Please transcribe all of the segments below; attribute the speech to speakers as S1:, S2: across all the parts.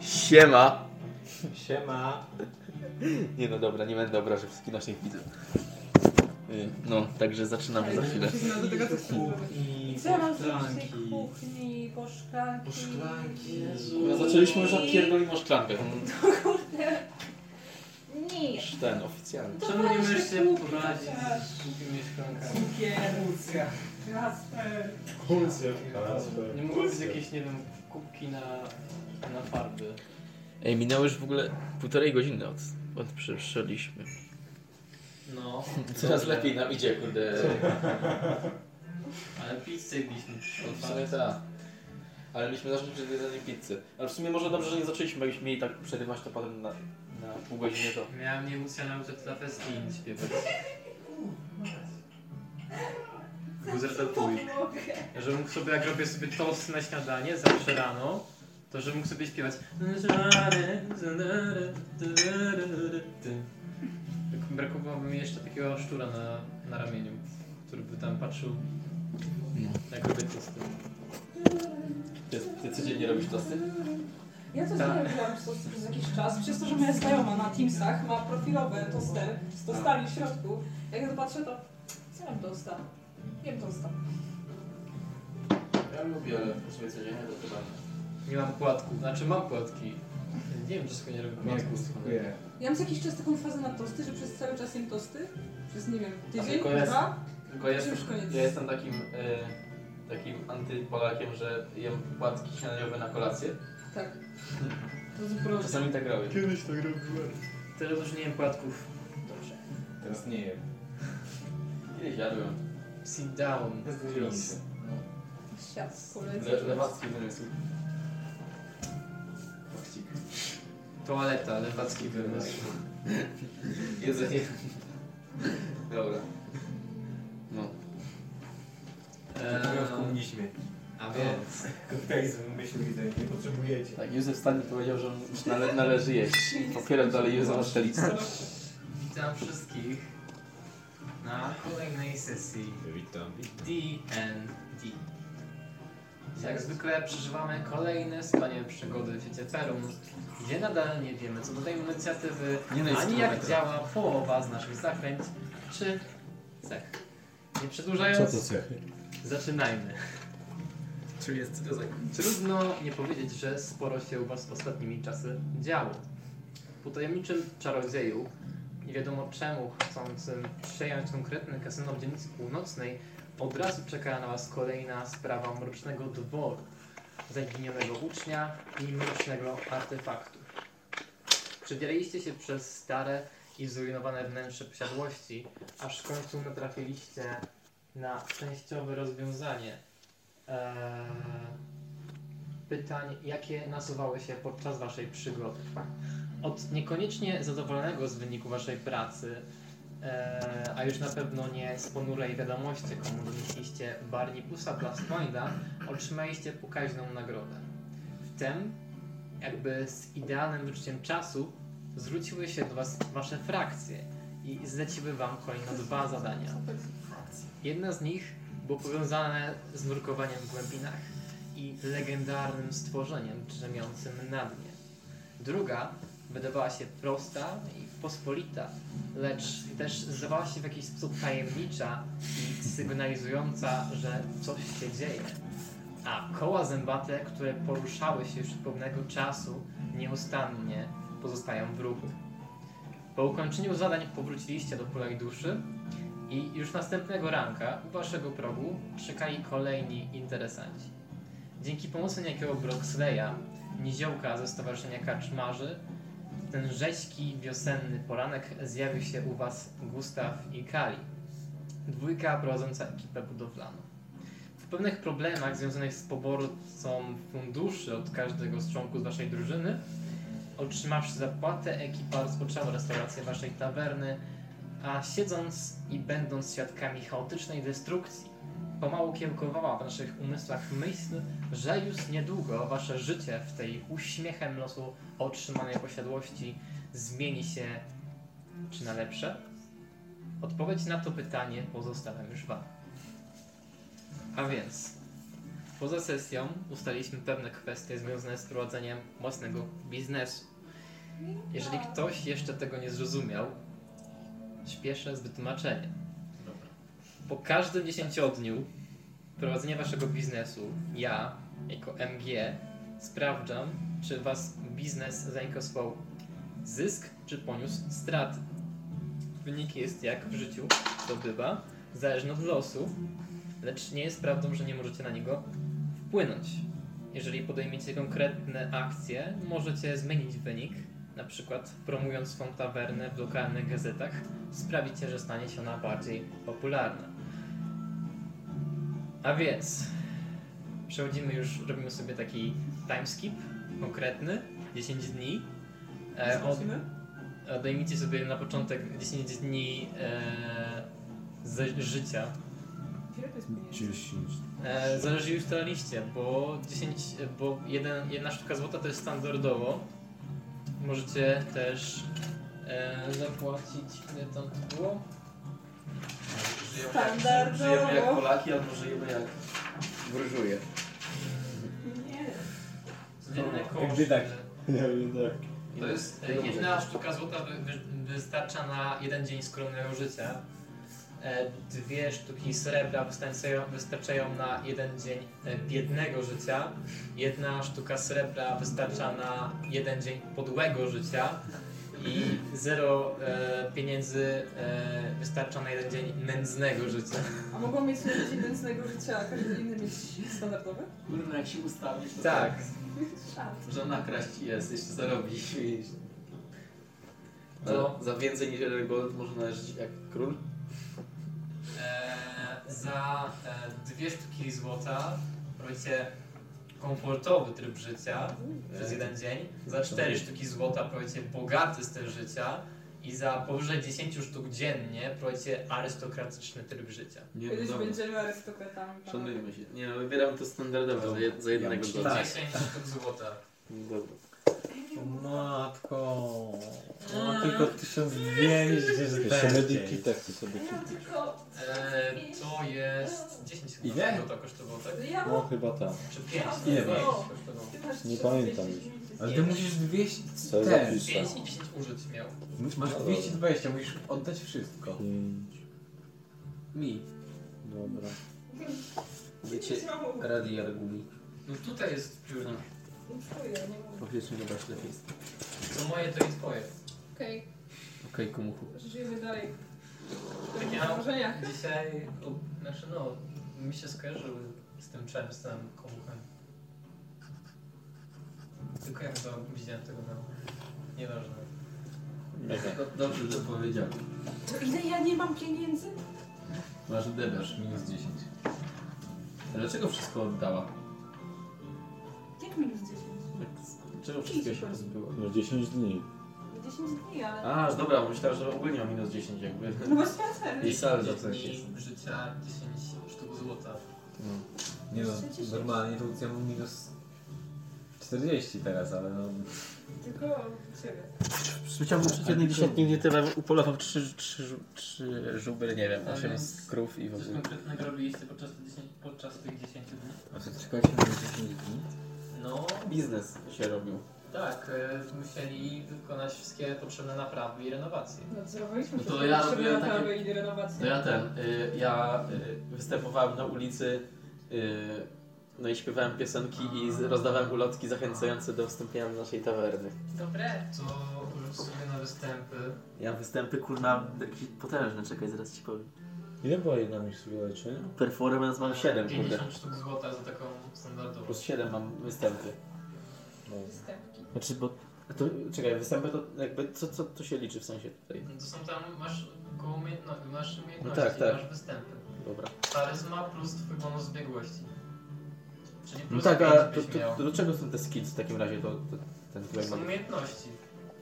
S1: Siema.
S2: Siema.
S1: Nie no dobra, nie będę obrażał wszystkich naszych widzów. Y, No, także zaczynamy za chwilę.
S3: do tego, co chcę
S2: Kuchni,
S3: Co ja mam zrobić w
S2: szklanki.
S3: tej kuchni, po szklanki?
S2: Po szklanki,
S1: No,
S2: Jezu.
S1: zaczęliśmy już od pierdolimo szklankę.
S3: Kurde. Nie.
S1: Już Ten oficjalny.
S3: To
S2: Czemu nie
S3: weź
S2: możesz
S3: te
S2: sobie
S3: kubki
S2: poradzić
S3: chociaż.
S2: z głupimi szklankami?
S3: Cukier. Kasper.
S4: Kulcję.
S2: Nie mogą być jakieś, nie wiem, kubki na, na farby.
S1: Ej, minęło już w ogóle półtorej godziny od, od przyszliśmy.
S2: No.
S1: Coraz
S2: Dobrze.
S1: lepiej nam idzie, kurde.
S2: Ale pizzę jedliśmy
S1: W sumie tak. Ale myśmy zaczęli przed jedzeniem pizzy. Ale w sumie może dobrze, że nie zaczęliśmy, bo jakbyśmy mieli tak przerywać to potem na, na pół godziny to.
S2: Miałem nie móc się nauczyć na festin śpiewać. Guzer to twój. Że mógł sobie, jak robię sobie toast na śniadanie, zawsze rano, to że mógł sobie śpiewać. Tak Brakowałoby mi jeszcze takiego szczura na, na ramieniu, który by tam patrzył, jak robię tosty.
S1: Ty, ty codziennie robisz tosty?
S3: Ja to
S2: Tak.
S3: zrobiłam sos przez jakiś czas, przez to, że moja znajoma na Teamsach ma profilowe tostery z tostami w środku. Jak ja to patrzę, to zjadam tosta. Jem tosta.
S1: Ja lubię, ale w sumie codziennie to chyba
S2: Nie mam płatków, znaczy mam płatki. Nie wiem, dlaczego nie robię płatków.
S4: Nie.
S3: Ja mam co jakiś czas taką fazę na tosty, że przez cały czas jem tosty. Przez, nie wiem, tydzień,
S1: tylko jest-
S3: dwa.
S1: Tylko ja jestem,
S3: Już koniec.
S1: ja jestem takim, e, takim antypolakiem, że jem płatki śniadaniowe na kolację.
S3: Tak. To zupełnie.
S1: Czasami tak robię.
S2: Kiedyś tak robiłem. Teraz już nie wiem płatków.
S3: Dobrze.
S4: Teraz nie jem.
S1: Kiedyś jadłem.
S2: Sit down, please.
S3: Świat polecam.
S1: Le, lewacki wymysł. Płatcik.
S2: Toaleta, lewacki wymysł.
S1: Jedzenie. Dobra. No.
S2: Eee,
S4: komunizmie.
S2: a więc,
S4: Kapitalizm wymyślił ideę, nie potrzebujecie.
S1: Tak, Józef Stalin powiedział, że nale, należy jeść. Popieram dalej Józefa Stalista.
S2: witam wszystkich na kolejnej sesji
S4: Witam.
S2: D&D. Jak zwykle przeżywamy kolejne wspaniałe przygody w świecie Ferum, gdzie nadal nie wiemy co do tej inicjatywy,
S1: Nie no, jest
S2: ani jak
S5: tak,
S1: kilometr.
S2: działa połowa z naszych zakręć, czy cech. Nie przedłużając,
S4: cechy?
S2: zaczynajmy.
S1: Czym jest kozak?
S2: Trudno nie powiedzieć, że sporo się u Was ostatnimi czasy działo. Po tajemniczym czarodzieju, nie wiadomo czemu chcącym przejąć konkretne kasyno w dzielnicy północnej, od razu czeka na Was kolejna sprawa mrocznego dworu, zaginionego ucznia i mrocznego artefaktu. Przedzieraliście się przez stare i zrujnowane wnętrze posiadłości, aż w końcu natrafiliście na częściowe rozwiązanie. Eee pytań, jakie nasuwały się podczas Waszej przygody. Od niekoniecznie zadowolonego z wyniku Waszej pracy, e, a już na pewno nie z ponurej wiadomości, komu donieśliście Barnipusa Blastpointa, otrzymaliście pokaźną nagrodę. Wtem, jakby z idealnym wyczuciem czasu, zwróciły się do Was Wasze frakcje i zleciły Wam kolejno dwa zadania. Jedna z nich było powiązane z nurkowaniem w głębinach i legendarnym stworzeniem drzemiącym na dnie. Druga wydawała się prosta i pospolita, lecz też zdawała się w jakiś sposób tajemnicza i sygnalizująca, że coś się dzieje. A koła zębate, które poruszały się już od pewnego czasu, nieustannie pozostają w ruchu. Po ukończeniu zadań powróciliście do Pulej Duszy i już następnego ranka u waszego progu czekali kolejni interesanci. Dzięki pomocy niejakiego Broxleya, niziołka ze Stowarzyszenia Kaczmarzy, w ten rzeźki wiosenny poranek zjawił się u was Gustaw i Kali, dwójka prowadząca ekipę budowlaną. W pewnych problemach związanych z poborcą funduszy od każdego z członków waszej drużyny, otrzymawszy zapłatę, ekipa rozpoczęła restaurację waszej tawerny, a siedząc i będąc świadkami chaotycznej destrukcji, pomału kiełkowała w naszych umysłach myśl, że już niedługo wasze życie w tej uśmiechem losu otrzymanej posiadłości zmieni się czy na lepsze? Odpowiedź na to pytanie pozostawiam już wam. A więc, Poza sesją ustaliliśmy pewne kwestie związane z prowadzeniem własnego biznesu. Jeżeli ktoś jeszcze tego nie zrozumiał, śpieszę z wytłumaczeniem. Po każdym dziesięciodniu prowadzenia waszego biznesu, ja, jako MG, sprawdzam, czy was biznes zainkasował zysk, czy poniósł straty. Wynik jest jak w życiu, to bywa, zależny od losu, lecz nie jest prawdą, że nie możecie na niego wpłynąć. Jeżeli podejmiecie konkretne akcje, możecie zmienić wynik, na przykład promując swą tawernę w lokalnych gazetach, sprawicie, że stanie się ona bardziej popularna. A więc przechodzimy już, robimy sobie taki timeskip konkretny, 10 dni. E, od,
S3: Zobaczymy.
S2: odejmijcie sobie na początek 10 dni e, ze życia
S6: 10.
S2: E, zależy już to liście, bo 10, bo jeden, jedna sztuka złota to jest standardowo. Możecie też e, zapłacić, ile tam to było?
S1: Żyjemy jak,
S3: Standardowo.
S1: żyjemy jak Polaki, albo żyjemy jak...
S6: Wróżuję.
S3: Nie.
S2: Dzienne
S6: No,
S2: koszty.
S6: gdy tak. Nie wiem, tak.
S2: To jest e, jedna sztuka złota wy, wy, wystarcza na jeden dzień skromnego życia. E, dwie sztuki srebra wystarczają, wystarczają na jeden dzień e, biednego życia. Jedna sztuka srebra wystarcza na jeden dzień podłego życia. I zero e, pieniędzy e, wystarcza na jeden dzień nędznego życia.
S3: A mogą mieć ludzi nędznego życia, a każdy inny mieć standardowy?
S1: Kurwa, jak się ustawić, to
S2: Tak.
S3: Szat.
S1: Że nakraść jest, jeszcze zarobić. widzisz.
S2: To-
S1: Za, za więcej niż jeden gold może należeć jak król.
S2: E, za e, dwie sztuki złota robicie komfortowy tryb życia przez jeden dzień. Za cztery sztuki złota prowadzicie bogaty styl życia. I za powyżej 10 sztuk dziennie prowadzicie arystokratyczny tryb życia.
S1: Nie
S3: Kiedyś
S1: no, dobra.
S3: będziemy arystokratami. panowie.
S1: Szanujmy się. tak. Nie no, wybieram to standardowe za, jed- za jednego
S2: Czyli
S1: golda.
S2: 10 sztuk złota.
S1: Dobra.
S6: Matko. No, tylko 1200.
S7: tak
S6: sobie
S3: Ja tylko...
S2: E, to jest 10 chyba
S6: Ile?
S2: złota kosztowało, tak?
S3: Ja
S6: No
S3: mam...
S6: chyba tak.
S2: Czy 5?
S6: Ile
S3: masz?
S2: kosztowało?
S3: Ty masz
S6: Nie pamiętam
S3: 450
S5: Ale
S2: Nie.
S5: ty musisz 200.
S6: Co
S5: Ten.
S6: zapiszę?
S2: 5 i 10 użyć miał.
S5: Masz 220, musisz oddać wszystko.
S7: Mm,
S6: 5.
S5: Mi.
S6: Dobra.
S5: Wiecie, radia gumi.
S2: No tutaj jest dziura.
S3: Czuję, nie mogę.
S5: Powiedzmy, zobacz lepiej.
S2: To moje, to i twoje.
S3: Okej,
S5: Okej, kumuchu.
S3: żyjemy dalej.
S2: Takie
S3: W założeniach.
S2: Dzisiaj, o, znaczy no, mi się skojarzył z tym czerwcem komuchem. Tylko jak to widziałem tego na... Nieważne.
S1: Do- Dobrze, że powiedział.
S3: To ile ja nie mam pieniędzy?
S5: Masz debiasz, minus 10. A Dlaczego wszystko oddała?
S3: Jak minus 10?
S1: Czego wszystkiego się pozbyło?
S6: No 10 dni.
S3: 10 dni, ale...
S1: A, dobra, myślałem, że ogólnie mam minus 10 jakby.
S3: No właśnie ja też.
S1: I saldo
S2: Dziesięć
S1: coś jest.
S2: dni życia 10 sztuk złota.
S5: Nie no,
S3: 36.
S5: normalnie to ja mam minus 40 teraz, ale no...
S3: Tylko ciebie.
S6: Przyciągnął
S5: przed jednym dziesiątkiem
S6: nie tyle, upolował 3, 3, 3 żubry, nie wiem,
S2: Ale osiem jest-
S6: skrów i
S2: Coś konkretnego robiliście podczas, te 10, podczas tych 10 dni?
S5: A co, czekaliśmy na 10 dni?
S2: No,
S1: Biznes się robił.
S2: tak, e, musieli wykonać wszystkie potrzebne naprawy i renowacje.
S3: Nadzorowaliśmy
S1: No
S3: się.
S1: to ja
S3: żeby
S1: robiłem takie-
S3: naprawy i renowacje.
S1: No ja ten, y, ja y, występowałem na ulicy, y, no i śpiewałem piosenki i z- rozdawałem ulotki zachęcające do wstąpienia do naszej tawerny.
S2: Dobre. To rzuć sobie na występy.
S1: Ja występy kurna jakieś potężne, czekaj, zaraz ci powiem.
S6: Ile była jedna mistrzowia
S1: Performance mam 7, kurde.
S2: 50 sztuk złota za taką standardową.
S1: Plus 7 mam występy.
S3: Występki.
S1: Znaczy, bo... a To, czekaj, występy to jakby, co, co to się liczy w sensie tutaj?
S2: No To są tam, masz koło umiejętności, masz umiejętności,
S1: No tak, tak.
S2: masz występy.
S1: Dobra.
S2: Charyzma plus twój bonus biegłości. Czyli
S1: No
S2: plus
S1: tak, a to,
S2: pięć byś
S1: to,
S2: miał.
S1: to do czego są te skills w takim razie, to, to ten
S2: To
S1: tutaj ma...
S2: są umiejętności.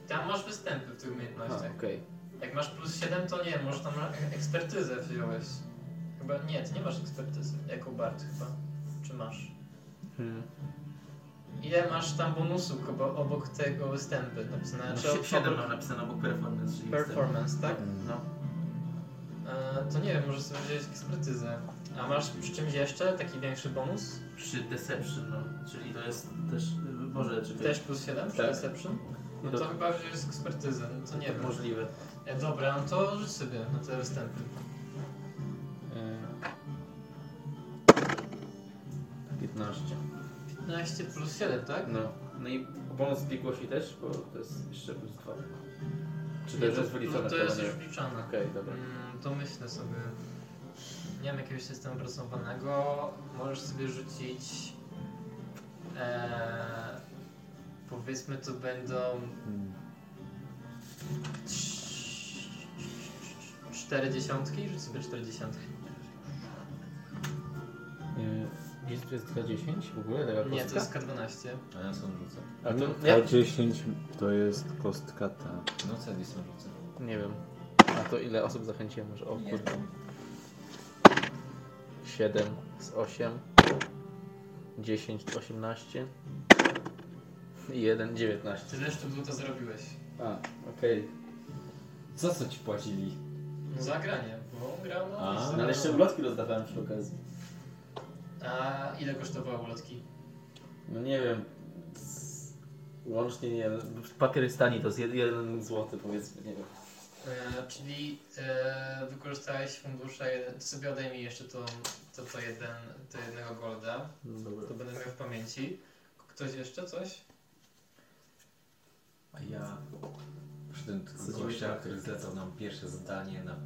S2: Tam masz występy w tych
S1: A,
S2: umiejętnościach.
S1: okej.
S2: Jak masz plus 7, to nie, może tam e- ekspertyzę wziąłeś. Chyba nie, ty nie masz ekspertyzy, jako Bart chyba. Czy masz?
S1: Hmm.
S2: Ile masz tam bonusów obo- obok tego
S1: No
S2: występy napisane? Czy obok- tak?
S8: Tak,
S5: napisane obok performance,
S1: Hmm.
S2: Performance, tak?
S1: No.
S2: E, to nie wiem, może sobie wziąć ekspertyzę. A masz przy czymś jeszcze taki większy bonus?
S8: Przy Deception, no. czyli to jest też, y, może, czy
S2: Też plus 7 przy
S1: Tak.
S2: Deception? No to chyba wziąłeś ekspertyzę, no to nie wiem.
S8: możliwe.
S2: E, dobra, no to rzuć sobie na te występy.
S8: Yy.
S1: E, 15.
S2: 15 plus 7, tak?
S1: No.
S6: No i bonus biegłości też, bo to jest jeszcze plus dwa.
S1: Czy to już
S2: Nie,
S1: jest wyliczone?
S2: No to
S1: Chyba
S2: jest
S1: nie.
S2: już wliczane.
S1: Okej, dobra.
S2: Mm, to myślę sobie. Nie mam jakiegoś systemu opracowanego. Możesz sobie rzucić. E, powiedzmy, to będą.
S7: Hmm.
S2: trz- Cztery dziesiątki? Rzuć sobie cztery dziesiątki.
S1: Gdzie tu jest 210 w ogóle? Taka
S2: Nie, to
S1: kostka?
S2: jest K12.
S5: A ja sam rzucę.
S1: A to, ja,
S7: K10 No, to jest kostka ta.
S5: No co, ja sam rzucę.
S1: nie wiem. A to ile osób zachęciłem może? O kurde. 7 z 8. 10, 18. I 1, 19.
S2: Tyle sztuk złota zrobiłeś.
S1: A, okej.
S5: Za co ci płacili?
S2: No zagranie, bo grał na
S5: A,
S2: miejscu.
S1: No ale jeszcze ulotki rozdawałem przy okazji.
S2: A ile kosztowały ulotki?
S1: No nie wiem. z- Łącznie nie wiem. W Pakistanie to jest 1 zł powiedzmy, nie wiem.
S2: E, czyli e, wykorzystałeś fundusze, jeden- to sobie odejmij jeszcze to, to, to, jeden, to jednego golda,
S1: No dobra.
S2: to będę miał w pamięci. Ktoś jeszcze coś?
S5: A ja przy tym tylko gościa, który zlecał nam pierwsze zadanie na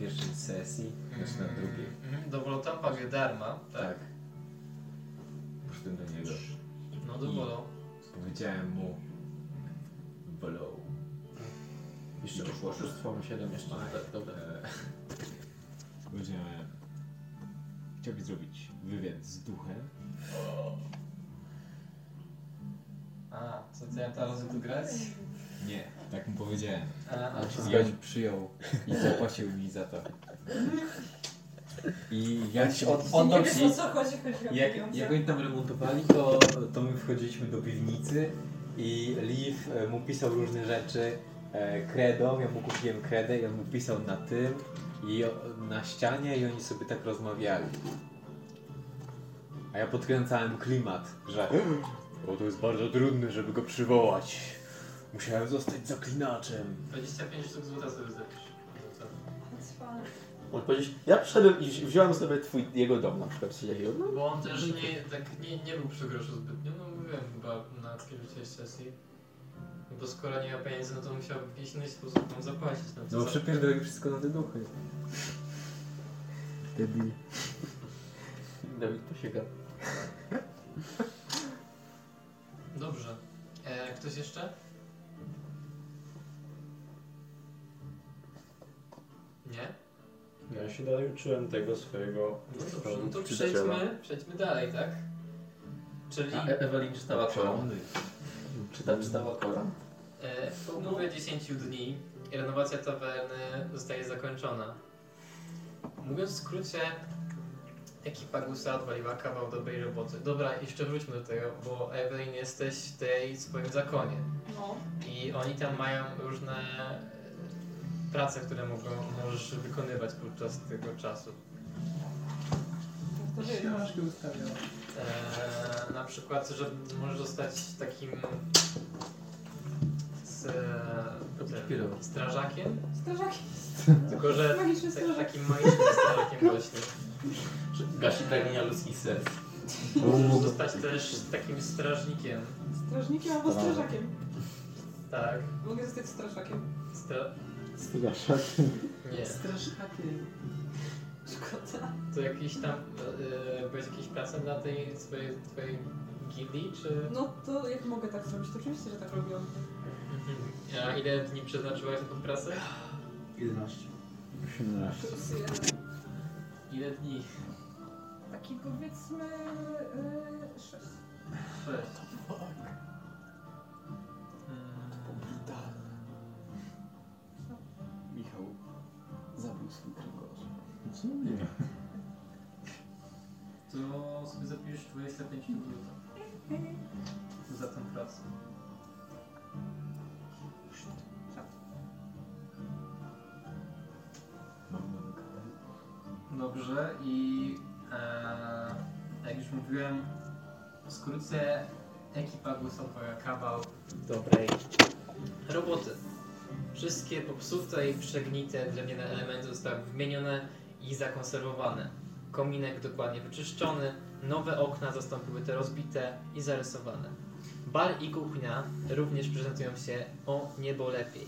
S5: pierwszej sesji, znaczy na drugiej.
S2: Mhm, Dowolotą wagę darma, tak?
S5: Tak. Przy tym do niego.
S2: No dowolą.
S5: Powiedziałem mu Blow.
S1: Jeszcze
S5: Dobrze.
S1: poszło oszustwo, 7 jeszcze.
S5: Fajnie.
S1: Tak, dobra.
S5: E, Będziemy chciałby zrobić wywiad z duchem.
S2: A, co ty ja teraz tu grać?
S5: Nie, tak mu powiedziałem.
S2: A,
S1: A,
S5: I on przyjął i zapłacił mi za to. I jak się od,
S3: On nie
S5: oddał
S3: wiesz
S5: ci,
S3: o co chodzi, chodzi o
S5: jak,
S3: pieniądze.
S5: jak oni tam remontowali, to, to my wchodziliśmy do piwnicy i Liv e, mu pisał różne rzeczy e, kredą, ja mu kupiłem kredę i on mu pisał na tym i o- na ścianie i oni sobie tak rozmawiali. A ja podkręcałem klimat, że bo to jest bardzo trudne, żeby go przywołać. Musiałem zostać zaklinaczem.
S2: 25 sztuk złota sobie No tak. zapisz. Złota.
S3: Cwany.
S1: Mógł powiedzieć, ja przyszedłem i wzi- wziąłem sobie twój, jego dom na przykład, czy jakiego, no.
S2: Bo on też nie, tak nie, nie był przy groszu zbytnio, no mówiłem chyba na pierwszej sesji. Bo skoro nie miał pieniędzy, no to musiał w jakiś inny sposób tam zapłacić. No, to
S5: No
S2: za-
S5: przepierdolę wszystko na te duchy.
S7: Debil.
S1: Dawid posiega.
S2: Dobrze. E, ktoś jeszcze? Nie?
S4: Ja się dalej uczyłem tego swojego.
S2: No dobrze, no to przejdźmy, przejdźmy dalej, tak? Czyli
S1: A E- Ewelin czytała Koran. Czyta, czytała Koran.
S2: e, po upływie 10 dni renowacja tawerny zostaje zakończona. Mówiąc w skrócie, ekipa Gusa odwaliła kawał dobrej roboty. Dobra, jeszcze wróćmy do tego, bo Evelyn jesteś w tej swoim zakonie.
S3: No.
S2: I oni tam mają różne e, prace, które mogą, możesz wykonywać podczas tego czasu.
S3: To wy.
S2: E, na przykład, że możesz zostać takim z, tym, strażakiem,
S3: Strażaki.
S2: tylko że
S3: Magiczny
S2: tak,
S3: strażak.
S2: takim magicznym strażakiem właśnie.
S1: Gasi pragnienia ludzkich serc.
S2: Możesz zostać też takim strażnikiem,
S3: Strażnikiem albo strażakiem.
S2: tak.
S3: Mogę zostać strażakiem.
S2: Stra- nie,
S1: Strasznie.
S3: Szkoda.
S2: to jakiś tam, e, byłeś jakieś prace dla tej swojej, twojej gildii, czy...
S3: No to jak mogę tak zrobić, to oczywiście, że tak robiłam.
S2: Mhm. A ile dni przeznaczyłaś na tą pracę?
S1: 11.
S3: Plus jeden.
S2: Ile dni?
S3: Taki powiedzmy yy, sześć.
S2: Sześć. Mm.
S5: Michał zabił swój kręgosłup.
S7: No,
S2: To sobie zapisz 25 minut za tę pracę.
S5: Mam
S8: dobrze i e, jak już mówiłem, wkrótce ekipa głosowa Kabał
S2: dobrej roboty. Wszystkie popsute i przegnite drewniane elementy zostały wymienione i zakonserwowane. Kominek dokładnie wyczyszczony, nowe okna zastąpiły te rozbite i zarysowane. Bar i kuchnia również prezentują się o niebo lepiej.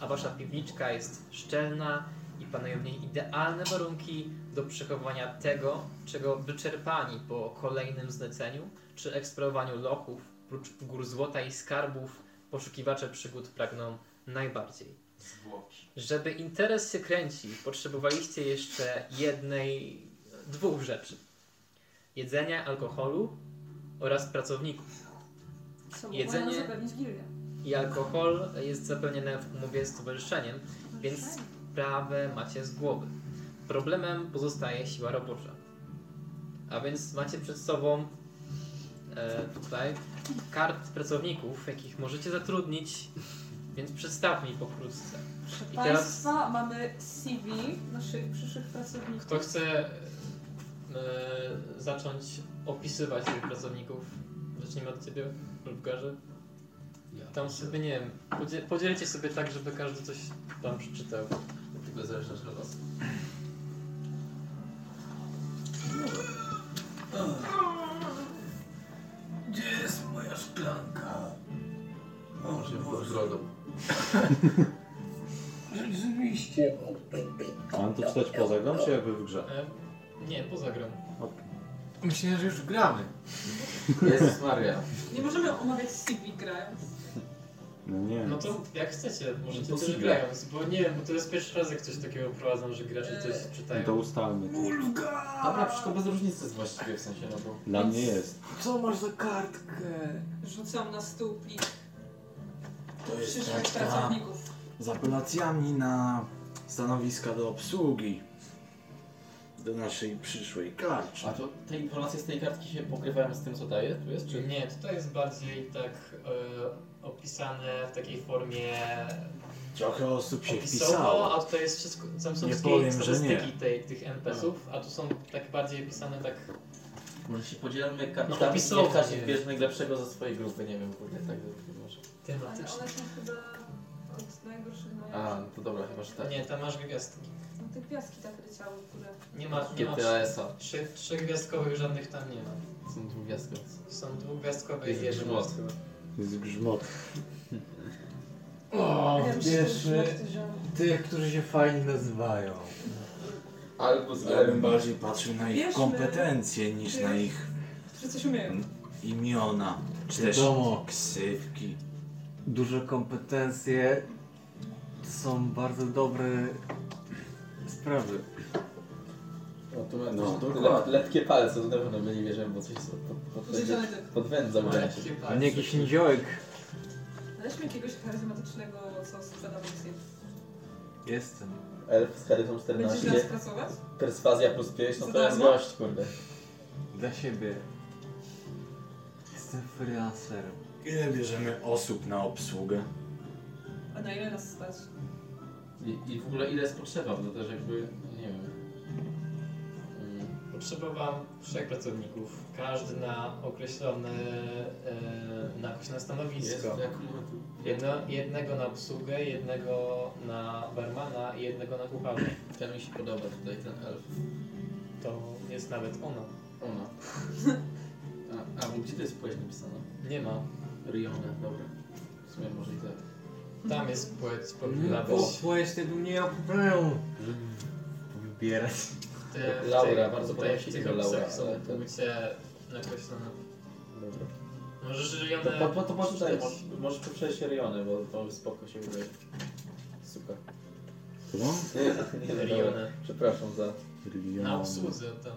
S2: A wasza piwniczka jest szczelna i panują w niej idealne warunki do przechowywania tego, czego wyczerpani po kolejnym zleceniu przy eksplorowaniu lochów, prócz gór złota i skarbów, poszukiwacze przygód pragną najbardziej.
S8: zwłoki.
S2: Żeby interes się kręcił, potrzebowaliście jeszcze jednej, dwóch rzeczy: jedzenia, alkoholu oraz pracowników.
S3: Są
S2: Jedzenie-
S3: Jedzenie... zapewnić gildię.
S2: I alkohol jest zapewniony w umowie z stowarzyszeniem, Więc- sprawę macie z głowy. Problemem pozostaje siła robocza. A więc macie przed sobą e, tutaj kart pracowników, jakich możecie zatrudnić, więc przedstaw mi pokrótce.
S3: Proszę
S2: I teraz-
S3: Państwa, mamy CV naszych przyszłych pracowników.
S2: Kto chce e, zacząć opisywać tych pracowników? Zacznijmy od ciebie, Lubgarze. Tam sobie, nie wiem, podzie- podzielcie sobie tak, żeby każdy coś tam przeczytał.
S1: Tylko zależy nasz los.
S8: Gdzie jest moja szklanka? O,
S1: Może pod brodą.
S8: Rzeczywiście.
S7: Mam to czytać poza grą, czy jakby w grze?
S2: E, nie, poza grą.
S5: Myślę, że już gramy.
S1: Jezus Maria.
S3: Nie możemy omawiać CV grając.
S7: No nie.
S2: No to jak chcecie, możecie
S7: Impossible.
S2: też grając, bo nie wiem, bo to jest pierwszy raz jak coś takiego prowadzą, że gracze coś
S7: No to
S2: czytają.
S7: ustalmy. to.
S1: Dobra, przecież to bez różnicy jest właściwie w sensie, no bo...
S7: Dla mnie jest.
S3: Co masz za kartkę? Rzucam na stół plik
S9: To jest
S3: przyszłych
S9: kartka
S3: pracowników.
S9: z apelacjami na stanowiska do obsługi. Do naszej przyszłej karczy.
S1: A to te informacje z tej kartki się pokrywają z tym, co daje? Tu jest, czy...
S2: Nie, tutaj jest bardziej tak e, opisane w takiej formie
S9: Trochę osób się
S2: opisowo,
S9: wpisało.
S2: a tutaj jest wszystko, tam są
S9: Nie
S2: wszystkie
S9: powiem, że
S2: statystyki
S9: nie.
S2: tej, tych NPC-ów, a tu są tak bardziej pisane tak
S1: Może się podzielamy jak
S2: No,
S1: kapitan
S2: opisowo,
S1: no, każdy
S2: nie wiem.
S1: bierze najlepszego ze swojej grupy, nie wiem, kurde, tak zrobię może.
S3: Ale one
S2: tematycznie.
S3: są chyba od najgorszych
S1: A,
S3: najlepszych.
S1: no to dobra, chyba, że tak.
S2: Nie, tam masz gwiazdki.
S3: No te gwiazdki tak leciały w górę.
S2: Nie ma, nie ma
S1: GTAS-a.
S2: trzy, trzygwiazdkowych żadnych tam nie ma.
S1: Są tu gwiazdkocy.
S2: Są dwugwiazdkowe
S1: Jest
S2: i jeden
S1: grzmot.
S7: Jest grzmot.
S5: O,
S3: Wiem, że to już
S5: pierwszy
S3: lekty ziom.
S5: tych, którzy się fajnie nazywają.
S1: Albo z
S9: Ja bym bardziej patrzył na ich
S3: Bierzmy.
S9: kompetencje niż na ich
S3: Którzy coś umieją.
S9: imiona, czy też
S5: Wiadomo.
S9: ksywki.
S5: Duże kompetencje są bardzo dobre sprawy.
S1: No to ma
S9: No,
S1: no, le,
S9: dokładnie.
S1: lepkie palce, to na pewno my nie wierzymy, bo coś sobie pod, pod, pod,
S3: Zielony.
S1: podwędzą
S2: No, tak.
S1: ręce.
S5: A No nie jakiś niziołek.
S3: Znaleźliśmy jakiegoś charyzmatycznego, co sprzeda wersję.
S5: Jestem.
S1: Elf z charyzmą
S3: Będziesz nas
S1: 14,
S3: pracować?
S1: perswazja plus 5, no
S3: Za
S1: to jest
S3: darmo?
S1: gość, kurde.
S5: Dla siebie. Jestem freelancerem.
S9: Ile bierzemy osób na obsługę?
S3: A na ile nas stać?
S1: I, I w ogóle ile jest potrzeba, bo to też jakby, no nie wiem. Mm,
S2: Potrzeba Wam trzech pracowników, każdy na określone, e, na określone
S1: Jest,
S2: stanowisko.
S1: jak mówię, tu
S2: Jedno, jednego na obsługę, jednego na barmana i jednego na kucharza.
S1: Ten mi się podoba tutaj, ten elf.
S2: To jest nawet ona.
S1: Ona. A, a bo gdzie to jest płeć napisane?
S2: Nie ma.
S1: Rione, dobra. W sumie może i tak.
S2: Tam jest płeć, powinna
S1: No,
S5: Nie
S2: być.
S5: popłeś, ty bym nie miał problemu. Żeby wybierać.
S2: Te, w
S1: Laura,
S2: tej-
S1: bardzo
S2: tutaj
S1: podoba
S2: w
S1: się
S2: tych
S1: imię Laura,
S2: opisach są
S1: ale to-
S2: płcie określone.
S1: Dobra.
S2: Możesz
S1: To,
S2: Rionę
S1: to, to, to może
S2: przeczytać.
S1: tutaj, możesz, możesz poprzeć Rione, bo to spoko się wydaje. Super.
S7: Którą?
S1: Nie, nie, dobra.
S2: Rionę.
S1: Przepraszam za...
S2: Na obsłudze tam.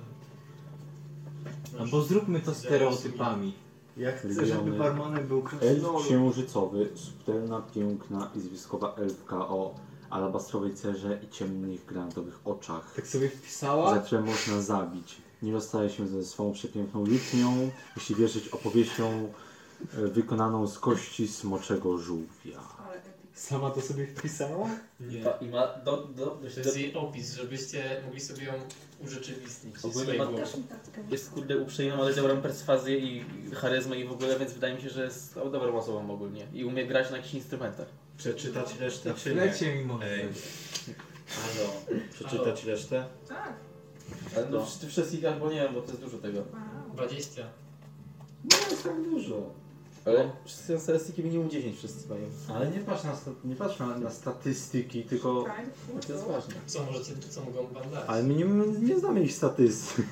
S5: Albo No zróbmy to stereotypami. Ja chcę, żeby
S7: Regiony.
S5: barmanem był
S7: Elf
S5: krasnolud.
S7: księżycowy, subtelna, piękna i związkowa elfka o alabastrowej cerze i ciemnych granatowych oczach.
S5: Tak sobie wpisała?
S7: Zawsze można zabić. Nie rozstaje się ze swą przepiękną lutnią, jeśli wierzyć opowieścią e, wykonaną z kości smoczego żółwia.
S3: Ale epic.
S5: Sama to sobie wpisała?
S8: Nie.
S1: I ma do, do,
S2: To jest jej opis, żebyście mogli sobie ją urzeczywistnić. w
S1: Ogólnie
S2: swojej
S1: ma-
S2: głowie.
S10: Dasz mi kartkę.
S1: jest kurde uprzejma, ale dobrą perswazję i charyzmę i w ogóle, więc wydaje mi się, że jest dobrą osobą ogólnie. I umie grać na jakichś instrumentach.
S9: Przeczytać resztę czy nie?
S5: Lecie mi może.
S9: Ej. Halo. Przeczytać resztę?
S3: Tak.
S1: Ale
S9: No.
S1: no. ty wszystkich albo nie wiem, bo to jest dużo tego.
S3: Wow.
S2: 20.
S9: Nie jest tak dużo.
S1: Ale wszyscy na statystyki minimum 10 wszyscy mają.
S7: Ale nie patrz na, sta- nie patrz na, na statystyki, tylko...
S3: Fajnie,
S1: No To jest
S3: kurwa.
S1: ważne.
S2: Co możecie, co mogą wam dać?
S7: Ale my nie, nie znamy ich statystyk.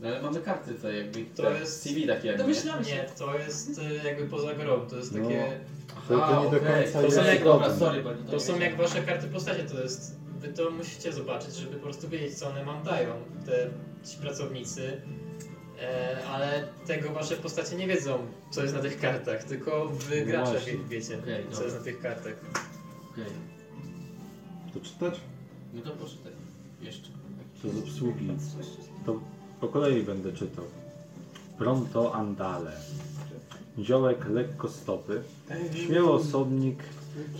S1: No ale mamy karty te jakby,
S2: To
S1: te
S2: jest-
S1: CV takie jakby.
S3: Domyślamy się.
S2: Nie, to jest y, jakby poza grą, to jest
S7: No.
S2: takie...
S7: To, to nie do
S1: okej.
S7: końca
S2: To są
S7: jest
S2: jak-
S1: Dobra,
S7: problem.
S1: sorry, bo No, nie
S2: To są
S1: wiedziałem.
S2: jak wasze karty postacie, to jest... Wy to musicie zobaczyć, żeby po prostu wiedzieć, co one wam dają, te ci pracownicy. E, ale tego wasze postacie nie wiedzą, co jest na tych kartach, tylko wy
S7: No
S2: gracze
S7: właśnie.
S2: wie, wiecie,
S8: Okej,
S2: co
S8: dobra.
S2: jest na tych kartach.
S8: Okej,
S7: To czytać?
S8: no to poczytaj. Jeszcze.
S7: To z obsługi. To po kolei będę czytał. Pronto andale. Ziołek lekko stopy.
S5: Tak.
S7: Śmiały osobnik,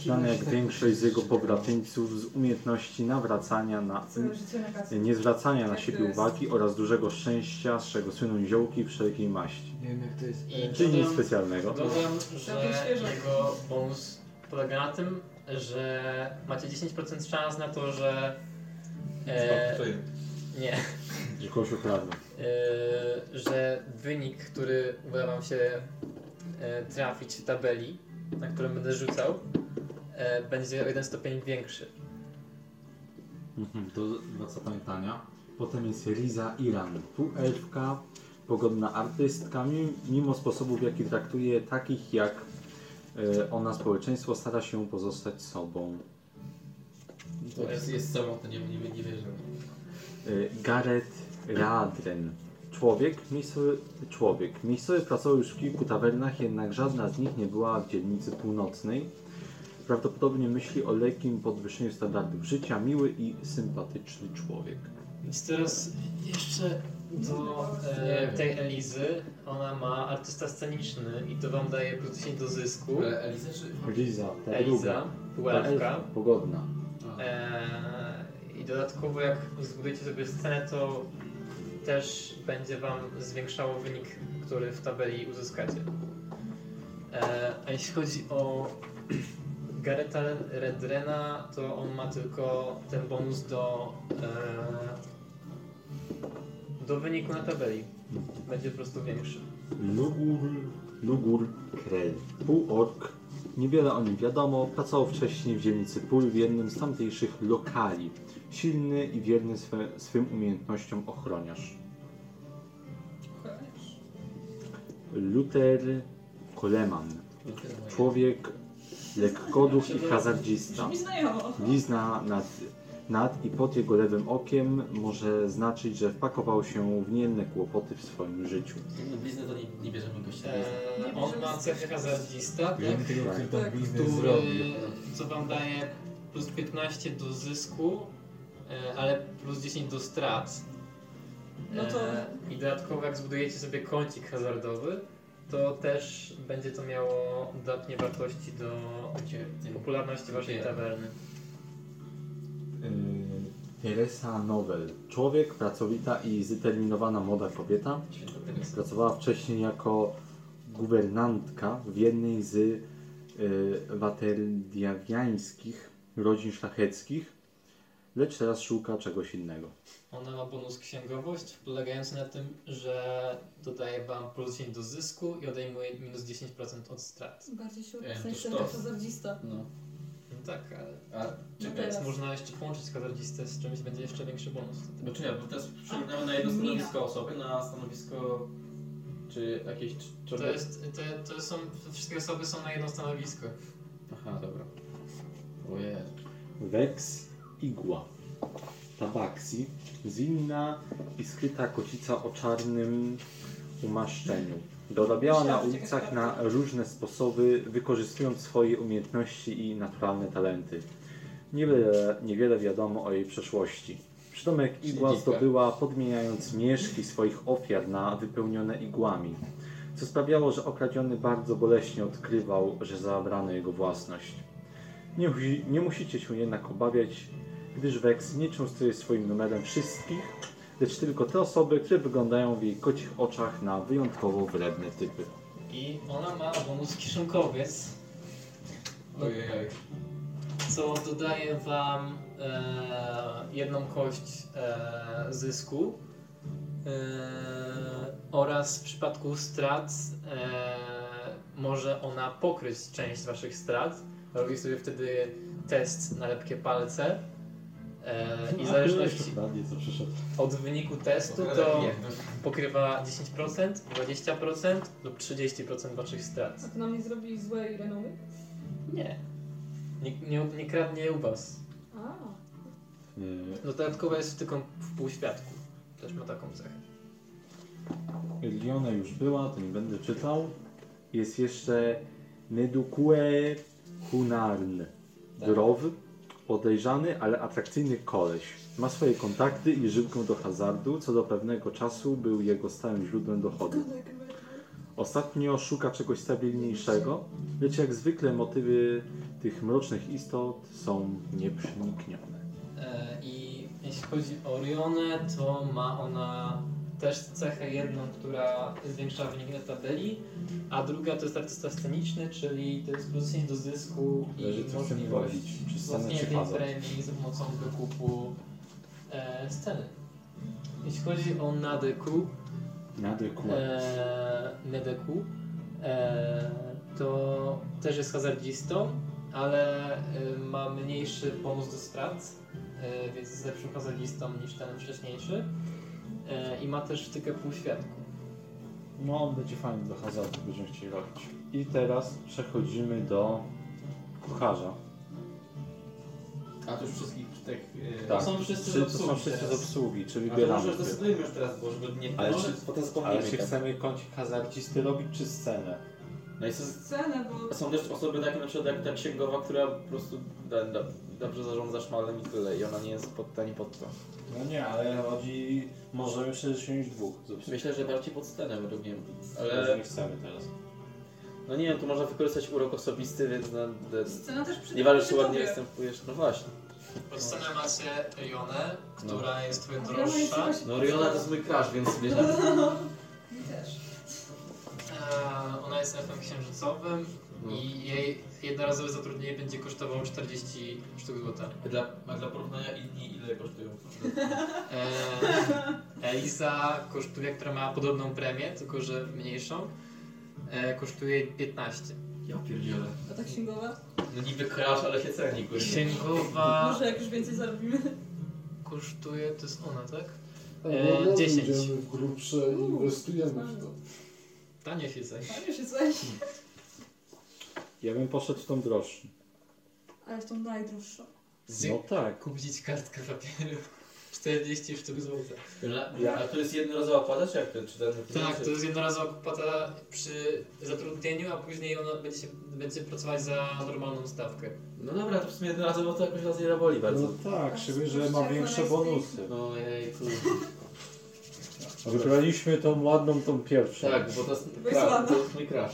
S7: znany jak większość z jego pobratyńców, z umiejętności nawracania na um,
S10: Całe życie na kasę.
S7: nie zwracania na
S10: Tak
S7: siebie
S10: to jest.
S7: uwagi oraz dużego szczęścia, z czego słyną ziołki wszelkiej maści.
S5: Nie wiem jak to jest.
S2: I
S7: Czyli nic
S2: dodam-
S7: specjalnego.
S2: Dodam,
S3: Całkiem
S2: że
S3: świeżo.
S2: jego bonus polega na tym, że macie 10% szans na to, że. E, nie.
S7: Że kogoś ukradną.
S2: E, że wynik, który uda Wam się e, trafić w tabeli, na którą będę rzucał, e, będzie o jeden stopień większy.
S7: Mhm, to dla zapamiętania. Potem jest Riza Iran, półelfka, pogodna artystka, mi- mimo sposobów, w jaki traktuje takich jak e, ona społeczeństwo, stara się pozostać sobą.
S1: No
S8: To jest, jest samotny, nie, nie, nie wierzę.
S7: E, Gareth Radren. Człowiek miejscowy, człowiek miejscowy pracował już w kilku tawernach, jednak żadna z nich nie była w dzielnicy północnej. Prawdopodobnie myśli o lekkim podwyższeniu standardów życia, miły i sympatyczny człowiek.
S2: Więc teraz jeszcze do e, tej Elizy. Ona ma artysta sceniczny i to Wam daje plus 10 do zysku.
S8: Ale Eliza czy...
S7: Riza, ta druga.
S2: Eliza,
S7: Ta
S2: pułapka.
S7: elfka, Pogodna.
S2: Eee, I dodatkowo jak zbudujecie sobie scenę, to też będzie wam zwiększało wynik, który w tabeli uzyskacie. Eee, a jeśli chodzi o Gareta Redrena, to on ma tylko ten bonus do, eee, do wyniku na tabeli. Będzie po prostu większy.
S7: Lugur, Lugur Krell. Półork. Niewiele o nim wiadomo. Pracował wcześniej w dzielnicy Pól w jednym z tamtejszych lokali. Silny i wierny swe, swym umiejętnościom ochroniarz. Luther Coleman. Człowiek lekkoduch i hazardzista.
S3: Brzmi znajomo.
S7: Blizna nad, nad i pod jego lewym okiem może znaczyć, że wpakował się w nienne kłopoty w swoim życiu.
S8: No bliznę to nie, nie bierzemy gościa.
S2: Eee, on ma cechy hazardista, tak?
S5: Wiem tego, który tam
S3: Tak,
S5: bliznę
S2: który,
S5: zrobił.
S2: co wam daje plus 15 do zysku, e, ale plus 10 do strat.
S3: No to-
S2: E, I dodatkowo jak zbudujecie sobie kącik hazardowy, to też będzie to miało dodatnie wartości do popularności waszej tawerny.
S7: Y, Teresa Nowel. Człowiek, pracowita i zdeterminowana młoda kobieta. Pracowała wcześniej jako guwernantka w jednej z y, waterdiawiańskich rodzin szlacheckich, lecz teraz szuka czegoś innego.
S2: Ona ma bonus księgowość polegający na tym, że dodaje wam plus 10 do zysku i odejmuje minus 10% od strat.
S10: Bardziej się
S8: E, to
S10: odpisać
S8: sztos.
S10: ten hazardzista.
S8: No.
S2: No tak, ale
S8: A
S10: No
S8: czekaj.
S10: teraz.
S2: więc można jeszcze połączyć hazardzistę z czymś, będzie jeszcze większy bonus. wtedy.
S8: Bo czekaj, bo teraz przypominamy na jedno
S3: Mina.
S8: stanowisko osoby, na stanowisko...
S1: Czy jakieś cz-
S2: To
S1: czarne...
S2: jest, to, to są, wszystkie osoby są na jedno stanowisko.
S1: Aha, dobra. Ojej.
S7: Vex igła. Tabaksi. Zwinna i skryta kocica o czarnym umaszczeniu. Dorabiała na ulicach na różne sposoby, wykorzystując swoje umiejętności i naturalne talenty. Niewiele, niewiele wiadomo o jej przeszłości. Przydomek igła
S1: Dziwka.
S7: zdobyła podmieniając mieszki swoich ofiar na wypełnione igłami, co sprawiało, że okradziony bardzo boleśnie odkrywał, że zabrano jego własność. Nie, musi- nie musicie się jednak obawiać, gdyż Wex nie częstuje swoim numerem wszystkich, lecz tylko te osoby, które wyglądają w jej kocich oczach na wyjątkowo wredne typy.
S2: I ona ma bonus kieszonkowiec,
S5: Ojej.
S2: co dodaje wam e, jedną kość e, zysku e, oraz w przypadku strat e, może ona pokryć część waszych strat. Robi sobie wtedy test na lepkie palce e, i w zależności
S7: Ładnie, co przyszedł.
S2: od wyniku testu to pokrywa 10%, 20% lub 30% waszych strat.
S3: A to nam nie zrobi złej renomy?
S2: Nie. Nie, nie, nie kradnie u was.
S3: A.
S2: No dodatkowo jest tylko w półświadku. Też ma taką cechę.
S7: Liona już była, to nie będę czytał. Jest jeszcze Nedukue Hunarn.
S2: Tak.
S7: Drowy, podejrzany, ale atrakcyjny koleś. Ma swoje kontakty i żywkę do hazardu, co do pewnego czasu był jego stałym źródłem dochodu.
S3: Tak,
S7: Ostatnio szuka czegoś stabilniejszego, lecz jak zwykle motywy tych mrocznych istot są nieprzeniknione.
S2: E, I jeśli chodzi o Rionę, to ma ona też cechę jedną, która zwiększa wynik na tabeli, a druga to jest artysta sceniczny, czyli to jest plus 10 do zysku
S7: Zależy,
S2: i
S7: co chcemy
S2: możliwość
S7: robić, czy scenę,
S2: wzmocnienia
S7: czy
S2: tej
S7: hazard.
S2: premii za pomocą wykupu e, sceny. Jeśli chodzi o Nadeku,
S7: Nadekue.
S2: e, Nedeku, e, to też jest hazardzistą, ale e, ma mniejszy bonus do strat, e, więc jest lepszym hazardzistą niż ten wcześniejszy e, i ma też wtykę półświadku.
S7: No, on będzie fajny do hazardu, będziemy chcieli robić. I teraz przechodzimy do kucharza.
S1: A to już wszystkich tych... Yy,
S7: Tak.
S1: To są wszyscy
S7: Czy
S1: z
S7: to są
S1: obsługi
S7: wszyscy z
S1: teraz.
S7: obsługi, czy
S1: A to
S7: wybieramy.
S1: może zdecydujmy już teraz, bo żeby nie...
S7: Ale
S1: może
S7: czy-
S1: potem
S7: Ale
S1: zapomnijmy.
S7: czy chcemy kącik hazardzisty robić, czy scenę?
S1: No i są-
S3: Scenę, bo
S1: są też osoby takie na przykład jak ta księgowa, która po prostu da, da, dobrze zarządza szmalem i tyle. I ona nie jest pod, ani pod to.
S4: No nie, ale chodzi... Możemy przesiąść dwóch z obsługi.
S1: Myślę, że bardziej pod scenę według mnie.
S4: Ale...
S1: Ale
S4: nie chcemy teraz.
S1: no nie wiem, tu można wykorzystać urok osobisty, więc na, de,
S3: scena też przy
S1: nie ważne czy ładnie występujesz. No właśnie.
S2: Pod scenę macie Rionę, która jest twoją
S3: Riona jest
S2: droższa.
S3: jakaś-
S1: No Riona to jest mój crush, więc wiesz,
S3: Mi też.
S2: Eee, Ona jest elfem księżycowym i jej jednorazowe zatrudnienie będzie kosztowało 40 sztuk złota.
S1: dla, a dla porównania inni ile kosztują?
S2: Eee, Elisa kosztuje, która ma podobną premię, tylko że mniejszą, e, kosztuje 15.
S1: Ja pierdzielę.
S3: A tak ta księgowa?
S1: No niby crush, ale się ceni, kurde.
S2: Księgowa
S3: Może jak już więcej zarobimy.
S2: kosztuje, to jest ona, tak?
S10: Eee,
S2: Eee, 10.
S10: Idziemy w grubsze i inwestujemy w to.
S2: Tanie się coś.
S3: Fajnie się coś.
S7: Ja bym poszedł w tą droższą.
S3: Ale w tą najdroższą.
S7: No tak.
S2: Kupić kartkę papieru. 40 sztuk złota.
S1: A to jest jednorazowa płata, czy jak to? Czy ten,
S2: Tak,
S1: czy-
S2: to jest jednorazowa opłata przy zatrudnieniu, a później ona będzie, się, będzie pracować za normalną stawkę.
S1: No dobra, to w sumie jednorazowo to jakoś nas nie raboli
S4: No
S1: bardzo.
S4: tak, szczególnie, że ma większe bonusy.
S1: No jejku.
S4: Wybraliśmy tą ładną, tą pierwszą.
S1: Tak, bo to jest,
S3: Bo jest
S1: crush,
S3: ładna.
S1: to jest mój crush.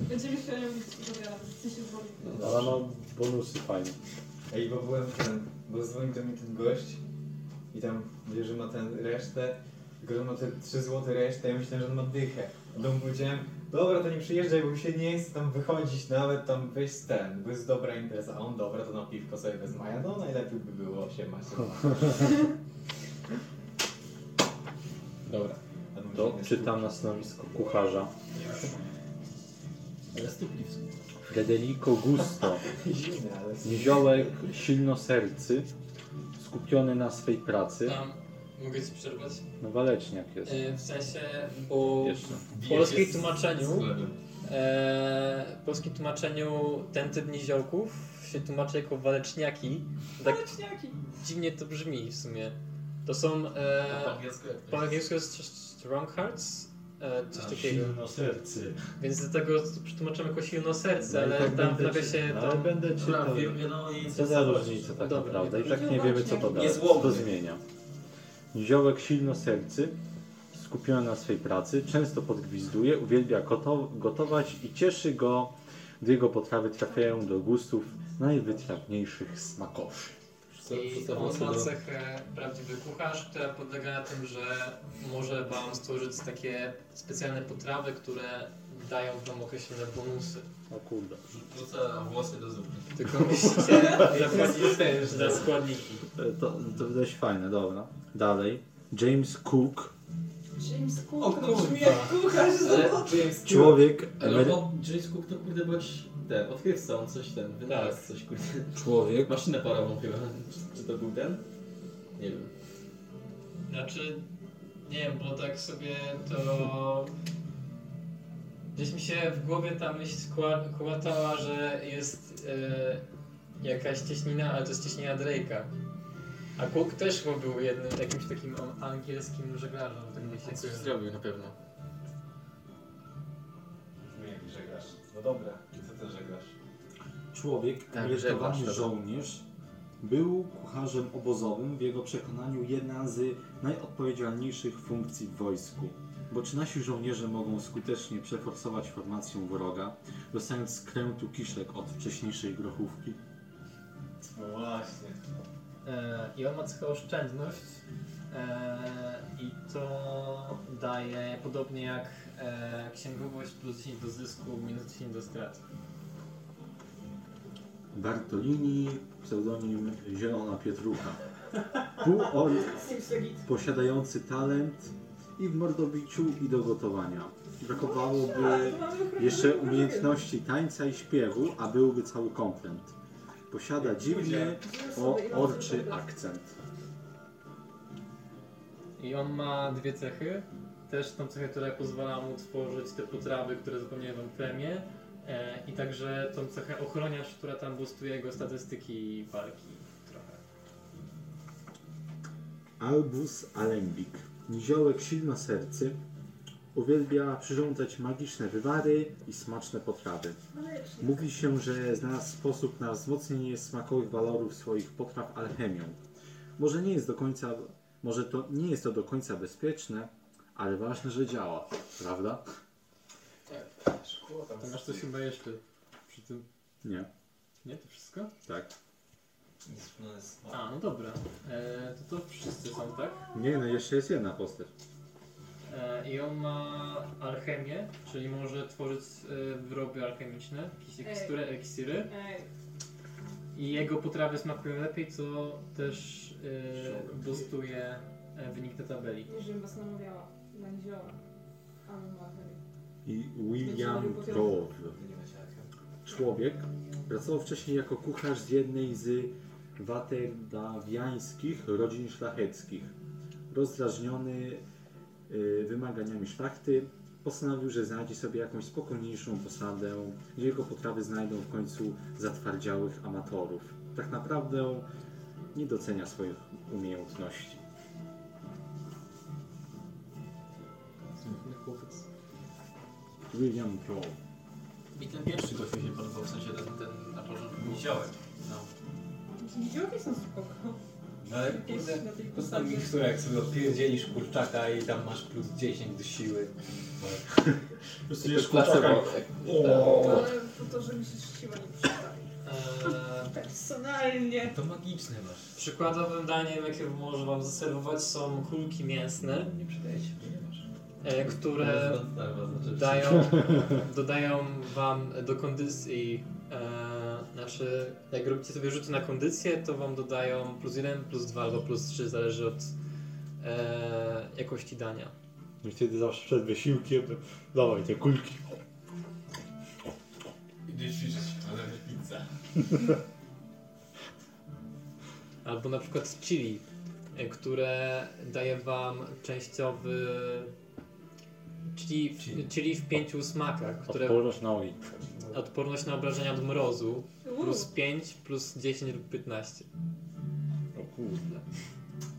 S3: Będziemy się nią dowiadać, co się zrobi.
S1: No,
S4: Ale
S2: no,
S4: ma
S7: no,
S4: bonusy fajne.
S9: Ej, bo byłem ten, bo dzwonił do mnie ten gość i tam mówi, że ma ten resztę, tylko że ma te 3 złote resztę, ja myślałem, że on ma dychę. A do mu powiedziałem, dobra, to nie przyjeżdżaj, bo mi się nie chce tam wychodzić nawet, tam wyjść z ten, bo jest dobra impreza. A on, dobra, to na piwko sobie wezmę, A ja, no najlepiej by było, się ma, się ma.
S7: Dobra.
S9: A mój
S7: To
S9: inny
S7: czytam na stanowisko kucharza.
S1: Ale stupni w sumie.
S7: Federico Gusto.
S9: słuch- Zimny, ale...
S7: Niziołek silnosercy, skupiony na swej pracy.
S2: Tam mogę ci przerwać?
S7: No waleczniak jest.
S2: E, W sensie, bo
S7: Jeszcze.
S2: w polskim tłumaczeniu, e, w polskim tłumaczeniu ten typ niziołków się tłumaczy jako waleczniaki. Tak
S3: Leczniaki.
S2: dziwnie to brzmi w sumie. To są e, po angielsku jest st- stronghearts, e, coś takiego.
S4: Silno sercy.
S2: Więc dlatego przetłumaczamy jako silno
S4: No
S2: serce,
S4: i
S2: ale
S4: tak
S2: tam
S4: będę
S2: prawie
S4: czytał.
S2: się
S7: No,
S4: Ale
S2: tam...
S4: będę czytał. Co za różnica tak
S2: Dobra,
S7: naprawdę? I
S2: dobra.
S7: tak nie wiemy co to da, co to
S1: Niezłomny.
S7: zmienia. Niziołek silnosercy, skupiony na swej pracy, często podgwizduje, uwielbia goto- gotować i cieszy go gdy jego potrawy trafiają do gustów najwytrawniejszych smakoszy.
S2: I on ma cechę prawdziwy kucharz, która polega na tym, że może Wam stworzyć takie specjalne potrawy, które dają Wam określone bonusy.
S7: O kurde.
S1: Wrzuca włosy do zupy.
S2: Tylko musicie zapłacić też za składniki.
S7: E, To, to dość fajne, dobra. Dalej. James Cook,
S3: James Cook, no brzmi jak kucharz
S1: Ale-
S3: z
S1: James
S7: człowiek,
S1: Ale
S7: emery-
S1: bo James Cook to kurde byłeś ten, odkrywca, on coś ten, wynalazł coś kurde.
S7: człowiek
S1: Maszynę parową chyba. Czy- Czy to był ten? Nie wiem.
S2: Znaczy, nie wiem, bo tak sobie to... Gdzieś mi się w głowie ta myśl kła- kłatała, że jest e, jakaś cieśnina, ale to jest cieśnina Drake'a. A Cook też chyba był jednym jakimś takim o- angielskim żeglarzem, tak mi się
S1: Coś
S2: kojarzy.
S1: zrobił na pewno.
S9: Brzmi jak żeglarz. No dobra, i co ty żeglarz?
S7: Człowiek,
S1: Tak,
S7: aresztowany
S1: żeglarz, tak.
S7: żołnierz, był kucharzem obozowym, w jego przekonaniu jedna z najodpowiedzialniejszych funkcji w wojsku. Bo czy nasi żołnierze mogą skutecznie przeforsować formację wroga, dostając skrętu kiszek od wcześniejszej grochówki?
S9: No właśnie.
S2: E, I on ma cechę oszczędność e, i to daje podobnie jak e, księgowość plus 10 do zysku minus 10 do strat.
S7: Bartolini, pseudonim Zielona Pietrucha. Półorg posiadający talent i w mordowiciu i do gotowania. Brakowałoby jeszcze umiejętności tańca i śpiewu, a byłby cały komplet. Posiada dziwny, o, orczy akcent.
S2: I on ma dwie cechy. Też tą cechę, która pozwala mu tworzyć te potrawy, które zapomniałem wam premię. E, I także tą cechę ochroniarz, która tam boostuje jego statystyki walki trochę.
S7: Albus Alembik. Niziołek silno sercy. Uwielbia przyrządzać magiczne wywary i smaczne potrawy. Mówi się, że znalazł sposób na wzmocnienie smakowych walorów swoich potraw alchemią. Może nie jest do końca, może to nie jest to do końca bezpieczne, ale ważne, że działa, prawda?
S2: To masz coś chyba jeszcze przy tym.
S7: Nie,
S2: Nie, to wszystko?
S7: tak.
S2: A, no dobra. E, to to wszyscy są, tak?
S7: Nie, no jeszcze jest jedna postać.
S2: E, I on ma alchemię, czyli może tworzyć e, wyroby alchemiczne, jakieś
S3: Ej.
S2: ekstury, eksiry.
S3: Ej,
S2: I jego potrawy smakują lepiej, co też e, boostuje e, wynik tej tabeli.
S3: nie żebym was namawiała. Będziała. Ale ma
S7: I William Grove. Człowiek pracował wcześniej jako kucharz z jednej z waterdawiańskich rodzin szlacheckich. Rozdrażniony y, wymaganiami szlachty, postanowił, że znajdzie sobie jakąś spokojniejszą posadę, gdzie jego potrawy znajdą w końcu zatwardziałych amatorów. Tak naprawdę nie docenia swoich umiejętności.
S8: Smutny chłopiec.
S7: William Grove.
S8: Mi ten pierwszy gość mi się podobał, w sensie ten, ten na porządku. Widziałem. No.
S3: Widziałki są spoko.
S5: No ale
S3: Jakieś
S5: kurde,
S3: na tej
S5: to tam mikstura, jak sobie odpierdzielisz kurczaka i tam masz plus 10 do siły.
S1: Tylko placebo.
S3: Ale po to, żeby się siła nie przyda.
S2: E,
S3: Personalnie.
S5: To magiczne masz.
S2: Przykładowym daniem, jakie może Wam zaserwować, są kulki mięsne,
S5: Nie przydaje się, nie masz.
S2: e, które dają, dodają Wam do kondycji. E, znaczy, jak robicie sobie rzuty na kondycję, to Wam dodają plus 1, plus 2 albo plus 3, zależy od e, jakości dania.
S7: No I wtedy zawsze przed wysiłkiem, dawaj te kulki.
S8: Idę ćwiczyć, ale pizza.
S2: Albo na przykład chili, e, które daje Wam częściowy. Chili w, chili w pięciu smakach, które
S7: Odporność na oli.
S2: Odporność na obrażenia od mrozu
S3: Uuu.
S2: plus 5, plus 10 lub 15.
S7: O kurde.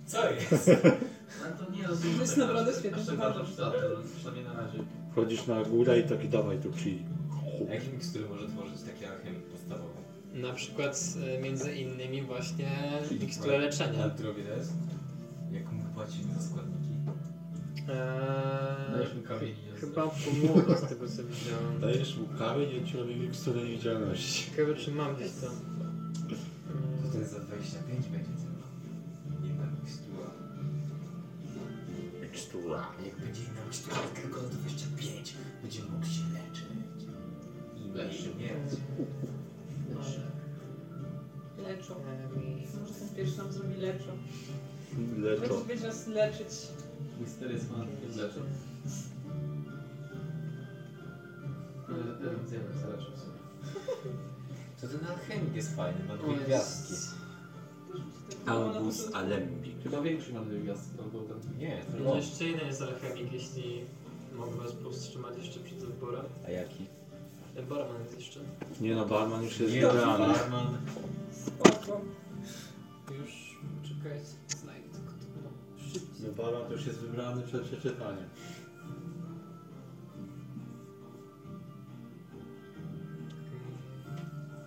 S8: Co jest? No to nie rozumiem.
S3: To jest
S8: tego.
S3: naprawdę świetny
S8: Aż tak
S3: temat.
S8: bardzo przydatne, przynajmniej na razie.
S7: Wchodzisz na górę i taki dawaj tu chili.
S11: A jakie mikstury może tworzyć taki alchemik podstawowy?
S2: Na przykład e, między innymi właśnie miksturę leczenia.
S11: drogie to jest? Jak mu płacimy za składniki?
S2: Eee,
S8: Dajesz mu kamień
S12: E,
S8: i jest
S2: Chyba pomogę z tego co widziałem.
S7: Tak.
S13: Dajesz mu kamień, on ci robi miksturę niewidzialności.
S2: Ciekawe czy mam gdzieś to.
S11: To
S12: Mm.
S11: ten za 25 będzie cena. Nie ma mikstura.
S13: Mikstura.
S11: Jak będzie miał czwórkę go 25, będzie mógł się leczyć. I nie śmierć.
S3: Leczą. Może ten pierwszy nam zrobi leczą.
S13: Leczą.
S3: Będzie nas leczyć.
S8: Mistery z matki leczy. Zjemy, zaleczy sobie.
S11: To ten alchemik jest fajny, ma
S8: On
S11: dwie
S8: jest-
S11: gwiazdki.
S13: Albus Alembik.
S8: Chyba większy ma dwie gwiazdki, on był ten.
S11: Nie, to
S12: No jeszcze jeden jest alchemik, jeśli mogę was powstrzymać jeszcze przed wyborem.
S11: A jaki?
S12: Ten barman jest jeszcze.
S13: Nie no, barman już jest
S11: Nie,
S13: wybrany.
S11: barman.
S3: Spoko.
S12: Już czekaj, znajdę tylko to było szybciej.
S13: No barman to już jest wybrany przed przeczytaniem.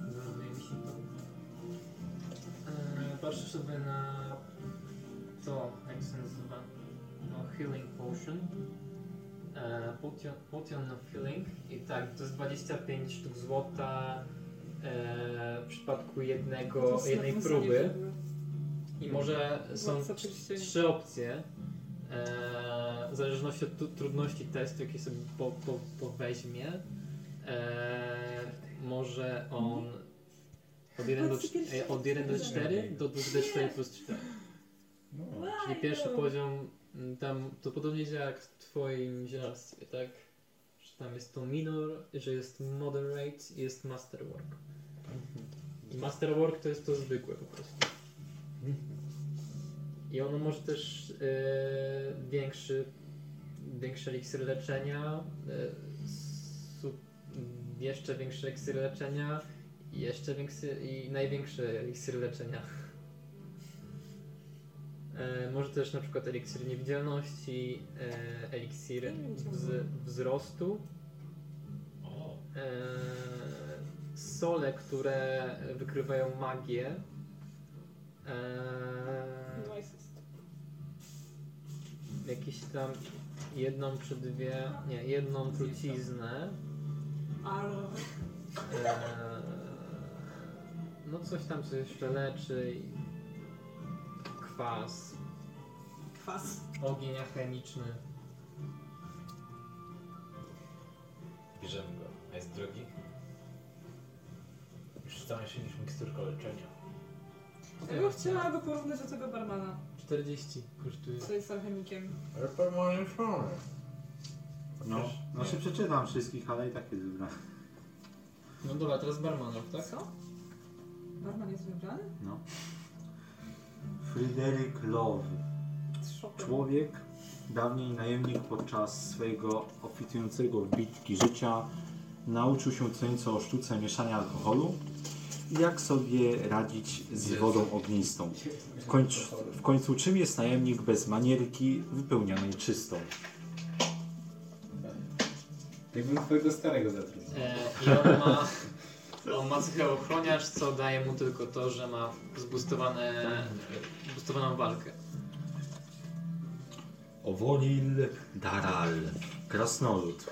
S2: Wydaje mi się to. Eee, Patrzę sobie na to, jak się nazywa. No, healing potion. Eee, potion, potion of healing. I tak, to jest 25 sztuk złota eee, w przypadku
S3: To
S2: jednego,
S3: jest
S2: jednej
S3: na tym
S2: próby.
S3: sobie
S2: I może są
S3: Władca
S2: trz-
S3: pierścieni.
S2: trzy opcje. Eee, w zależności od tu- trudności testu, jaki sobie po, po, po weźmie, eee, może on od 1 do,
S12: Władcy
S2: cz- e, od 1 do 4 do 2D4 plus 4. Czyli pierwszy poziom m, tam to podobnie działa jak w twoim zielarstwie, tak? Że tam jest to minor, że jest moderate i jest masterwork. I masterwork to jest to zwykłe po prostu. I ono może też e, większy, większy eliksir leczenia, e, su, jeszcze większy eliksir leczenia i jeszcze większy i największy eliksir leczenia. E, może też na przykład eliksir niewidzialności, e, eliksir wz, wzrostu. E, sole, które wykrywają magię. E, jakieś tam jedną czy dwie, nie, jedną truciznę.
S3: Ale...
S2: Eee, no coś tam, co jeszcze leczy. i Kwas.
S3: Kwas.
S2: Ogień alchemiczny.
S11: Bierzemy go. A jest drogi? Już tańszy niż miksturka leczenia.
S3: Ja bym chciała go porównać do tego barmana,
S2: 40 kosztuje.
S3: co jest alchemikiem.
S4: Leper moim szumem. No, znaczy przeczytam wszystkich, ale i tak jest wybrany.
S2: No dobra, teraz barmanów, tak?
S3: Co? Barman jest wybrany?
S7: No. Fryderyk Love. Człowiek, dawniej najemnik podczas swojego obfitującego w bitki życia, nauczył się co nieco o sztuce mieszania alkoholu i jak sobie radzić z wodą ognistą. W końcu, w końcu czym jest najemnik bez manierki wypełnionej czystą?
S11: Jakbym twojego starego zatrudnił.
S2: E, I on ma, on ma cechę ochroniarz, co daje mu tylko to, że ma zbustowane, zbustowaną walkę.
S7: Owolil Daral. Krasnolud.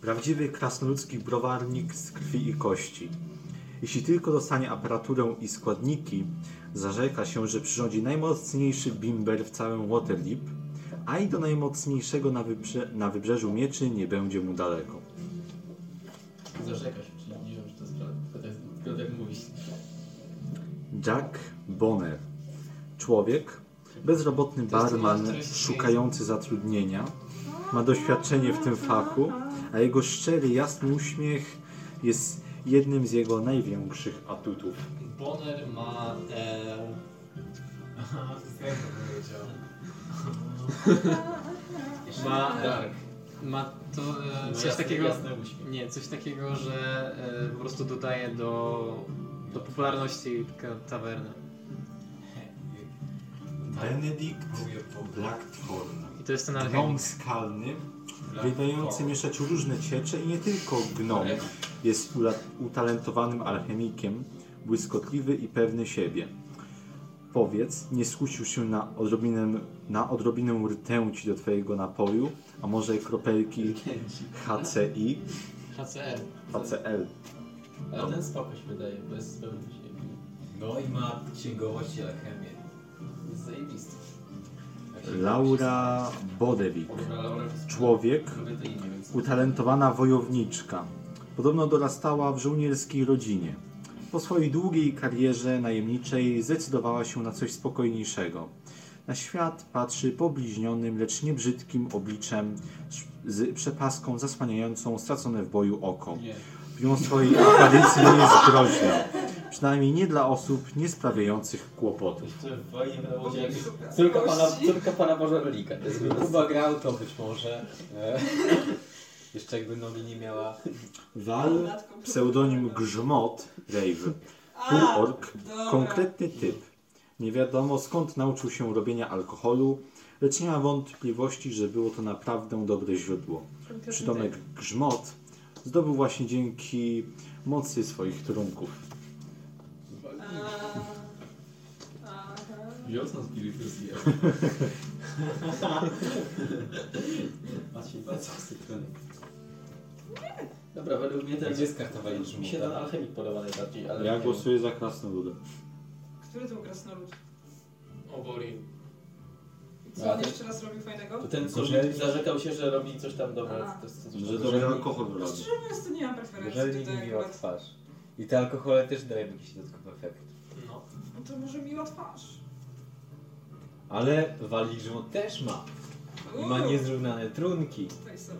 S7: Prawdziwy krasnoludzki browarnik z krwi i kości. Jeśli tylko dostanie aparaturę i składniki, zarzeka się, że przyrządzi najmocniejszy bimber w całym Waterdeep, a i do najmocniejszego na, wybrze na wybrzeżu mieczy nie będzie mu daleko.
S8: Zarzeka się, czyli nie wiem, czy to jest prawda. Tylko tak- Tylko tak mówisz.
S7: Jack Bonner. Człowiek, bezrobotny barman szukający zatrudnienia, ma doświadczenie w tym fachu, a jego szczery, jasny uśmiech jest jednym z jego największych atutów.
S2: Bonner ma... E,
S8: Aha, to jest powiedział.
S11: Tak.
S2: ma,
S8: Dark.
S2: ma to e,
S8: No
S2: coś
S8: jasne,
S2: takiego.
S8: jasne,
S2: nie, coś takiego, że e, po prostu dodaje do, do popularności ka- tawerny.
S13: Benedict Blackthorn.
S2: I to jest ten alchemik.
S7: Gnom skalny, wydający mieszać różne ciecze i nie tylko gnom. Jest ula- utalentowanym alchemikiem, błyskotliwy i pewny siebie. powiedz, nie skusił się na odrobinę, na odrobinę rtęci do twojego napoju, a może kropelki HCI,
S1: HCR.
S7: HCL.
S1: Ale ten spokój się wydaje, bo jest zupełnie siebie.
S14: No i ma księgowość i alchemię.
S1: Jest zajebisty.
S7: Laura Bodewik. Człowiek, utalentowana wojowniczka. Podobno dorastała w żołnierskiej rodzinie. Po swojej długiej karierze najemniczej zdecydowała się na coś spokojniejszego. Na świat patrzy pobliźnionym, lecz niebrzydkim obliczem sz- z przepaską zasłaniającą stracone w boju oko. Mimo swojej tradycji nie jest groźna. Przynajmniej nie dla osób niesprawiających kłopotów.
S5: Córka pana, córka pana Boże Rolika. Jakby Kuba grał, to być może. E, jeszcze jakby nogi nie miała.
S7: Wal, pseudonim Grzmot, Rave. Półork,
S5: dobra.
S7: konkretny typ. Nie wiadomo skąd nauczył się robienia alkoholu, lecz nie ma wątpliwości, że było to naprawdę dobre źródło.
S15: Konkretny
S7: Przydomek Grzmot zdobył właśnie dzięki mocy swoich trunków.
S1: Wiosna z Pilipusi. Patrz się bardzo strony. Dobra, według mnie ten...
S5: Gdzie skartowali
S1: Mi się ten alchemik podoba najbardziej, ale...
S7: Ja
S1: nie
S7: głosuję za krasnoludem.
S3: Który to był krasnolud?
S1: O, Bori.
S3: I Co
S1: A,
S3: on
S1: ten-
S3: jeszcze raz robił fajnego?
S1: To ten, co
S14: Gorzej-
S1: zarzekał się, że robi coś tam dobre.
S3: A.
S1: To jest-
S7: Że dobry alkohol
S3: No
S7: robi.
S3: Szczerze mówiąc, to nie mam preferencji
S5: Jeżeli nie
S3: tutaj
S5: miła
S3: akurat.
S5: twarz. I te alkohole też dają jakiś dodatkowy efekt.
S1: No.
S3: No to może miła twarz.
S5: Ale wali grzmot też ma. I ma
S3: Uuu.
S5: niezrównane trunki.
S3: Tutaj są.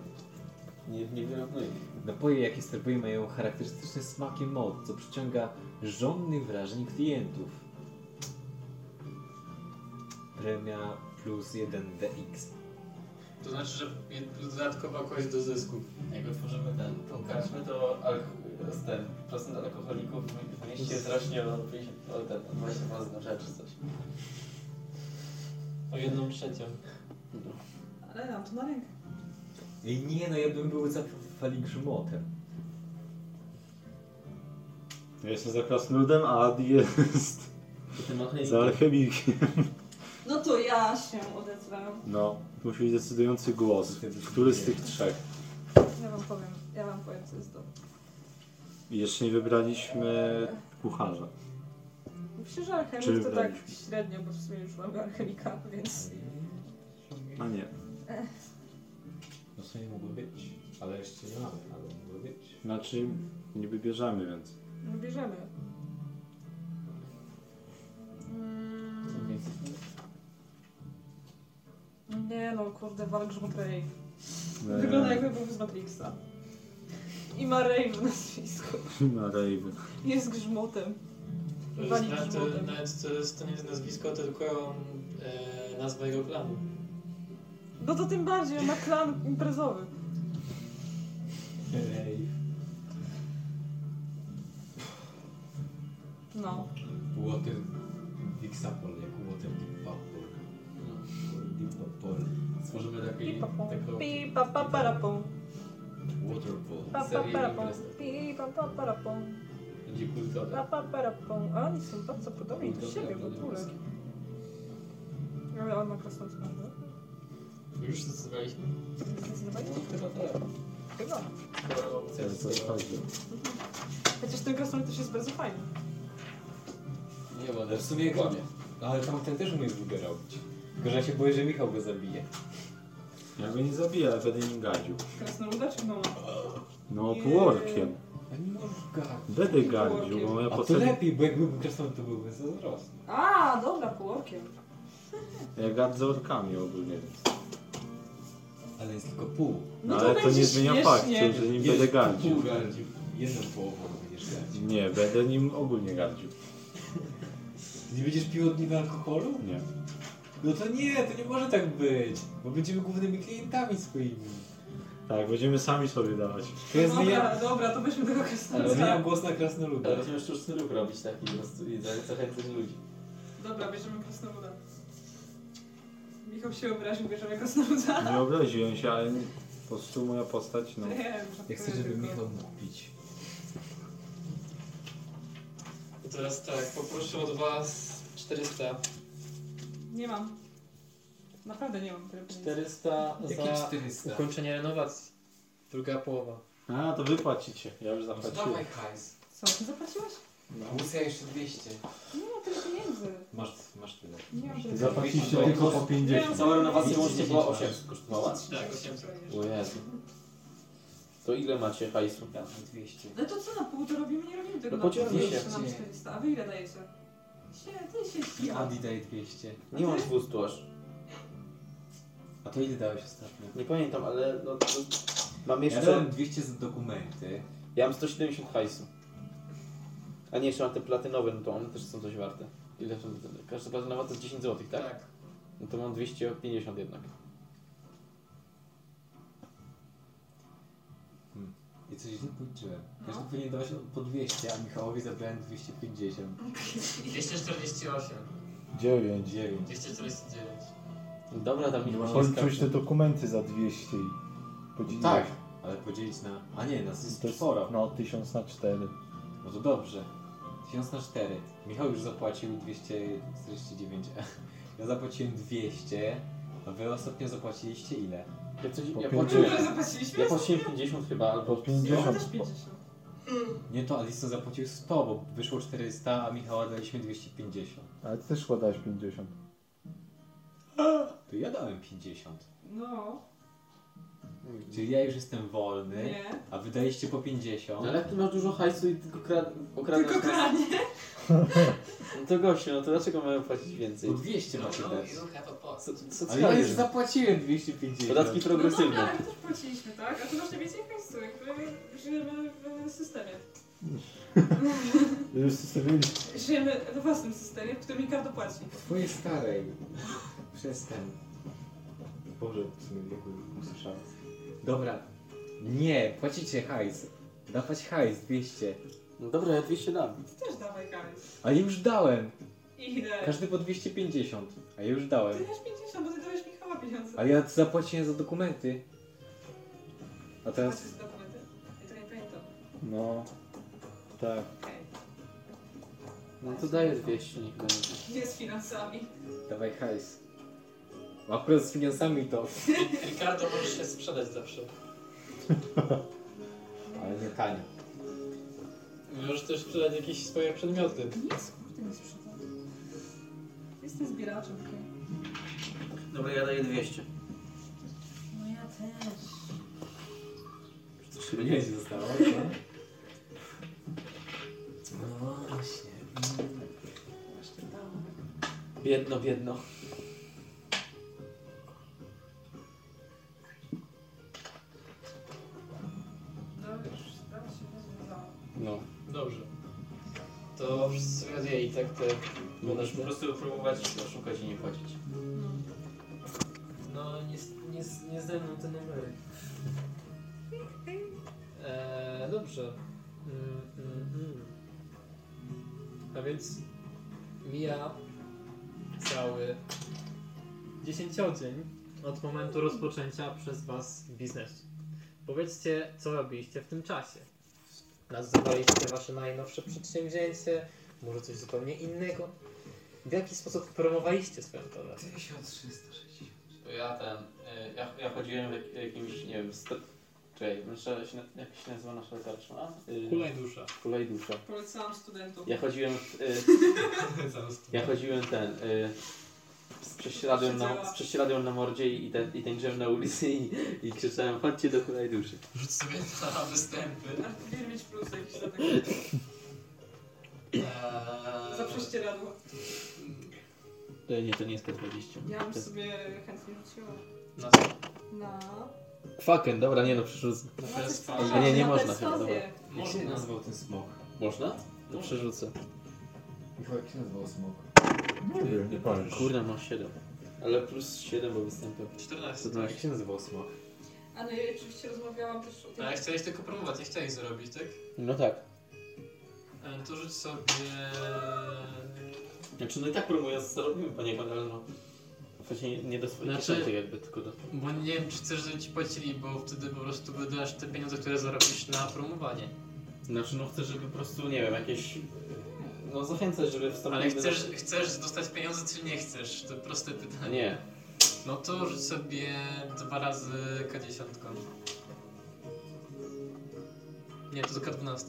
S5: Nie, nie
S1: no
S5: wyrównuje. Napoje, jakie serwuje, mają charakterystyczny smak i moc, co przyciąga żądnych wrażeń klientów. Premia plus 1dx.
S16: To znaczy, że dodatkowa kość do zysku.
S1: Jak otworzymy ten, tą karczmę, to alko- z ten procent alkoholików w mieście wzrośnie o 50, o ten, o 20 na rzecz czy coś.
S2: O jedną trzecią.
S3: Ale nam to na rękę.
S5: Ej, nie no, ja bym był za faligrzmotem.
S7: Ja jestem za krasnoludem, a Adi jest za alchemikiem.
S3: No to ja się odezwę.
S7: No, musi być decydujący głos. Który z tych trzech?
S3: Ja wam powiem, ja wam powiem co jest dobre.
S7: I Jeszcze nie wybraliśmy kucharza.
S3: Myślę, że alchemik
S7: Czy
S3: to tak
S7: wybraliśmy?
S3: średnio, bo w sumie już mamy alchemika, więc...
S7: A nie.
S3: Ech.
S5: No co nie mogło być, ale jeszcze nie mamy, ale mogło być.
S7: Znaczy, niby bierzemy, więc.
S3: No bierzemy. Mm, Nie no, kurde, walk Rave. No Wygląda jakby był z Matrixa. I ma Rave w nazwisku.
S7: Na rejwy.
S3: Jest grzmotem.
S2: To jest znaczy
S3: Wali
S2: Nawet,
S3: grzmotem.
S2: nawet to, jest, to nie jest nazwisko, tylko e, nazwa jego klanu.
S3: No to tym bardziej, on ma klan imprezowy. No.
S5: Water Dixapol, jako Water Deep Vapor. Water Deep Vapor.
S1: Stworzymy taki, taką
S3: Pi pa pa para pum. Pa
S1: waterfall,
S3: pa para
S1: serię
S3: pum.
S1: imprez.
S3: Pi pa pa para pum.
S1: Będzie kultowe.
S3: Pa pa para pum. A oni są bardzo podobni do siebie w ogóle. Ale on ma krasną twarz. no.
S1: Już zdecydowaliśmy.
S3: Zdecydowanie?
S1: Chyba tak.
S3: Chyba.
S1: Dobra, opcja jest
S3: Chociaż ten krasnolud też jest bardzo fajny.
S1: Nie, bo
S5: Ale w sumie kłamie. No, Ale tamten też umie w robić. Tylko, że ja się boję, że Michał go zabije.
S7: Ja go nie zabiję, ale będę nim gadził.
S3: Krasnoluda czy mama?
S7: No, półorkiem. Będę gadził, bo moja
S5: A to
S7: postać-
S5: lepiej, bo jakby był krasnolud, to byłby zazdrosny.
S3: A, dobra, półorkiem.
S7: Ja gad z orkami ogólnie, więc.
S5: Ale jest tylko pół.
S7: No ale to nie zmienia faktu, że nim będę gadził.
S5: Jedną połową będziesz gadził.
S7: Nie, będę nim ogólnie gadził.
S5: Nie będziesz pił od niego alkoholu?
S7: Nie.
S5: No to nie, to nie może tak być. Bo będziemy głównymi klientami swoimi.
S7: Tak, będziemy sami sobie dawać.
S5: To ja
S3: Dobra,
S5: zmieniam,
S3: dobra, to weźmy tego
S13: No
S5: ale zmieniam
S13: tak.
S3: krasnoluda.
S5: głos na krasnoluda.
S1: Ale będziemy sztuczny ruch robić taki po prostu i zachęcać ludzi.
S3: Dobra, bierzemy krasnoluda. Michał się obraził, bierzemy krasnoluda.
S7: Nie obraziłem się, ale po prostu moja postać, no.
S3: Nie, żartuję
S5: Jak chcę, żeby
S3: tylko.
S5: Michał mógł pić.
S2: I teraz tak, poproszę od was cztery 400.
S3: Nie mam. Naprawdę nie mam tyle pieniędzy.
S2: 400
S3: Jakie
S2: za
S3: 400?
S2: ukończenie renowacji. Druga połowa.
S7: A, to wypłacicie. Ja już
S17: Dawaj
S7: zapłaciłem.
S17: hajs.
S3: Co, ty zapłaciłeś?
S17: Muszę jeszcze 200.
S3: Nie mam tyle pieniędzy.
S13: Masz, masz tyle.
S3: Nie mam tyle
S7: Zapłaciliście tylko po 50.
S17: Cała renowacja łącznie była
S13: 8
S17: 800 kosztowała?
S2: Tak, 800.
S1: O Jezu. To ile macie hajsu?
S17: 200.
S3: No to co na pół to robimy? Nie robimy
S1: No
S3: tego na pół.
S1: podzielmy
S3: Jeszcze
S1: się.
S3: Mamy 400. A wy ile dajecie? Sie- Ty się
S13: I
S3: śmiał.
S13: Adi daje 200.
S1: Nie mam 200 aż.
S13: A to ile dałeś ostatnio?
S1: Nie pamiętam, ale no to... Mam jeszcze...
S13: Ja dałem 200 za dokumenty.
S1: Ja mam 170 hajsu. A nie, jeszcze mam te platynowe, no to one też są coś warte. Ile są? Każda platynowa to jest 10 zł, tak?
S2: Tak.
S1: No to mam 250 jednak.
S13: Hmm. I coś źle policzyłem. Każdy
S3: no.
S13: powinien dawać po 200, a Michałowi zabrałem 250.
S17: 248.
S7: 9.
S13: 9.
S17: 249.
S1: Dobra, tam
S13: Nie
S1: nie
S13: ma
S1: ma.
S7: Policzyłeś te dokumenty za 200 i podzieliłeś.
S13: Tak, ale podzielić na... A nie, nas jest
S7: To jest
S13: sporo.
S7: no 1000 na 4.
S13: No to dobrze. 1000 na 4. Michał już zapłacił 249. Ja zapłaciłem 200. A wy ostatnio zapłaciliście ile?
S1: Ja coś...
S7: Po
S1: Ja
S7: pięć-
S1: płaciłem...
S3: Dużo zapłaciliśmy?
S1: Ja płaciłem 50 chyba, albo...
S7: Po 50.
S3: Też 50.
S13: Nie, to Alison zapłacił 100, bo wyszło 400, a Michała daliśmy 250.
S7: Ale ty też składałeś 50.
S13: To ja dałem 50.
S3: No.
S13: Czyli ja już jestem wolny,
S3: Nie.
S13: a wydaliście po 50.
S1: No ale jak ty masz dużo hajsu i tylko krad... okradasz
S3: Tylko
S1: nas?
S3: kranie.
S1: No to gościu, no to dlaczego mamy płacić więcej?
S13: Po 200 macie dać.
S1: No, Co, co
S13: Ale ja już
S1: za...
S13: zapłaciłem 250.
S1: Podatki
S3: No dobra,
S1: progresywne.
S3: ale my też płaciliśmy, tak? A ty masz najwięcej hajsu, jakby żyjemy w e, systemie.
S7: Już zostawili
S3: Żyjemy we własnym systemie, w którym Ricardo płaci.
S5: Twojej starej. Przestań. Boże, w sumie wieku usłyszałem.
S13: Dobra. Nie, płacicie hajs. Dawać hajs 200.
S1: No dobra, ja 200 dam.
S3: Ty też dawaj hajs.
S13: A już dałem.
S3: Ile?
S13: Każdy po 250. A już dałem.
S3: Ty też 50, bo ty dałeś Michała pieniądze.
S13: Ale ja zapłaciłem za dokumenty. A teraz...
S3: Macie te dokumenty? Ja to nie pamiętam.
S7: No. Tak.
S3: Okej.
S1: No to daję 200, niech będzie.
S3: Gdzie z finansami?
S13: Dawaj hajs. Akurat z finansami to...
S17: Ricardo możesz się sprzedać zawsze.
S13: Ale nie tanio.
S2: Możesz też sprzedać jakieś swoje przedmioty.
S3: Nic, kurde, nie sprzedam. Jestem zbieraczem. okej.
S1: Dobra, ja daję 200.
S3: No ja też.
S13: Coś chyba nie zostało, co?
S18: No właśnie.
S1: Biedno, biedno.
S3: No już, sprawa się rozwiązała.
S1: No.
S2: Dobrze. To wszyscy razie i tak te...
S1: Będziesz po prostu próbować oszukać i nie płacić.
S17: No nie, nie, nie ze mną te numery.
S2: Eee, dobrze. Mm, mm, mm. A więc mija cały dziesięciodzień od momentu rozpoczęcia przez Was biznesu. Powiedzcie, co robiliście w tym czasie. Nazywaliście Wasze najnowsze przedsięwzięcie, może coś zupełnie innego. W jaki sposób promowaliście swoją towar?
S17: 1360.
S1: To ja ten, y, ja, ja chodziłem w jak- jakimś, nie wiem, st- Czekaj, nasza, się na- jak się nazywa nasza lekarza? Y,
S2: Kulej dusza.
S1: Kulej dusza.
S3: Polecałam studentom.
S1: Ja chodziłem w, y, ja chodziłem ten, y, z prześladem na, z prześladem na mordzie i, ten, i tańczyłem na ulicy i, i krzyczałem, chodźcie do kulej duszy.
S17: Rzuć sobie na występy.
S3: Aż powinien mieć plus jakiś za tego.
S17: Eee,
S3: Za prześcieradło.
S1: To nie, to nie jest K20.
S3: Ja bym
S1: To-
S3: sobie chętnie rzuciła
S19: no,
S2: Na
S3: na...
S1: Fucking, dobra, nie no, przerzucę. A nie, nie
S3: na
S1: można chyba,
S3: perswazję.
S1: dobra.
S13: Jak się nazwał ten smok?
S1: Można? To No, przerzucę.
S13: Michał, jak się nazywał smok?
S7: Nie wiem, nie pamiętam.
S1: Kurde, masz 7. Ale plus 7, bo występy.
S2: 14.
S13: No, jak się nazywał smok?
S3: A no i oczywiście rozmawiałam też o
S19: Tak,
S3: tym.
S2: Ale chciałeś tylko promować, nie chciałeś zrobić, tak?
S1: No tak.
S19: Eee,
S2: E, To rzuć sobie...
S1: Znaczy, no i tak promując, co robimy, panie Konalno. Właśnie nie, nie do swojej
S2: Znaczy-
S1: kieszonki jakby, tylko do...
S2: Bo nie wiem, czy chcesz, żeby ci płacili, bo wtedy po prostu wydasz te pieniądze, które zarobisz na promowanie.
S1: Znaczy, no chcę, żeby po prostu, nie wiem, jakieś... No zachęcać, żeby wstąpili
S19: Ale
S1: do-
S19: chcesz, chcesz dostać pieniądze, czy nie chcesz? To proste pytanie.
S1: Nie.
S19: No to rzuć sobie dwa razy K10. Nie, to K12.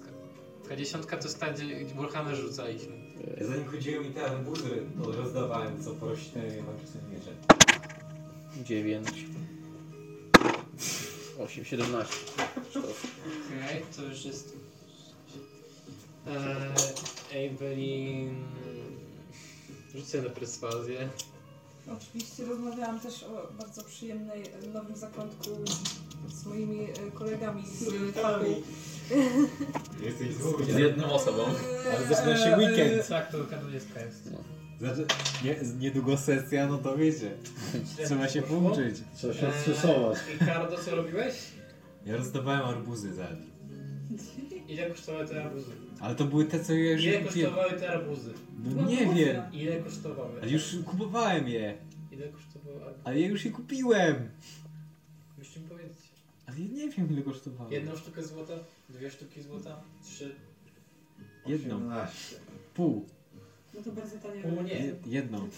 S19: K10 to jest ta, gdzie Warhammer rzuca ich.
S7: Zanim chodziłem i te ambuzy, to rozdawałem co tak prośne magiczne miecze.
S1: 9... 8, 17.
S19: Okej, to już jest... Eee, Evelyn... Rzuć sobie na perswazję.
S3: Oczywiście rozmawiałam też o bardzo przyjemnej e, nowym zakątku z moimi e, kolegami z fachu.
S7: Jesteś
S1: Z jedną osobą.
S3: E,
S7: Ale zaczyna się weekend.
S2: Tak, to K20 jest.
S7: Znaczy, nie, niedługo sesja, no to wiecie. Trzeba się
S2: Poszło?
S7: pouczyć.
S2: Eee, I Kardo, co robiłeś?
S7: Ja rozdawałem arbuzy za nim.
S2: Ile kosztowały te arbuzy?
S7: Ale to były te, co ja już
S2: Ile
S7: kupiłem.
S2: kosztowały te arbuzy?
S7: No nie wiem.
S2: Ile kosztowały?
S7: Ale już kupowałem je.
S2: Ile kosztowały arbuzy?
S7: Ale ja już je kupiłem.
S2: Musisz mi powiedzieć.
S7: Ale ja nie wiem ile kosztowało.
S2: Jedną sztukę złota, dwie sztuki złota, trzy.
S7: Jedną. Pół.
S3: No to bardzo tanie.
S2: Pół nie.
S7: Jed- Jedną.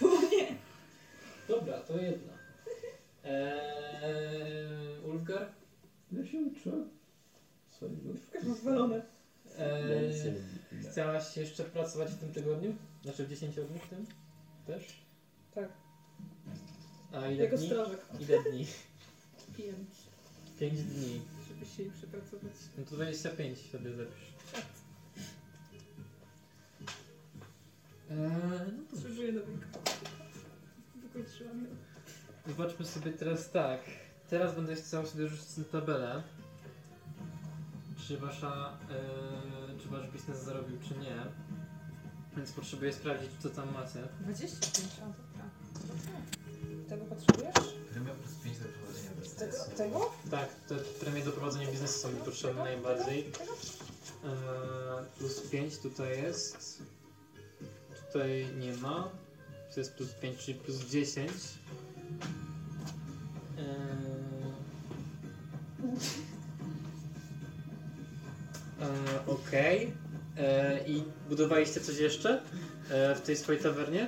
S2: Dobra, to jedna. Eee, Ulfgar?
S20: Ja się uczyłem. Swojego.
S3: Rozwalone.
S2: Eee, chciałaś jeszcze pracować w tym tygodniu? Znaczy w 10 dni w tym? Też?
S3: Tak.
S2: A ile
S3: Jako
S2: dni?
S3: strażak.
S2: Ile dni?
S3: Pięć.
S2: 5 dni.
S3: Żeby się jej przepracować.
S2: No to 25 sobie zapisz. Eee, no to
S3: Przeżyję do wieku. Wykończyłam ją.
S2: Zobaczmy sobie teraz tak. Teraz będę chciał sobie rzucić na tabelę. Czy wasza. e, czy wasz biznes zarobił, czy nie. Więc potrzebuję sprawdzić, co tam macie.
S3: 25, a dobra. Tego potrzebujesz?
S21: Premia plus 5 do prowadzenia
S3: Tego?
S21: biznesu.
S3: Tego?
S2: Tak, te premie do prowadzenia biznesu są mi potrzebne najbardziej. E, plus 5 tutaj jest. Tutaj nie ma. To jest plus 5, czyli plus 10. E, Okej. E, I budowaliście coś jeszcze e, w tej swojej tawernie?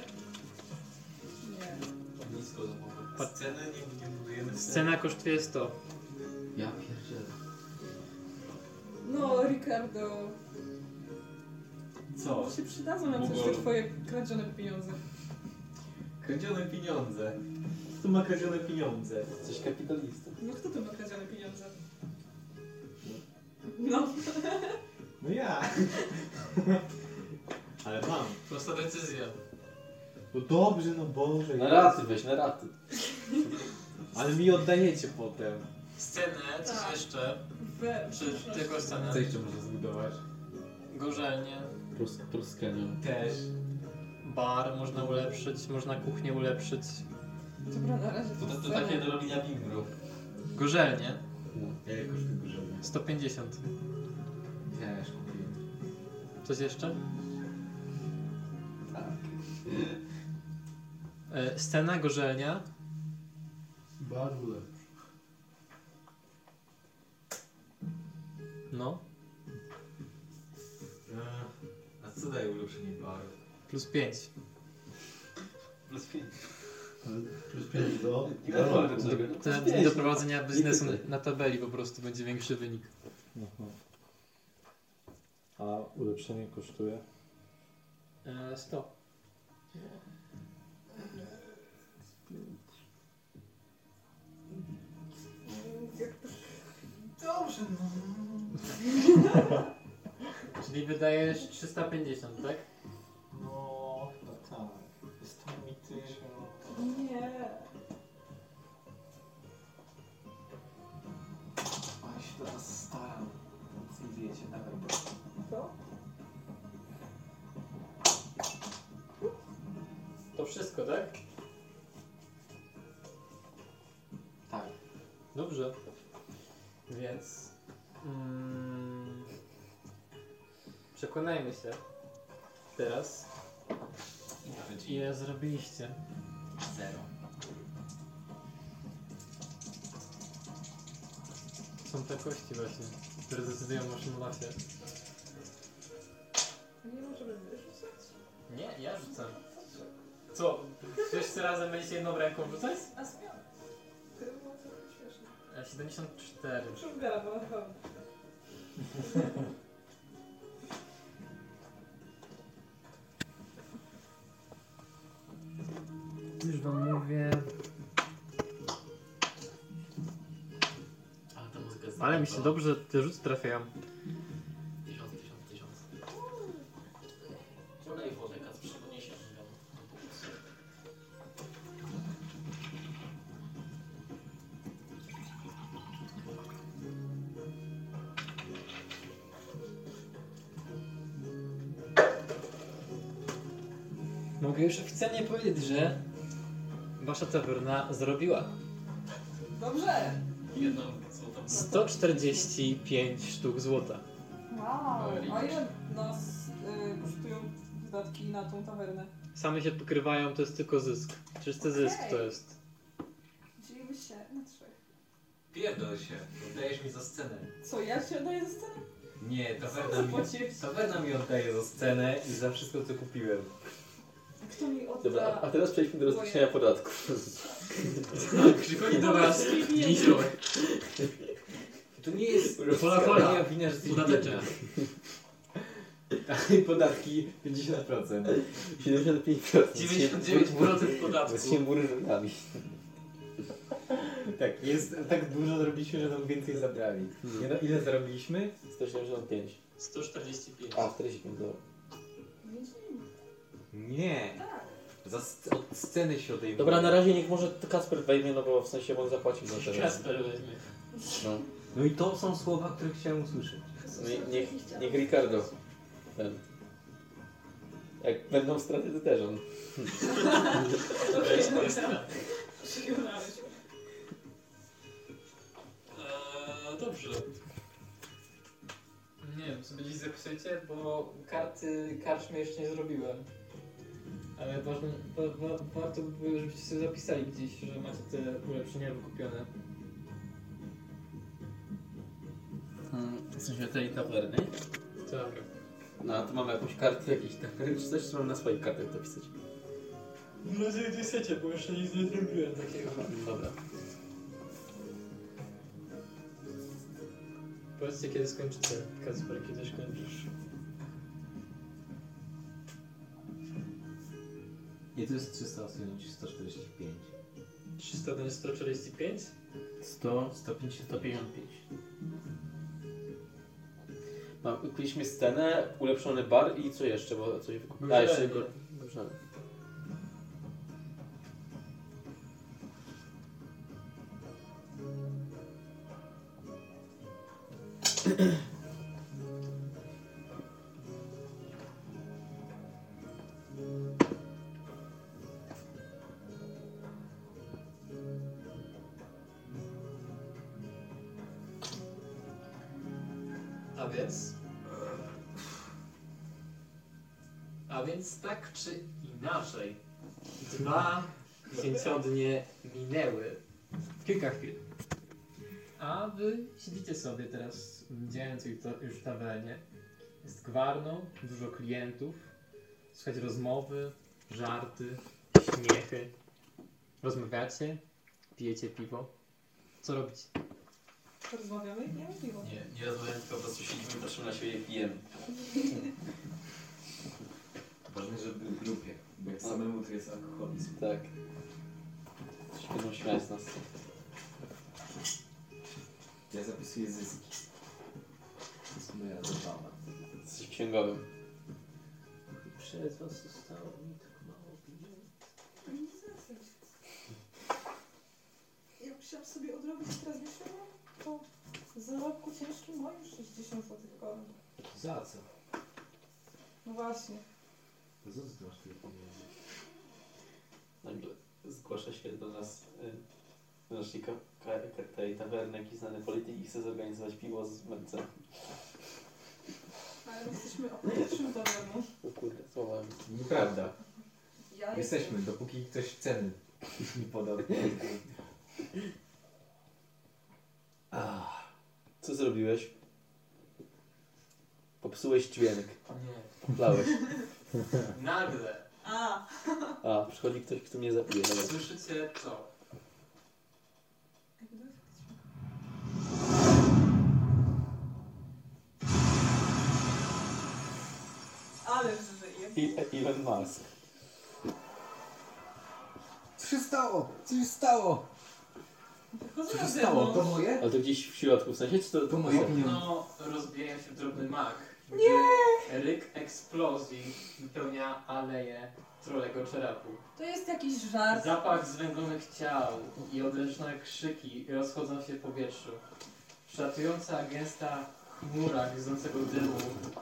S5: Ognisko domowe. Sceny nie, nie budujemy.
S2: Scena kosztuje 100.
S5: Ja pierdzielę.
S3: No, Ricardo.
S5: Co?
S3: To się przydadzą nam też
S5: Mogło-
S3: te twoje kradzione pieniądze.
S5: Kradzione pieniądze. Kto ma kradzione pieniądze? Coś kapitalista.
S3: No kto tu ma kradzione pieniądze? No.
S22: No ja.
S5: Ale mam.
S19: Prosta decyzja.
S22: No dobrze, no Boże.
S5: Na raty weź, na raty.
S7: Ale mi oddajecie potem.
S19: Scenę, coś jeszcze.
S3: We,
S19: Czy tylko scenę?
S7: Co jeszcze można zbudować?
S19: Gorzelnie.
S7: Pruskanią.
S19: Też. Bar można ulepszyć, można kuchnię ulepszyć.
S3: Dobra, na razie
S5: To, to, to takie do robienia bingo.
S19: Gorzelnie.
S5: No, ja jakoś tylko żebym.
S19: 150.
S7: Też kupiłem.
S19: Coś jeszcze?
S5: Tak.
S19: E, Scena, gorzelnia.
S20: Barwę.
S19: No.
S5: Eee, A co daje ulepszenie baru?
S19: Plus 5.
S5: Plus 5.
S20: Plus 5 do.
S5: Nie wiadomo, do czego.
S19: Te dni
S1: no.
S19: do prowadzenia biznesu na tabeli po prostu będzie większy wynik.
S23: Mhm. A ulepszenie kosztuje?
S2: E, 100.
S21: Dobrze, no.
S2: Czyli wydajesz 350, tak?
S22: No, chyba tak. Jest to mityczne. no
S3: Nie.
S5: Ja się do was staram.
S22: no
S5: Nic nie wiecie, Everbot.
S3: To?
S2: To wszystko, tak?
S5: Tak.
S2: Dobrze. Więc. Mm, przekonajmy się teraz, ile zrobiliście.
S21: Zero.
S2: Są te kości, właśnie, które decydują o waszym losie.
S24: Nie możemy wyrzucać.
S25: Nie, ja rzucam. Co? Wszyscy razem będziecie jedną ręką rzucać?
S3: Na zmianę. To było trochę śmieszne.
S25: E, 74.
S3: Przybiera, bo na pewno.
S26: Już wam mówię.
S24: Ale ta muzyka jest
S2: Ale mi się dobrze te rzuty trafiają.
S24: Tysiąc, tysiąc, tysiąc. Podaj wodę, Kac, przyniesie ją.
S2: Mogę już oficjalnie powiedzieć, że wasza tawerna zrobiła
S3: Dobrze.
S24: Jedną złotą.
S2: 145 sztuk złota.
S3: Wow. A
S2: Oj.
S3: ile nas y, kosztują wydatki na tą tawernę?
S2: Same się pokrywają, to jest tylko zysk. Czysty zysk to jest.
S3: Dzielimy się na trzech.
S27: Pierdol się, oddajesz mi za scenę.
S3: Co, ja się daję ze sceny?
S5: Nie,
S3: tawerna mi- Zapłaciłeś.
S5: tawerna mi oddaje za scenę i za wszystko, co kupiłem.
S3: Kto mi odda?
S1: Dobra, a teraz przejdźmy do
S3: moje-
S1: rozliczenia podatków.
S25: Krzykowi dobra,
S24: Niziołek.
S5: To nie jest
S24: Pola, pola.
S5: Nie, wina, że jesteś
S24: Podateczek.
S5: biedna. Tak, Podatki 50%. 75%.
S24: 99% podatku.
S5: Jesteśmy burżujami. Tak, jest, tak dużo zrobiliśmy, że nam więcej zabrali. Nie, no, ile zarobiliśmy?
S1: 175.
S24: 145.
S1: A, 45, dobra.
S5: Nie. Za sc- od sceny się odejmuje.
S1: Dobra, na razie niech może Kasper weźmie, no bo w sensie on zapłacił za to.
S24: Kasper weźmie.
S1: No.
S5: No i to są słowa, które chciałem usłyszeć.
S1: No i niech,
S3: Tak,
S1: niech Ricardo. Ten. Jak będą straty, to też on.
S3: Przyjmowałeś.
S24: Eee, dobrze. Nie wiem, sobie gdzieś zapisujcie, bo karty karczmy jeszcze nie zrobiłem. Ale ważne, wa, wa, warto by było, żebyście sobie zapisali gdzieś, że macie te ulepszenia wykupione.
S28: Mm, W sensie tej tawerny.
S24: Tak.
S1: No, a tu mamy jakąś kartę, jakiś tam, czy coś, czy mam na swoich kartach to pisać?
S24: Mam nadzieję, że chcecie, bo jeszcze nic nie zrobiłem takiego.
S1: Dobra.
S2: Powiedzcie kiedy skończycie, Kacper, kiedy skończysz.
S25: Nie, to jest 300 osób, 145.
S2: 300 to jest 145?
S1: 100, 150, 155. Mam, kupiliśmy scenę, ulepszony bar i co jeszcze, bo coś wykupiłem. A, jeszcze go... Dobrze.
S24: A więc. A więc tak czy inaczej. Dwa dziesięciodnie minęły. W kilka chwil.
S2: A wy siedzicie sobie teraz, działając już ta- już w tawernie. Jest gwarno, dużo klientów. Słuchajcie rozmowy, żarty, śmiechy. Rozmawiacie, pijecie piwo. Co robicie?
S3: Rozmawiamy i pijemy piwo.
S29: Nie, nie rozmawiam, tylko po prostu siedzimy, patrzymy na siebie i pijemy.
S30: Ważne, żeby w grupie, bo jak samemu to jest alkoholizm.
S1: Tak. Się będą śmiać z nas.
S30: Ja zapisuję zyski. To jest moja zabawa.
S1: Jesteś księgowym.
S27: Przez was zostało mi tak mało pieniędzy.
S3: Ja musiałam sobie odrobić teraz miesiąc, to z zarobku ciężkim moim 60 zł koron.
S27: Za co?
S3: No właśnie.
S27: Za co masz tyle pieniędzy?
S1: Nagle zgłasza się do nas y, do naszej ka- ka- tej tawerny jakiś znany polityk i chce zorganizować piwo z mercem.
S3: Ale my jesteśmy opłatycznym dobremu.
S1: O kurde, słowami.
S5: Nieprawda.
S3: Ja
S5: Jesteśmy, dopóki ktoś ceny nie podał.
S1: Co zrobiłeś? Popsułeś dźwięk.
S31: Nie.
S1: Poplałeś.
S31: Tak. Nagle
S3: A,
S1: A, przychodzi ktoś, kto mnie zapije. Dobra.
S31: słyszycie co?
S3: ale żyje.
S1: I, Elon Musk.
S5: Co się stało? Co się stało?
S3: Co
S5: się stało? To moje?
S1: Ale to gdzieś w środku, w sensie, czy to... To
S23: Tak.
S5: moje
S31: No, rozbija się drobny mak.
S3: Nie!
S31: gdy Ryk eksplozji wypełnia aleję trolego czerapu.
S3: To jest jakiś żart.
S31: Zapach zwęglonych ciał i odręczne krzyki rozchodzą się w powietrzu. Szatująca gęsta chmura gryzącego dymu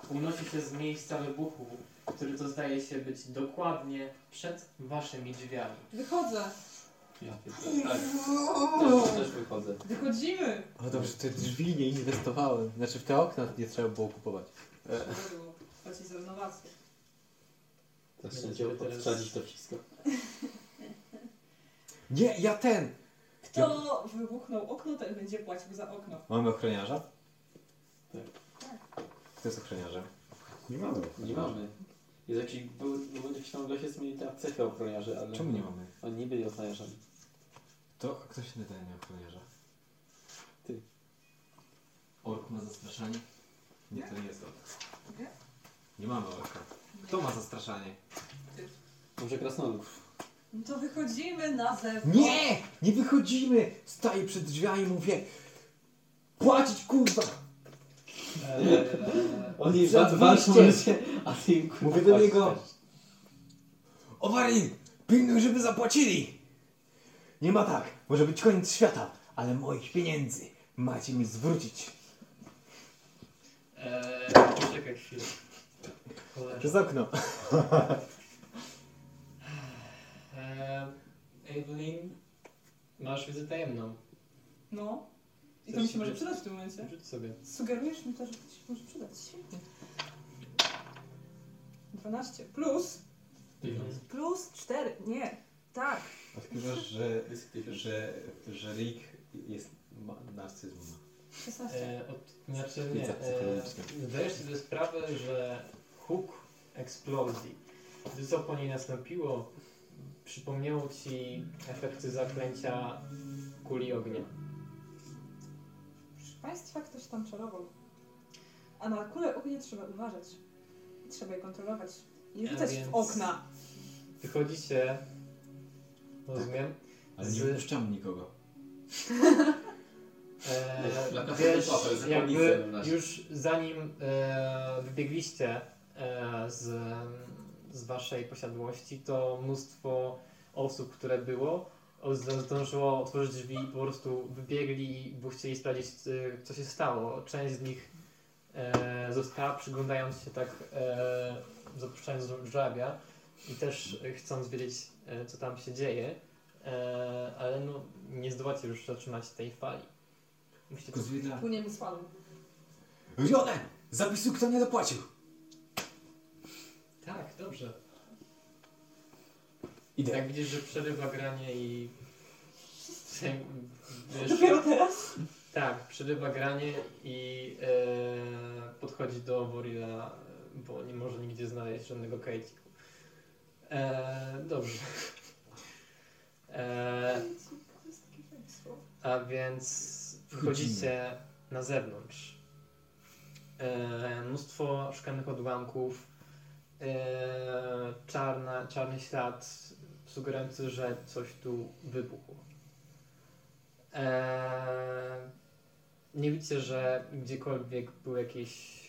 S31: unosi się z miejsca wybuchu, który to zdaje się być dokładnie przed waszymi drzwiami.
S3: Wychodzę.
S31: Ja
S3: Tak.
S31: Też, też wychodzę.
S3: Wychodzimy.
S5: O dobrze, te drzwi nie inwestowałem. Znaczy w te okna nie trzeba było kupować. E,
S3: Płacić za renowację.
S1: Zaczęcie odczadzić to wszystko.
S5: Nie, ja ten!
S3: Kto wybuchnął okno, ten będzie płacił za okno.
S5: Mamy ochroniarza? Tak. Kto jest ochroniarzem?
S32: Nie mamy.
S1: Nie mamy. Jest jakiś, był, był jakiś tam gość, jest mieli tam cechę ochroniarzy, ale...
S5: Czemu nie mamy?
S1: Oni nie byli ochroniarzami.
S5: To kto się nadaje na ochroniarza?
S1: Ty.
S5: Ork ma zastraszanie? Nie, to nie jest ork.
S3: Nie?
S5: Nie mamy orka. Kto ma zastraszanie?
S1: Może krasnolud.
S3: No to wychodzimy na zewnątrz.
S5: Nie! Nie wychodzimy! Staję przed drzwiami i mówię Płacić kurwa!
S31: Oni
S5: Przed
S31: wa- walczą
S5: wyjściem.
S31: się, a ty im kurwa
S5: Mówię do
S31: płacisz
S5: niego Owarin! Pilnuj, żeby zapłacili! Nie ma tak, może być koniec świata, ale moich pieniędzy macie mi zwrócić.
S2: Eee, poczekaj chwilę. Cholera.
S5: Przez okno.
S2: Eee, Evelyn, masz wiedzę tajemną.
S3: No. I to mi się może przydać w tym momencie.
S2: Rzuć sobie.
S3: Sugerujesz mi to, że to się może przydać. Świetnie. 12 plus. Plus 4. Nie. Tak.
S7: Odkrywasz, że, że, że Rick jest ma, narcyzmem.
S3: 16.
S2: E, od, znaczy nie,
S7: Widzę
S2: e,
S7: psychologicznie.
S2: zdajesz sobie sprawę, że huk eksplozji, gdy co po niej nastąpiło, przypomniało ci efekty zaklęcia kuli ognia.
S3: Proszę Państwa, ktoś tam czarował. A na kulę ognia trzeba uważać. I trzeba je kontrolować. I nie
S2: A
S3: rzucać
S2: E, więc-
S3: w okna.
S2: Wychodzicie, rozumiem,
S5: Ale nie wpuszczam nikogo.
S2: Eee,
S1: Dla
S2: wiesz,
S1: kapłanów, za
S2: jakby
S1: kamienicę naszą.
S2: już zanim e, wybiegliście e, z, z waszej posiadłości, to mnóstwo osób, które było, o- zd- zdążyło otworzyć drzwi i po prostu wybiegli, bo chcieli sprawdzić, e, co się stało. Część z nich e, została przyglądając się tak, e, zapuszczając żabia i też e, chcąc wiedzieć, e, co tam się dzieje. E, ale no, nie zdołacie już zatrzymać tej fali. Musicie
S5: Tylko zwierzę.
S3: Płyniemy z falą.
S5: Rione! Zapisuj, kto nie dopłacił!
S2: Tak, dobrze.
S5: Idę.
S2: Jak widzisz, że przerywa granie i... Wiesz,
S3: Dopiero teraz?
S2: Tak, przerywa granie i e, podchodzi do Borila, bo nie może nigdzie znaleźć żadnego kajciku. E, dobrze. E,
S3: To jest takie fajne słowo.
S2: a więc wchodzicie na zewnątrz. E, mnóstwo szklanych odłamków, e, czarna, czarny ślad sugerujący, że coś tu wybuchło. E, nie widzicie, że gdziekolwiek był jakiś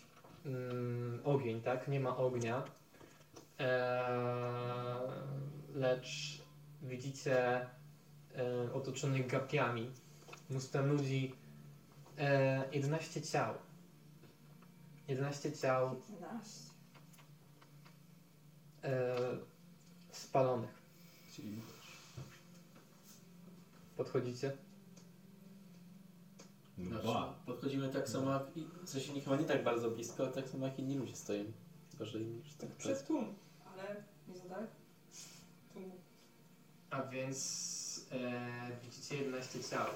S2: mm, ogień, tak? Nie ma ognia. E, lecz widzicie e, otoczonych gapiami mnóstwem ludzi. E, 11 ciał. 11 ciał
S3: 11.
S2: e, spalonych. Podchodzicie?
S1: No, podchodzimy tak samo jak i, w sensie nie, chyba nie tak bardzo blisko, ale tak samo jak inni ludzie stoją. Tylko, że inni już tak
S3: Przez tłum. Ale nie za daleko. Tłumu.
S2: A więc e, widzicie 11 ciał.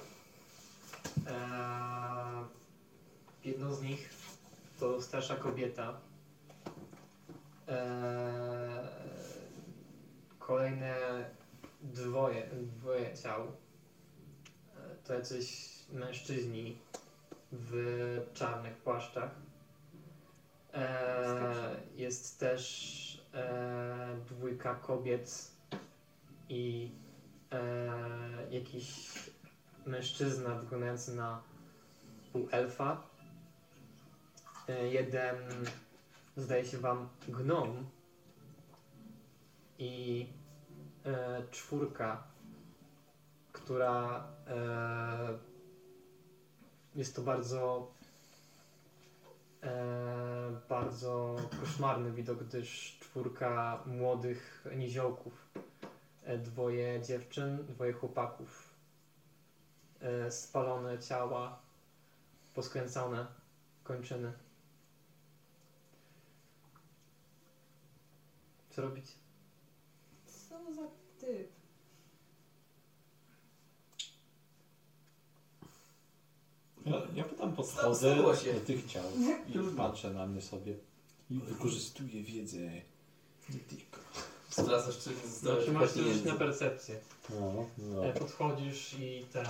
S2: E, jedno z nich to starsza kobieta. Eee, kolejne dwoje, dwoje ciał. Eee, To jacyś mężczyźni w czarnych płaszczach. Eee, jest też eee, dwójka kobiet i eee, jakiś mężczyzna wyglądający na pół elfa. E, Jeden, zdaje się wam, gnom i e, czwórka, która e, jest to bardzo e, bardzo koszmarny widok, gdyż czwórka młodych niziołków, e, dwoje dziewczyn, dwoje chłopaków, e, spalone ciała, poskręcone kończyny. Co robić?
S3: Co za typ?
S7: Ja, ja pytam podchodzę
S33: Zdarzyło się.
S7: do tych ciał i patrzę na mnie sobie. I wykorzystuję wiedzę nie tylko.
S33: Zwracasz czy
S1: No,
S2: Znaczy masz już na percepcję.
S7: No, no.
S2: E, Podchodzisz i ten.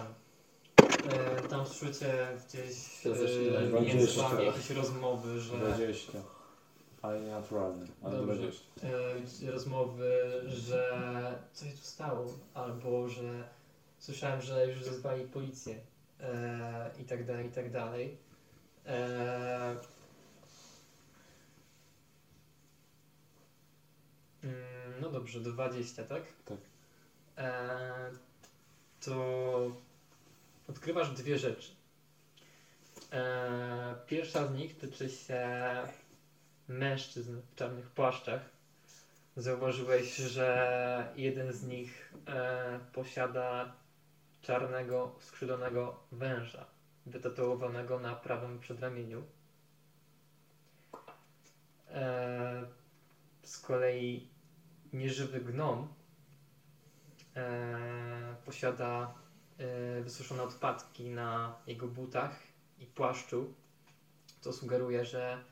S2: E, tam słyszycie gdzieś
S7: To też ile?
S2: e, między
S7: 20.
S2: wami jakieś rozmowy, że
S7: 20. Ale nie naturalny, ale
S2: Dobrze.
S7: 20.
S2: e, rozmowy, że coś tu stało, albo że słyszałem, że już wezwali policję e, i tak dalej, i tak dalej. E, mm, no dobrze, 20, tak?
S7: Tak.
S2: E, to odkrywasz dwie rzeczy. E, pierwsza z nich tyczy się mężczyzn w czarnych płaszczach. Zauważyłeś, że jeden z nich e, posiada czarnego, skrzydlonego węża, wytatuowanego na prawym przedramieniu. E, z kolei nieżywy gnom e, posiada e, wysuszone odpadki na jego butach i płaszczu, co sugeruje, że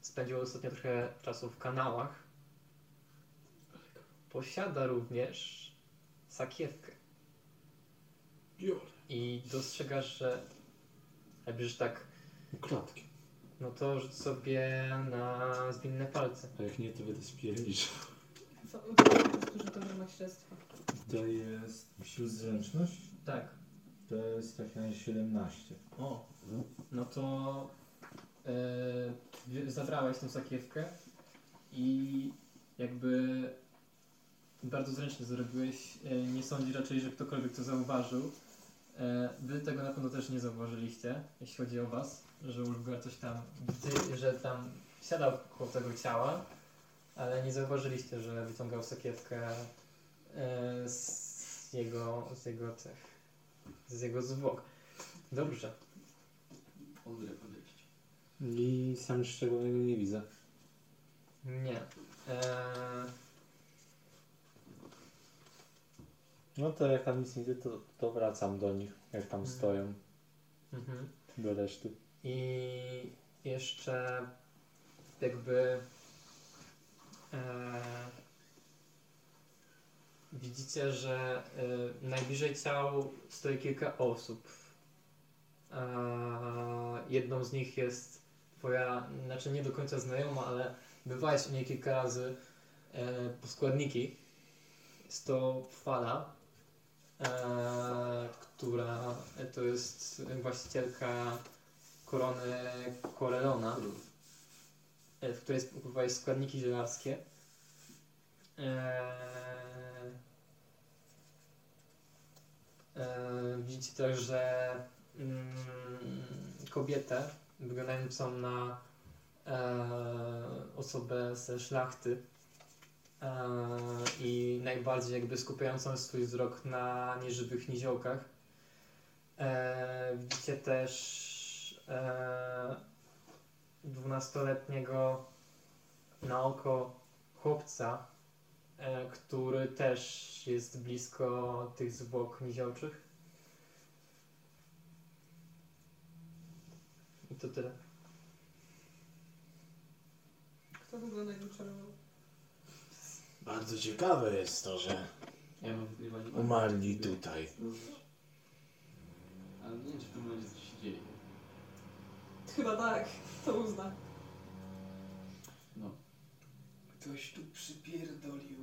S2: spędził ostatnio trochę czasu w kanałach. Posiada również sakiewkę. I dostrzegasz, że jakbyś tak...
S7: Klatki.
S2: No to rzuć sobie na zwinne palce.
S7: A jak nie, to będę spierdzisz.
S3: Co, którzy to ma śledztwo?
S5: To jest wśród zręczność?
S2: Tak.
S5: To jest tak trafianie 17.
S2: O, no to yy, zabrałeś tą sakiewkę i jakby bardzo zręcznie zrobiłeś. Yy, nie sądzi raczej, że ktokolwiek to zauważył. Yy, wy tego na pewno też nie zauważyliście, jeśli chodzi o was, że Ulga coś tam, ty, że tam siadał koło tego ciała, ale nie zauważyliście, że wyciągał sakiewkę yy, z jego, z jego tych, z jego zwłok. Dobrze.
S33: Mądre podejście.
S1: I sam nic szczególnego nie widzę.
S2: Nie. Eee,
S1: No to jak tam nic nie widzę, to, to wracam do nich, jak tam stoją,
S2: mhm.
S1: do reszty.
S2: I jeszcze jakby e, widzicie, że e, najbliżej ciał stoi kilka osób. E, jedną z nich jest twoja, znaczy nie do końca znajoma, ale bywałeś u niej kilka razy e, po składniki. Jest to fala, e, która to jest właścicielka korony Corellona, e, w której skupowałeś składniki zielarskie. E, e, widzicie także mm, kobietę wyglądającą na e, osobę ze szlachty e, i najbardziej jakby skupiającą swój wzrok na nieżywych niziołkach. E, widzicie też e, 12-letniego na oko chłopca, e, który też jest blisko tych zwłok niziołczych. I to tyle.
S3: Kto wygląda jakby czarował?
S13: Bardzo ciekawe jest to, że
S1: Ja mam wpływanie.
S13: umarli tutaj.
S1: Ale nie wiem, czy w tym momencie coś się dzieje.
S3: Chyba tak, to uzna.
S1: No.
S34: Ktoś tu przypierdolił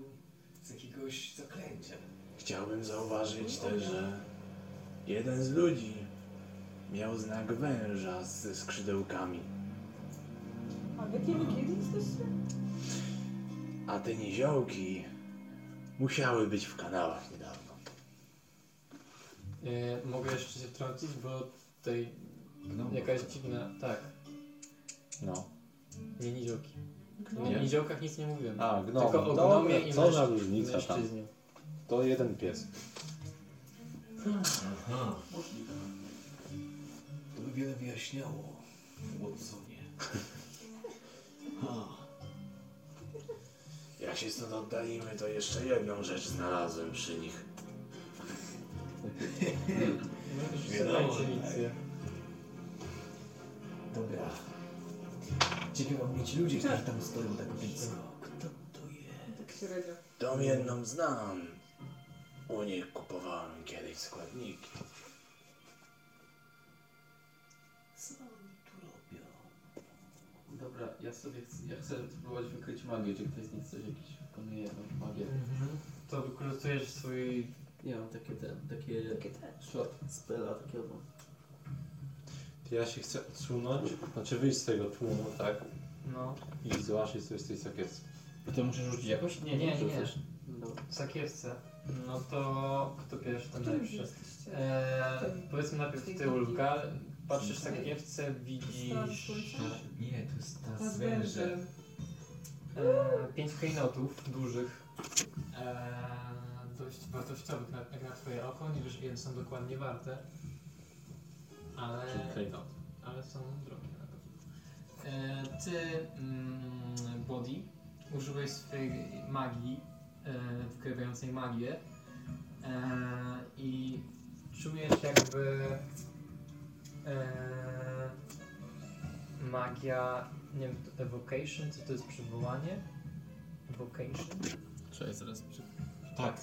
S34: z jakiegoś zaklęcia.
S13: Chciałbym zauważyć też, że jeden z ludzi miał znak węża ze skrzydełkami,
S3: A w jakiej wy kiedy jesteście?
S13: a te niziołki musiały być w kanałach niedawno.
S2: E, mogę jeszcze się wtrącić, bo tutaj jakaś dziwna... Tak.
S7: No.
S2: Nie niziołki.
S7: Gnom.
S2: Nie. O niziołkach nic nie mówiłem.
S7: A, gnom.
S2: Tylko o
S7: Dobra,
S2: gnomie i
S7: co za
S2: męż-
S7: różnica tam.
S2: mężczyźnie.
S7: To jeden pies.
S34: Aha. Możliwe. To by wiele wyjaśniało, Watsonie.
S13: Ha. Jak się stąd oddalimy, to jeszcze jedną rzecz znalazłem przy nich. Wiadomo,
S34: Intuicję. Dobra. Ciekawe mnie ci ludzie, którzy tam stoją tak blisko. Kto to jest?
S3: Tak średnio.
S13: Tą jedną znam. U nich kupowałem kiedyś składniki.
S34: Co oni tu robią?
S1: Dobra, ja sobie chcę, ja chcę spróbować wykryć magię, czy ktoś z nich coś jakiś wykonuje jakąś magię.
S2: Mhm. To wykorzystujesz swój...
S35: Ja mam takie te, takie... Takie te. Shot spela takiego.
S7: Ja się chcę odsunąć, znaczy wyjść z tego tłumu, tak?
S2: No.
S7: I zobaczyć, co jest w tej sakiewce.
S5: I to musisz rzucić jakoś?
S2: Nie, nie, nie.
S35: No.
S2: Sakiewce. No to kto pierwszy, ten
S3: Którym
S2: lepszy.
S3: jesteście?
S5: E.
S2: Eee,
S3: Ten-
S2: powiedzmy najpierw
S3: tej
S2: ty, Ulka.
S3: drugiej?
S2: Patrzysz w
S3: Tej.
S2: sakiewce, widzisz...
S3: słońca?
S5: Nie, to jest
S3: Ta z wężem.
S2: Eee, pięć klejnotów dużych. Eee, dość wartościowych na, jak na twoje oko. Nie wiesz ile są dokładnie warte. Ale,
S7: Czyli klejnot.
S2: ale są drogie na pewno. Eee, ty, mm, Body, użyłeś swojej magii, e, wykrywającej magię. E, I czujesz jakby... E, magia, nie wiem, to evocation, co to jest przywołanie? Evocation?
S36: Trzeba jest zaraz przy...
S2: Tak.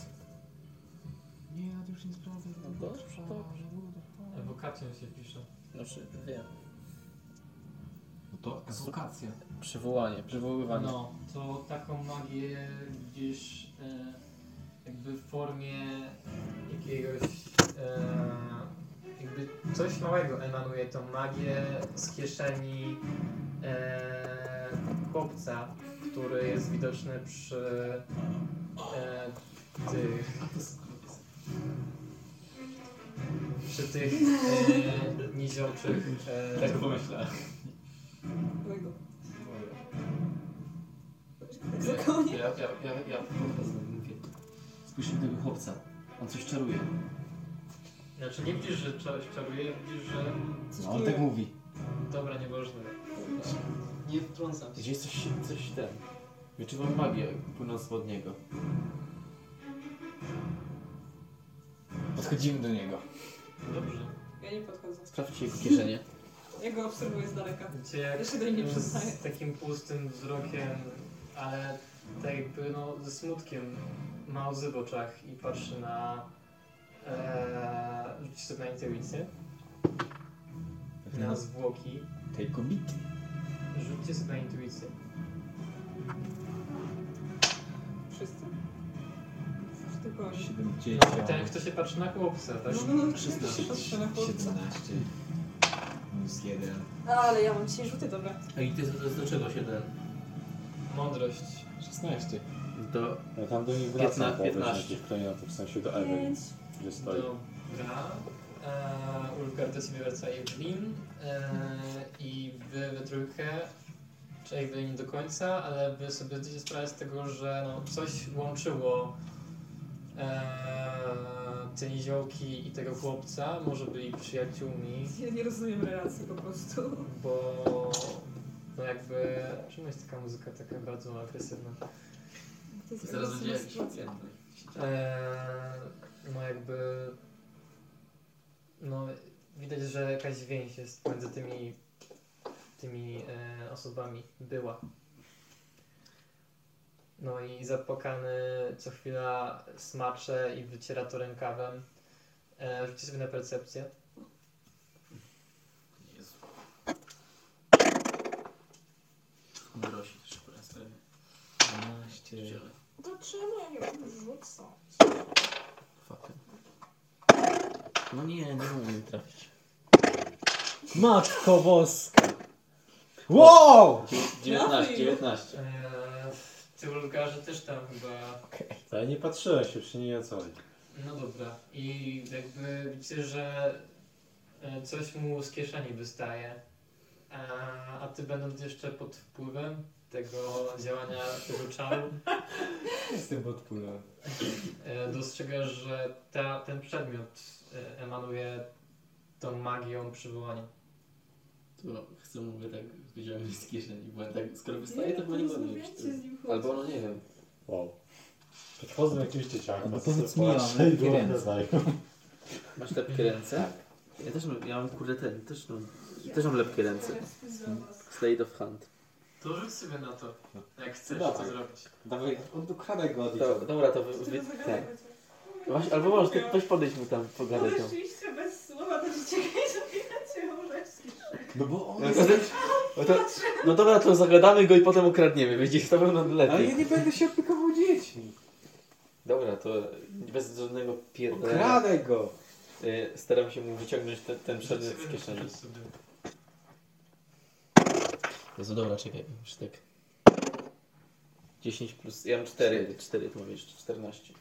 S34: Nie, ja to tak już nie sprawdzę.
S35: No dobrze, dobrze.
S2: Evokacją się pisze.
S36: Znaczy, wiem.
S5: No to edukacja.
S36: Przywołanie, przywoływanie.
S2: No, to taką magię widzisz e, jakby w formie jakiegoś, e, jakby coś małego emanuje tą magię z kieszeni e, chłopca, który jest widoczny przy e, tych, przy tych e, niziołczych e,
S5: Tak pomyślałem.
S3: Mojego. Za koniec.
S1: Ja, ja, ja, ja podchodzę
S5: tak
S1: i mówię. Spójrzmy tego chłopca. On coś czaruje.
S2: Znaczy nie widzisz, że coś czaruje, widzisz, że...
S5: No, on tak mówi.
S2: Dobra, nieważne.
S1: Nie wtrącam się.
S5: Gdzieś coś, coś ten. Wyczuwam magię płynąc od niego. Podchodzimy do niego.
S2: Dobrze.
S3: Ja nie podchodzę.
S5: Sprawdźcie jego kieszenie.
S3: Ja go obserwuję z daleka.
S2: Cię jak
S3: Ja się do niej
S5: Mm.
S3: nie przyznaję.
S2: z takim pustym wzrokiem, ale tak jakby no, ze smutkiem ma łzy w oczach i patrzy na... E, rzuci sobie na intuicję. Na zwłoki.
S5: Tej kobiety.
S2: Rzućcie sobie na intuicję.
S3: Wszyscy? Już Tylko oni.
S5: 70.
S2: No, ten, kto się patrzy na chłopca, tak?
S3: No, no, no, się patrzę na chłopca.
S5: 17. Minus 1.
S3: Ale ja mam dzisiaj rzuty dobre.
S35: A i to jest, to jest do czego się ten?
S2: Mądrość.
S5: 16.
S35: Do...
S7: Ja No tam do nich
S35: 15,
S7: wracam, bo
S35: 15.
S7: wiesz, jakich klejnotów, w sensie do Ewy,
S3: Pięć.
S7: gdzie stoi.
S2: Dobra. Eee, Ulgar do ciebie wraca Evelyn eee, i wy we trójkę, czy Evelyn nie do końca, ale wy sobie zdajecie sprawę z tego, że no, coś łączyło eee, te niziołki i tego chłopca, może byli przyjaciółmi,
S3: Ja nie rozumiem relacji po prostu.
S2: bo no jakby, czemu jest taka muzyka taka bardzo agresywna?
S3: To jest
S35: Zaraz będzie
S3: agresywna
S35: jakiś
S3: sytuacja.
S2: Eee, no jakby. No widać, że jakaś eee, więź jest między tymi tymi e, osobami była. No i zapłakany co chwila smacze i wyciera to rękawem. E, rzućcie sobie na percepcję.
S1: Jezu. Wszystko mi rośnie też akurat sprawie.
S5: 12.
S3: To czemu ja nie rzucam?
S1: Fucking. No nie, nie umiem trafić.
S37: Matko boska! Wow!
S1: 19, 19.
S2: Eee, ty ulgarze też tam chyba.
S7: Ale nie patrzyłeś się, przy niej o co chodzi.
S2: No dobra. I jakby widzicie, że e, coś mu z kieszeni wystaje. A, a ty będąc jeszcze pod wpływem tego działania tego czaru,
S5: Jestem pod wpływem.
S2: E, Dostrzegasz, że ta, ten przedmiot e, emanuje tą magią przywołania.
S1: To chcę mówię tak, wyciągnąć z kieszeni, bo tak, skoro wystaje, to chyba nie będę mieć. Albo no nie wiem.
S7: Wow. Podchodzę do jakiegoś dzieciaka.
S1: No
S38: powiedz mi, ja mam
S7: patrzę i
S38: lepkie
S7: go
S38: ręce.
S7: oddaję.
S1: Masz lepkie ręce? Tak. Ja też mam, ja mam kurde ten, też mam, też mam lepkie ręce. Slade of Hand.
S2: To rzuć sobie na to,
S1: No.
S2: jak chcesz
S1: Dobra.
S2: to zrobić.
S1: Dawaj, on ukrada go
S5: od-
S1: Dobra, No to wy... wy tak. Właśnie, albo może ty, ktoś podejść mu tam, pogadać tam.
S3: rzeczywiście bez słowa to się czekaj, że ja
S5: No bo
S1: No, to, no, to, no dobra, to zagadamy go i potem ukradniemy, będzie to pewno lepiej.
S5: Ale ja nie będę się opiekował dziećmi.
S1: Dobra, to bez żadnego pierdolenia.
S5: Okradaj go!
S1: Y, Staram się mu wyciągnąć ten, ten przedmiot z kieszeni. Jezu, No dobra, czekaj, już tak. 10 plus, ja mam 4, 4 to mam jeszcze 14.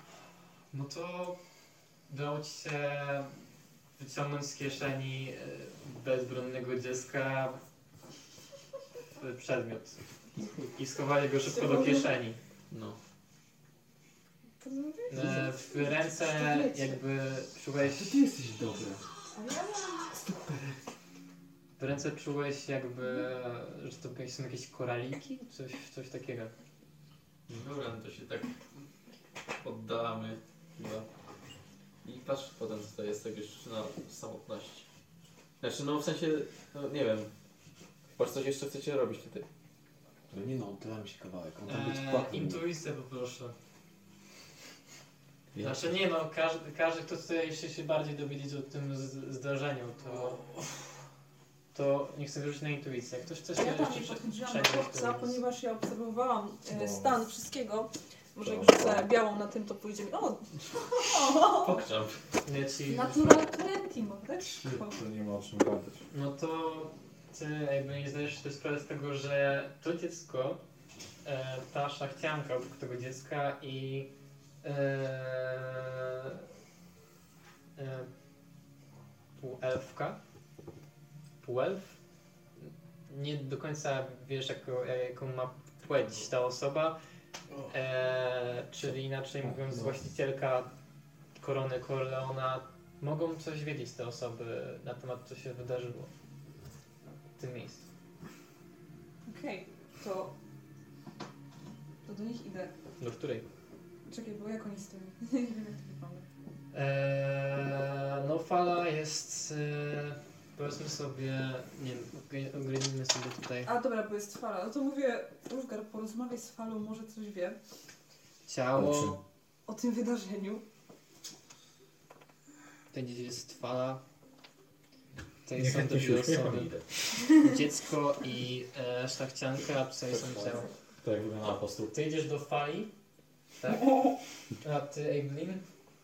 S2: No to udało ci się wyciągnąć z kieszeni e, bezbronnego dziecka e, przedmiot. I schowali go szybko do kieszeni.
S1: No.
S2: E, W ręce jakby czułeś...
S5: Ty jesteś dobry.
S2: W ręce czułeś jakby, że to jakieś- są jakieś koraliki, coś, coś takiego.
S1: Dobra, no to się tak oddalamy chyba. I patrz potem co to jest, tak już na samotności. Znaczy no w sensie, no nie wiem. Patrz coś jeszcze chcecie robić tutaj.
S5: No nie no, oddałem się kawałek. On tam być
S2: Eee,
S5: płatny.
S2: intuicję poproszę.
S5: Ja.
S2: Znaczy nie no, każdy, każdy kto chce jeszcze się bardziej dowiedzieć o tym z- zdarzeniu, to, to nie chcę wyrzucić na intuicję. Jak Ktoś chce się
S3: Ja tam
S2: jeszcze
S3: nie
S2: prze-
S3: podchodziłam do
S2: przenieść,
S3: chłopca,
S2: to-
S3: ponieważ ja obserwowałam
S2: Bo-
S3: e, stan wszystkiego. Może jak
S2: Bo-
S3: rzucę białą na tym, to pójdzie mi... O! o.
S1: Pokrzam.
S2: Leci.
S3: Natural tak? 20, mordeczko.
S39: To nie ma o czym gadać.
S2: No to ty jakby nie zdajesz sobie sprawy z tego, że to dziecko, e, ta szlachcianka obok tego dziecka i e, e, półelfka, półelf, nie do końca wiesz jaką, jaką ma płeć ta osoba, e, czyli inaczej mówiąc właścicielka korony Corleona, mogą coś wiedzieć te osoby na temat, co się wydarzyło w tym miejscu.
S3: Okej, to... To do nich idę.
S2: Do której?
S3: Czekaj, bo jak oni stoją? Nie wiem, jak to wygląda.
S2: Eee, no fala jest, eee, powiedzmy sobie, nie wiem, ogr- ogranicimy sobie tutaj
S3: A dobra, bo jest fala. No to mówię, Różgar, porozmawiaj z falą, może coś wie
S2: ciało.
S3: o tym wydarzeniu.
S2: Tutaj gdzieś jest fala. Tutaj
S5: Niechętnie
S2: są te
S5: się
S2: dwie
S5: uśmiecham,
S2: osoby.
S5: idę.
S2: Dziecko i e, szlachcianka, a tutaj są ciała.
S7: Tak wygląda apostoł.
S2: Ty idziesz do fali, tak? A ty, Evelyn,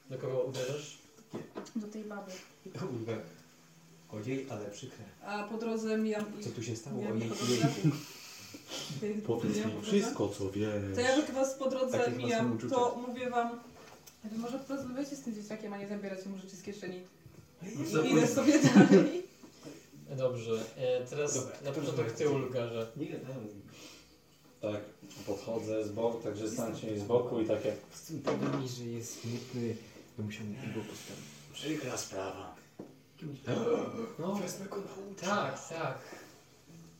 S2: do kogo uderzysz?
S3: Do tej baby.
S5: Kurwa. Ojej, ale przykre.
S3: A po drodze mijam ich.
S5: Co tu się stało?
S3: Mijam
S5: Ojej,
S3: ich po
S5: jej.
S3: drodze. Kiedy
S7: Powiedz
S3: mijam
S7: mi
S3: po
S7: wszystko, co wiesz.
S3: To ja jak was po drodze
S7: Takie własne
S3: mijam,
S7: uczucia.
S3: to mówię wam, wy może porozmawiajcie z tym dzieciakiem, a nie zabieracie mu rzeczy z kieszeni.
S5: No
S2: Za
S3: I idę
S2: późno.
S3: sobie dalej.
S2: Dobrze, e, teraz na początek ty ulgarze.
S7: Nie gadałem z nim. Tak, podchodzę z boku, także stan się z boku i tak takie.
S5: Z tym powiem mi, że jest smutny, to musiałem go postawić.
S40: Przykra sprawa.
S5: No,
S2: Tak, tak.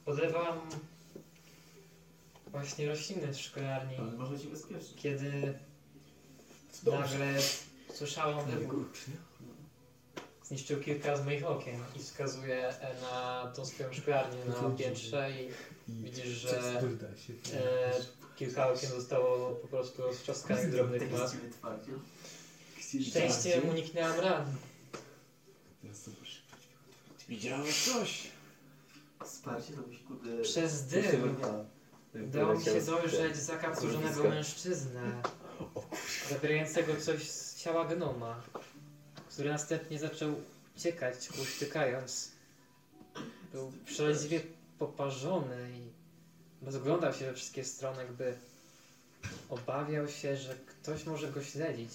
S2: Podlewam właśnie rośliny w szklarni.
S1: Ale może ci bezpiecznie.
S2: Kiedy
S1: Dobrze.
S2: nagle słyszałam wybuch. zniszczył kilka z moich okien i wskazuje e, na tą swoją szklarnię na piętrze i widzisz, że e, kilka okien zostało po prostu roztrzaskanych drobnych mas. Szczęście
S7: Tak.
S2: uniknęłam ran.
S7: Widziałeś coś?
S41: Wsparcie to musi kurde...
S2: Przez dym udało mi się dojrzeć zakapturzonego mężczyznę, zabierającego coś z ciała gnoma, który następnie zaczął uciekać, uśtykając. Był przeraźliwie poparzony i rozglądał się we wszystkie strony, jakby obawiał się, że ktoś może go śledzić.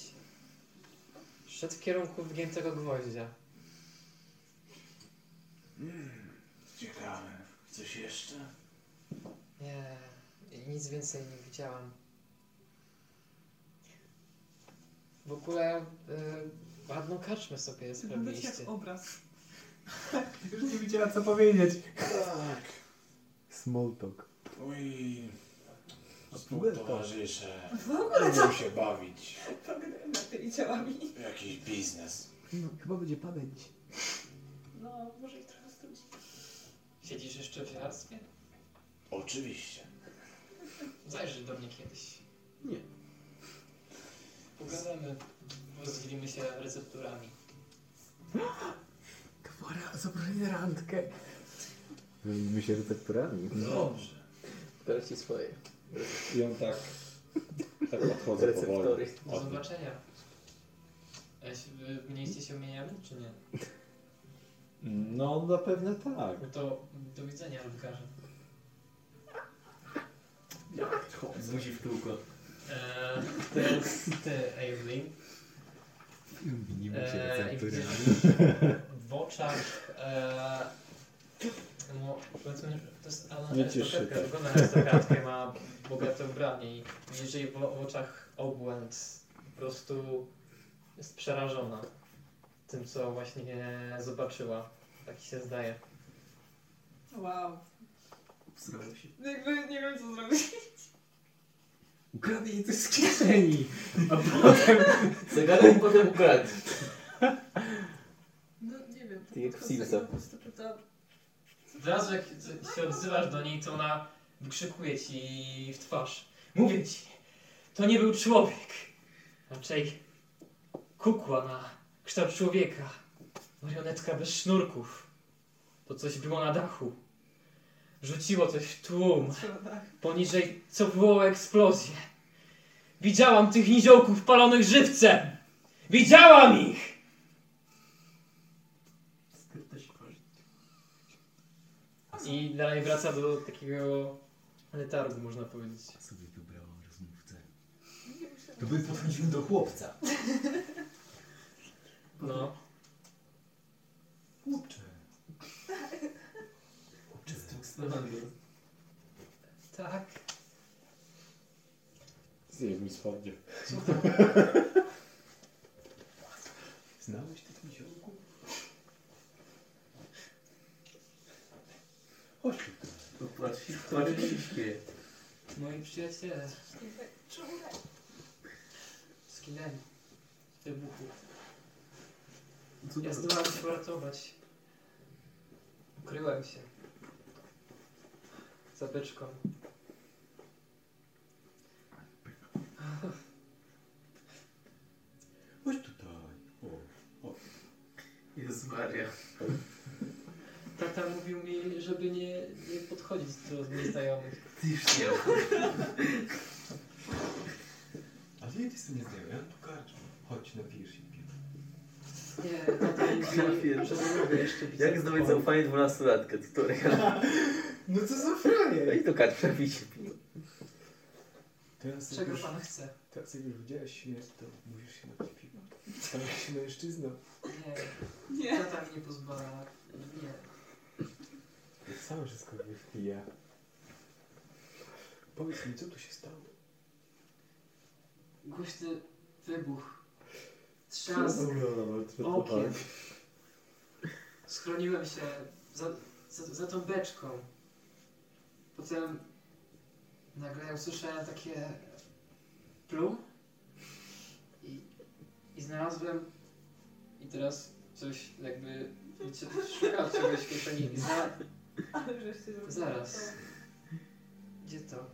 S2: Szedł w kierunku wygiętego gwoździa.
S7: Hmm, ciekawe. Coś jeszcze?
S2: Nie, nic więcej nie widziałam. W ogóle y, ładną karczmę sobie
S3: Wyglądacie
S2: sprawiliście.
S3: jak obraz.
S5: Już nie wiedziała co powiedzieć.
S7: Tak.
S42: Smalltalk.
S7: Twoi współtowarzysze
S3: W ogóle
S7: lubią
S3: co?
S7: się bawić
S3: Na tymi ciałami.
S7: w jakiś biznes.
S42: No, chyba będzie pamięć.
S3: No, może ich trochę skrócić.
S2: Siedzisz jeszcze w żelazwie?
S7: Oczywiście.
S2: Zajrzyj do mnie kiedyś.
S41: Nie.
S2: Pogadamy, rozdzielimy się recepturami.
S42: Kwora, zaproszenie randkę. Robimy się receptorami.
S7: Dobrze.
S41: Bierzcie swoje.
S42: I on tak...
S5: Tak odchodzę powoli.
S2: Do zobaczenia. Eś, wy mniejście się umieniamy, czy nie?
S5: No, zapewne tak.
S2: No to do widzenia, Lukarze.
S43: Zmusi w kółko.
S2: Eee, teraz ty, Evelyn.
S43: Nie
S2: Eee,
S43: musi
S2: i
S43: receptury.
S2: widzisz W oczach. eee, no, powiedzmy, że to jest ona
S5: Nie cieszy tak.
S2: arystokratka,
S5: to.
S2: wygląda na arystokratkę, ma bogate ubranie i widzisz, że jej w w oczach obłęd. Po prostu jest przerażona tym, co właśnie zobaczyła. Tak ci się zdaje.
S3: Wow. No
S41: Zrobił się.
S3: Jakby nie wiem co zrobić.
S43: Ukradnij jej coś z kieszeni, a potem zagadaj i potem ukradnij.
S3: No nie wiem. po
S43: Ty jak
S3: prostu
S43: Simsa.
S3: sobie po prostu czyta-
S2: Od razu jak ty- się odzywasz do niej, to ona wykrzykuje ci w twarz. Mówię ci, to nie był człowiek. Raczej kukła na kształt człowieka. Marionetka bez sznurków. To coś było na dachu. Rzuciło coś w tłum. Poniżej co było eksplozję. Widziałam tych niziołków palonych żywcem! Widziałam ich! I dalej wraca do takiego letargu, można powiedzieć.
S44: Sobie wybrałam rozmówcę.
S43: To by podchodził do chłopca.
S2: No.
S43: Chłopcze.
S2: Tak.
S5: Zjedz mi spodnie.
S43: Znałeś tych niziołków?
S41: To płaci, płaci się śmieje.
S2: Moi przyjaciele
S3: tak?
S2: zginęli w wybuchu. Ja zdołałem się uratować. Ukryłem się. Za beczką.
S43: Chodź tutaj.
S41: Jezus Maria.
S2: Tata mówił mi, żeby nie, nie podchodzić do nieznajomych.
S41: Ty już nie
S43: Ale ja jestem nieznajomy, ja mam tu karczmę. Chodź, napijesz się.
S2: Nie, tata mówił mi, że nie mogę jeszcze pić.
S1: Jak zdobyć
S2: alkoholu.
S1: zaufanie 12-latkę, tutorial.
S5: No co za frajer?
S1: I to kart przepisie.
S5: Teraz jak
S2: Czego
S5: już-
S2: pan chce?
S5: Teraz jak już widziałeś śmierć, to musisz się napić piwa. Stałeś się mężczyzną.
S2: Nie, nie. Tata mnie pozwala. Nie.
S5: Sam wszystko wypija. Powiedz mi, co tu się stało?
S2: Głośny wybuch. Trzask. Okien.
S5: Okien.
S2: Schroniłem się za, za, za tą beczką. Potem nagle usłyszałem takie plum i, i znalazłem i teraz coś jakby cie- szukał czegoś w kieszeni i za...
S3: Ale żeście zrobili.
S2: Zaraz. Gdzie to?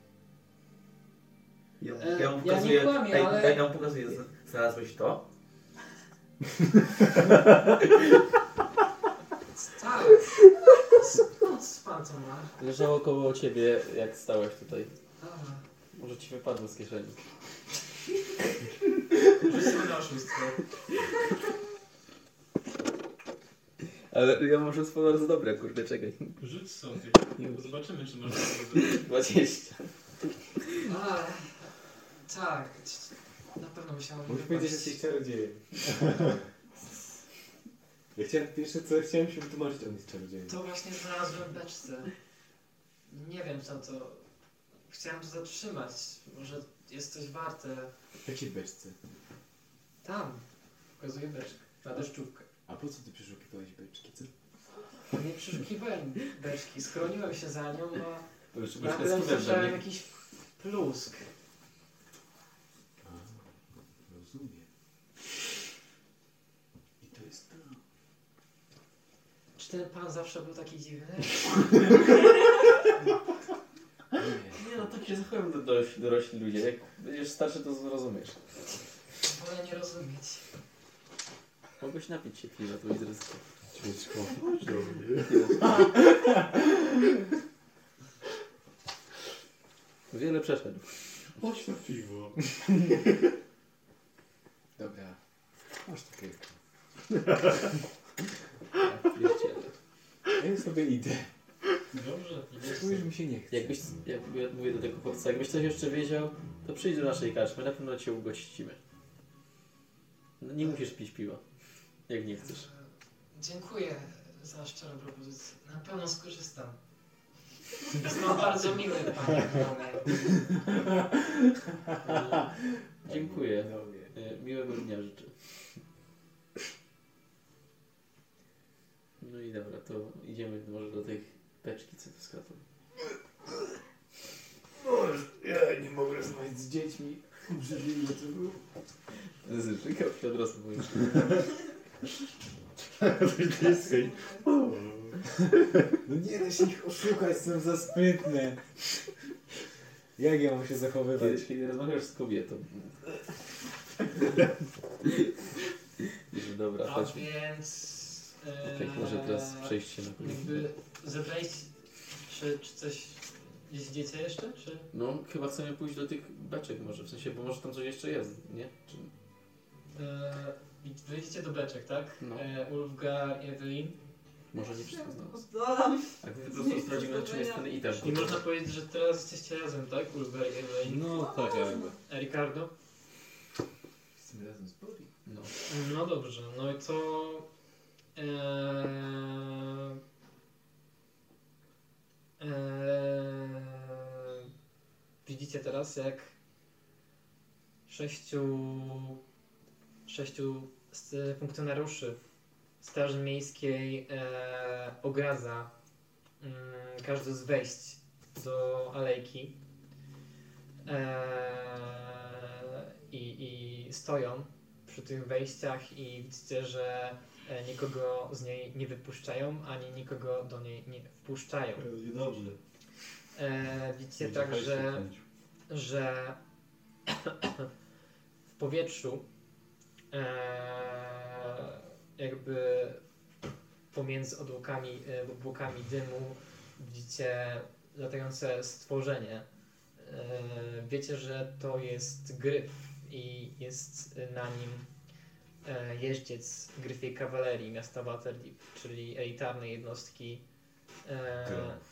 S45: Ja,
S2: E,
S45: ja mu
S2: ja
S45: pokazuję,
S2: nie kłamię,
S45: daj,
S2: ale-
S45: daj, ja mu pokazuję, z- znalazłeś to?
S2: Tak. Skąd pan to ma?
S1: Leżało koło ciebie, jak stałeś tutaj.
S2: A,
S1: Może ci wypadło z kieszeni.
S2: Rzucę na oszustwo.
S45: Ale ja muszę spodobać za dobre, kurde, czekaj.
S5: Rzuć sobie. Zobaczymy, czy można to zrobić.
S45: 20.
S2: A, tak. c- c- Na pewno musiałem
S7: Mógł powiedzieć, że jesteś czarodziejem. ja chciałem, pierwsze co chciałem się wytłumaczyć, on jest czarodziejem.
S2: To właśnie znalazłem w beczce. Nie wiem co to... Chciałem to zatrzymać. Może jest coś warte.
S7: W jakiej beczce?
S2: Tam. Pokazuję beczkę. Na deszczówkę.
S7: A po co ty przeszukiwałeś beczki, co?
S2: Nie przeszukiwałem beczki. Schroniłem się za nią,
S7: To już
S2: a nagle
S7: bez kiwa,
S2: słyszałem
S7: nie?
S2: jakiś plusk.
S7: Rozumiem. I to jest to.
S2: Czy ten pan zawsze był taki dziwny?
S45: Nie no, tak się zachowują do- dorośli, dorośli ludzie. Jak będziesz starszy, to zrozumiesz.
S2: Wolę nie rozumieć.
S45: Mogłeś napić się piwa, to i zresztą.
S7: Ciężko.
S45: Wiele przeszedł.
S5: Chodź na piwo.
S7: Dobra. Masz takie. Ja sobie idę.
S5: Dobrze.
S7: Już mi się nie chce.
S1: Jakbyś, jak mówię- mówię do tego chłopca, jakbyś coś jeszcze wiedział, to przyjdź do naszej karczmy, na pewno cię ugościmy. No, nie musisz pić piwa, jak nie chcesz.
S2: Dziękuję za szczerą propozycję. Na pewno skorzystam. Jest pan bardzo miły, panie.
S1: E, Dziękuję. E, Miłego dnia życzę. No i dobra, to idziemy może do tej beczki, co tu sklepem.
S46: Ja nie mogę rozmawiać z dziećmi. Brzydliwe to było.
S1: Zrzykał się od razu mój.
S7: No nie da się ich oszukać, są za sprytne. Jak ja mam się zachowywać?
S1: Kiedyś, kiedy rozmawiasz z kobietą. Że Dobra,
S2: A
S1: chodźmy.
S2: więc... e,
S1: Czekaj, może teraz przejście na kolejny.
S2: Jakby zebraliście... Czy, czy coś jeździecie jeszcze, czy...
S1: No, chyba chcemy pójść do tych beczek może, w sensie, bo może tam coś jeszcze jest, nie? Czy...
S2: E, wyjdziecie do beczek, tak?
S1: No.
S2: E, Ulfgar i Evelyn.
S1: Może nie wszystko znam.
S3: Dodam.
S1: Tak, po prostu sprawdzimy, czym jest ten item.
S2: I można powiedzieć, że teraz jesteście razem, tak? Ulfgar i Evelyn.
S7: No tak jakby.
S2: E, Ricardo?
S7: Jesteśmy razem z Bobby.
S1: No.
S2: No dobrze, no i to... Eee... Eee... e, Widzicie teraz, jak sześciu, sześciu z- funkcjonariuszy Straży Miejskiej eee, ogradza mm, każdy z wejść do alejki. Eee, i, I stoją przy tych wejściach i widzicie, że e, nikogo z niej nie wypuszczają, ani nikogo do niej nie wpuszczają.
S5: Dobrze.
S2: E, widzicie
S5: Będzie hajs
S2: także,
S5: kręcił.
S2: że w powietrzu e, jakby pomiędzy odłokami, e, obłokami dymu widzicie latające stworzenie. E, wiecie, że to jest gryf i jest na nim e, jeździec gryfiej kawalerii miasta Waterdeep, czyli elitarnej jednostki e,
S7: Gromów.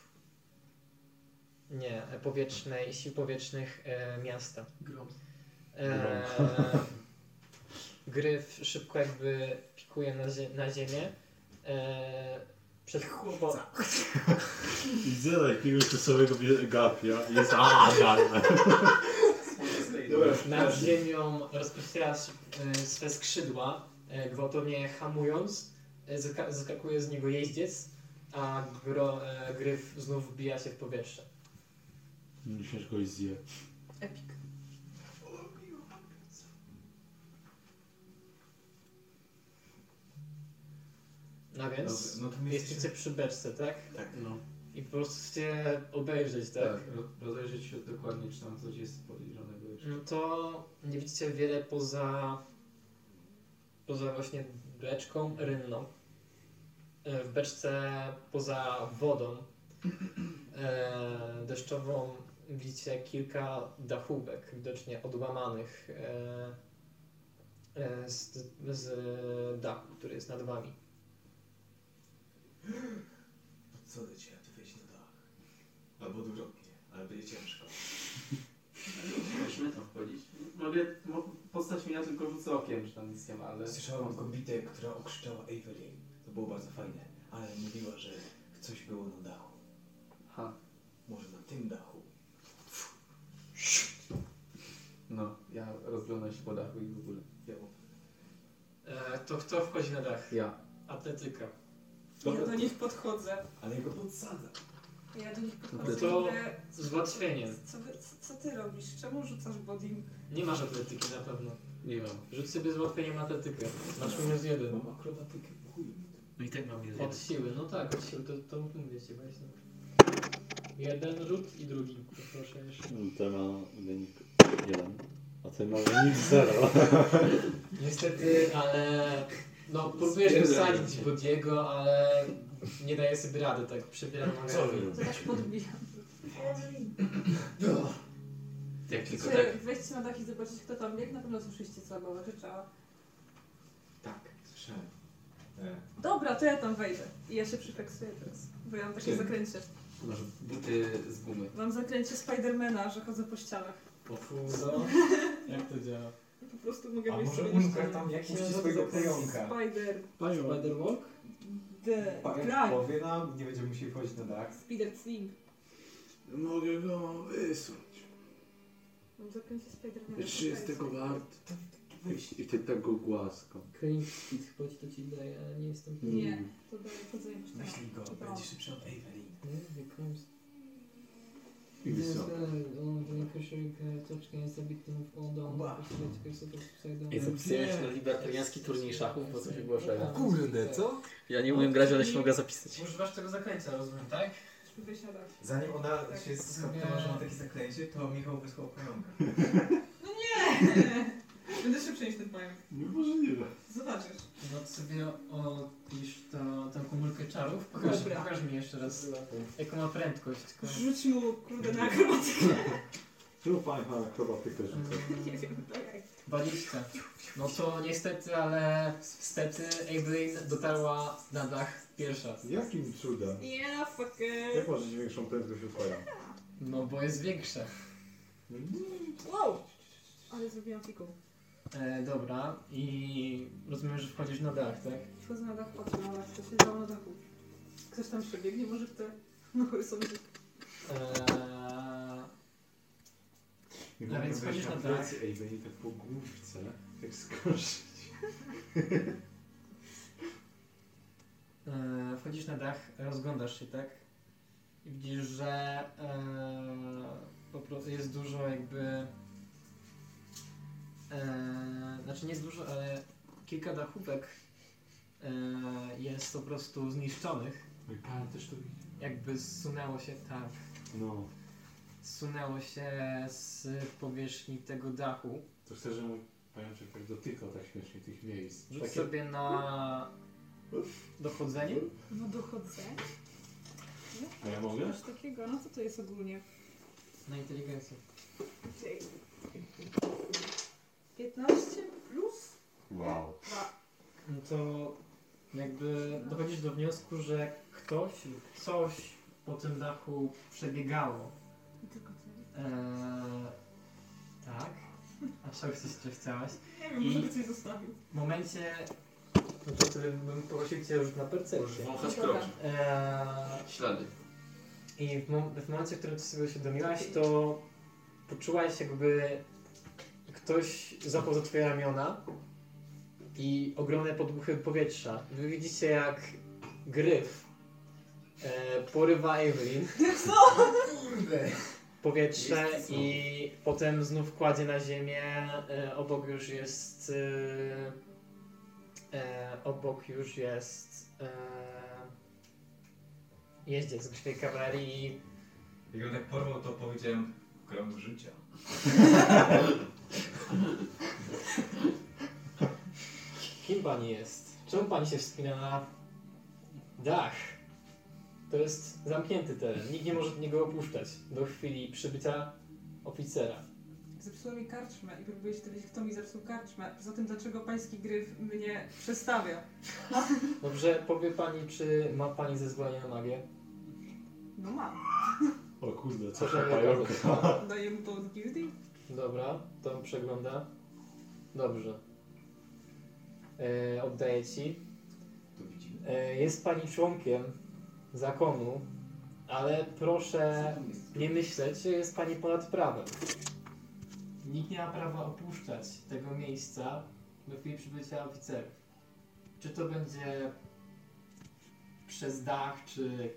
S2: nie, powietrznej, sił powietrznych e, miasta.
S1: Grom.
S2: E,
S7: Grom.
S2: gryf szybko jakby pikuje na, zie- na ziemię. E, przed chłopca.
S5: Widzę jakiegoś czasowego bie- gapia. Jest aaa,
S2: nad ziemią rozpościera s- e, swe skrzydła, e, gwałtownie hamując. E, zaka- Zaskakuje z niego jeździec, a gro, e, gryf znów wbija się w powietrze.
S5: Myślę, że kogoś zje.
S3: Epik.
S2: A więc
S47: Dobra, no to mieści się-
S2: mieścicie przy beczce, tak?
S47: Tak.
S1: No.
S2: I po prostu chcecie obejrzeć, tak?
S1: Tak, ro- rozejrzeć się dokładnie, czy tam coś jest podejrzanego jeszcze.
S2: No to nie widzicie wiele poza poza właśnie beczką rynną. E, W beczce poza wodą e, deszczową widzicie kilka dachówek, widocznie odłamanych e, e, z, z dachu, który jest nad wami.
S5: Co do ciebie, ty weź na dach. Albo odwrotnie, ale będzie ciężko.
S1: Musimy tam wchodzić. Mogę, mo- postać mi ja tylko rzucę okiem, że tam nic nie ma, ale...
S5: Słyszałam kobietę, która okrzyczała Evelyn. To było bardzo fajne, ale mówiła, że coś było na dachu.
S1: Ha.
S5: Może na tym dachu.
S1: No, ja rozglądam się po dachu i w ogóle. Ja.
S2: E, to kto wchodzi na dach?
S1: Ja.
S2: Atletyka.
S3: Ja do nich podchodzę.
S5: Ale jego podsadza.
S3: Ja do nich
S2: To,
S3: podchodzę.
S2: to
S3: mówię,
S2: z ułatwieniem.
S3: Co, wy- co, co ty robisz? Czemu rzucasz bodim?
S2: Nie masz atletyki na pewno.
S1: Nie mam.
S2: Rzuć sobie z ułatwieniem atletykę. Masz minus jeden.
S5: Mam akrobatykę, chuj.
S1: No i tak mam jeden.
S2: Od siły, no tak, od siły, to, to mówię ci właśnie. Jeden rzut i drugi, proszę jeszcze.
S7: Ten No, ma wynik 1, a ten ma wynik 0.
S2: Niestety, ale... No, próbujesz wysadzić Bodiego, ale nie daje sobie rady, tak przebieram na
S3: To też podbijam.
S1: Jak tylko tak...
S3: Czy wejść na dach i zobaczyć kto tam biegł? Na pewno słyszeliście co Agoła krzyczała.
S47: Tak, słyszałem. E,
S3: Dobra, to ja tam wejdę. I ja się przyfeksuję teraz, bo ja mam takie
S1: Ty.
S3: zakręcie.
S1: Masz buty z gumy.
S3: Mam zakręcie Spidermana, że chodzę po ścianach.
S2: Pofuzo. Jak to działa?
S3: Po prostu mogę
S47: A
S3: mieć
S47: może
S3: sobie
S47: Unka
S3: ścianę.
S47: tam jakiś
S3: Miałem
S47: swojego
S3: zakres
S47: pająka?
S3: Spider.
S2: Spider-Walk?
S3: The.
S47: Pająk
S3: Drive.
S47: powie nam, nie będziemy musieli wchodzić na dach.
S3: Spider Sling.
S5: Mogę go wysunąć.
S3: Mam zakręcie Spidermana.
S5: Czy jest tego wart? I ty tego głaskam.
S2: Cringe Speed chodzi to ci daje, ale nie jestem pewien.
S3: Nie,
S47: Mm.
S3: to dalej chodzę po ścianach.
S5: Myśli go,
S2: No.
S3: Dobra.
S5: będzie szybszy od Evelyn.
S2: Nie, nie, Cringe
S5: I wysoko.
S1: I zapisujesz na libertariański turniej szachów, bo co się głoszają.
S48: Kurde, co?
S1: Ja nie umiem grać, ale się mogę zapisać.
S49: Używasz tego zakręcia, rozumiem, tak?
S3: Wysiadam.
S47: Zanim ona
S3: Tak.
S47: się skapnęła, że ma takie zaklęcie, to Michał wysłał pająka.
S3: Będę szybszy niż ten pająk.
S7: Niemożliwe.
S3: Zobaczysz.
S49: No sobie odpisz to, tą komórkę czarów.
S3: Pokaż- Dobra.
S49: pokaż mi jeszcze raz, jaką ma prędkość.
S47: Tak.
S3: Rzuć mu kurde na akrobatykę.
S50: Tu pan pan akrobatykę rzuca.
S3: Nie wiem, daj.
S49: 20.
S2: mm, No to niestety, ale stety Evelyn dotarła na dach pierwsza.
S50: Jakim cudem?
S3: Yeah, no, fuck it.
S50: Jak możesz większą prędkość od pana?
S2: No bo jest większa.
S3: Wow! Ale zrobiłam fiką.
S2: E, dobra, i rozumiem, że wchodzisz na dach, tak?
S3: Wchodzę na dach, patrzę na dach, coś się działo na dachu. Ktoś tam przebiegnie, może kto... No chuj sobie.
S2: E,
S50: Jakby
S2: No więc
S50: wejść
S2: wchodzisz na
S50: plecy, Ej, będzie tak po główce, tak skończyć.
S2: E, Wchodzisz na dach, rozglądasz się, tak? I widzisz, że e, po prostu jest dużo jakby. E, znaczy nie jest dużo, ale kilka dachówek e, jest po prostu zniszczonych.
S7: Mój pan też to widzi.
S2: Jakby zsunęło się tak.
S7: No.
S2: Zsunęło się z powierzchni tego dachu.
S7: To chcę, że mój pajączek tak dotykał tak śmiesznie tych miejsc.
S2: Rzuć
S7: Takie-
S2: sobie na dochodzenie.
S3: No dochodzę.
S7: A ja mogę?
S3: Coś takiego, no co to jest ogólnie?
S2: Na inteligencję.
S3: 15 plus?
S7: Wow.
S2: No to jakby dochodzisz do wniosku, że ktoś lub coś po tym dachu przebiegało.
S3: I tylko tyle.
S2: Eee, tak. A czegoś jeszcze chciałaś?
S3: Nie wiem, może by coś zostawił.
S2: W momencie... No to wtedy bym prosił cię już na percepcję.
S1: Wąchać
S3: Dobra.
S1: kroki.
S2: Eee,
S1: Ślady.
S2: I w, mom- w momencie, w którym ty sobie uświadomiłaś, to poczułaś jakby ktoś zapał za twoje ramiona i ogromne podmuchy powietrza. Wy widzicie jak gryf e, porywa Evelyn
S47: Kurde!
S2: powietrze
S47: Jest co.
S2: i potem znów kładzie na ziemię. E, obok już jest E, obok już jest e, jeździec z grzywej kawalerii.
S5: Jak on tak porwał, to powiedziałem krąg życia.
S2: Kim pani jest? Czemu pani się wspina na dach? To jest zamknięty teren. Nikt nie może niego opuszczać do chwili przybycia oficera.
S3: Zepsuła mi karczmę i próbuję się dowiedzieć, kto mi zepsuł karczmę. Poza tym, dlaczego pański gryf mnie przestawia?
S2: Dobrze, powie pani, czy ma pani zezwolenie na magię?
S3: No mam.
S7: O kurde, co
S2: Proszę
S7: za
S2: mi
S7: pająka.
S2: pokazać.
S3: Daję mu to od gildii?
S2: Dobra, to przegląda. Dobrze. E, oddaję ci. E, jest pani członkiem zakonu, ale proszę nie myśleć, że jest pani ponad prawem. Nikt nie ma prawa opuszczać tego miejsca do chwili przybycia oficerów. Czy to będzie przez dach, czy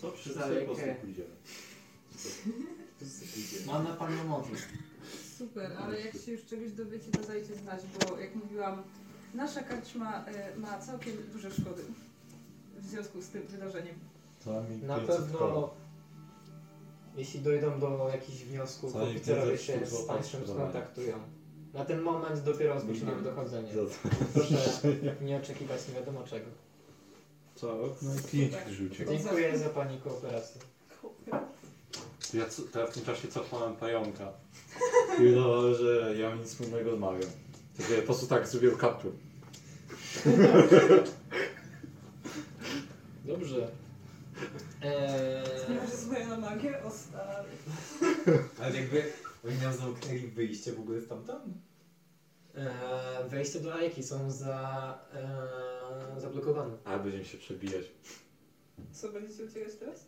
S51: To
S2: przez
S51: przez po prostu
S2: alekę.
S51: pójdziemy.
S2: Mam na panią modlę.
S3: Super, ale jak się już czegoś dowiecie, to dajcie znać, bo jak mówiłam, nasza karczma e, ma całkiem duże szkody w związku z tym wydarzeniem.
S2: Na pewno, jeśli dojdą do jakichś wniosków,
S7: Co najmniej
S2: oficerowie
S7: 500
S2: się z
S7: złotych
S2: Państwem
S7: odszkodowania.
S2: skontaktują. Na ten moment dopiero rozpoczynamy dochodzenie.
S7: Za-
S2: Proszę nie oczekiwać nie wiadomo czego.
S7: Co? No i pięć, którzy uciekli.
S2: Dziękuję za Pani kooperację.
S7: To Ja co, teraz w tym czasie cofnąłem pająka. I udawało, że ja nic wspólnego z magią. Tylko ja po prostu tak zrobiłem kaptur.
S2: Dobrze. Eee, E,
S3: Nie masz zezwolenia na magię? O stary.
S5: Ale jakby oni nam zamknęli wyjście w ogóle stamtąd?
S2: eee, wejście do alejki są za, eee, zablokowane.
S7: Ale będziemy się przebijać.
S3: Co, będziecie uciekać teraz?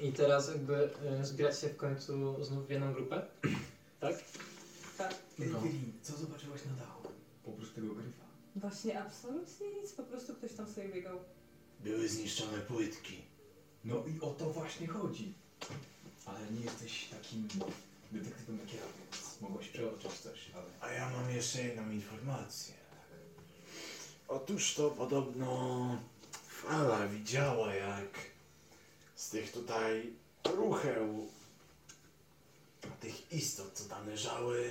S2: I teraz jakby e, zbierać się w końcu znów w jedną grupę. Tak?
S3: Tak.
S2: No.
S52: co zobaczyłaś na dachu?
S5: Oprócz tego gryfa.
S3: Właśnie absolutnie nic, po prostu ktoś tam sobie biegał.
S52: Były zniszczone płytki.
S5: No i o to właśnie chodzi. Ale nie jesteś takim detektywem jak ja, więc mogłaś przeoczyć coś, ale...
S52: A ja mam jeszcze jedną informację. Otóż to podobno Fala widziała jak z tych tutaj rucheł, tych istot, co tam leżały,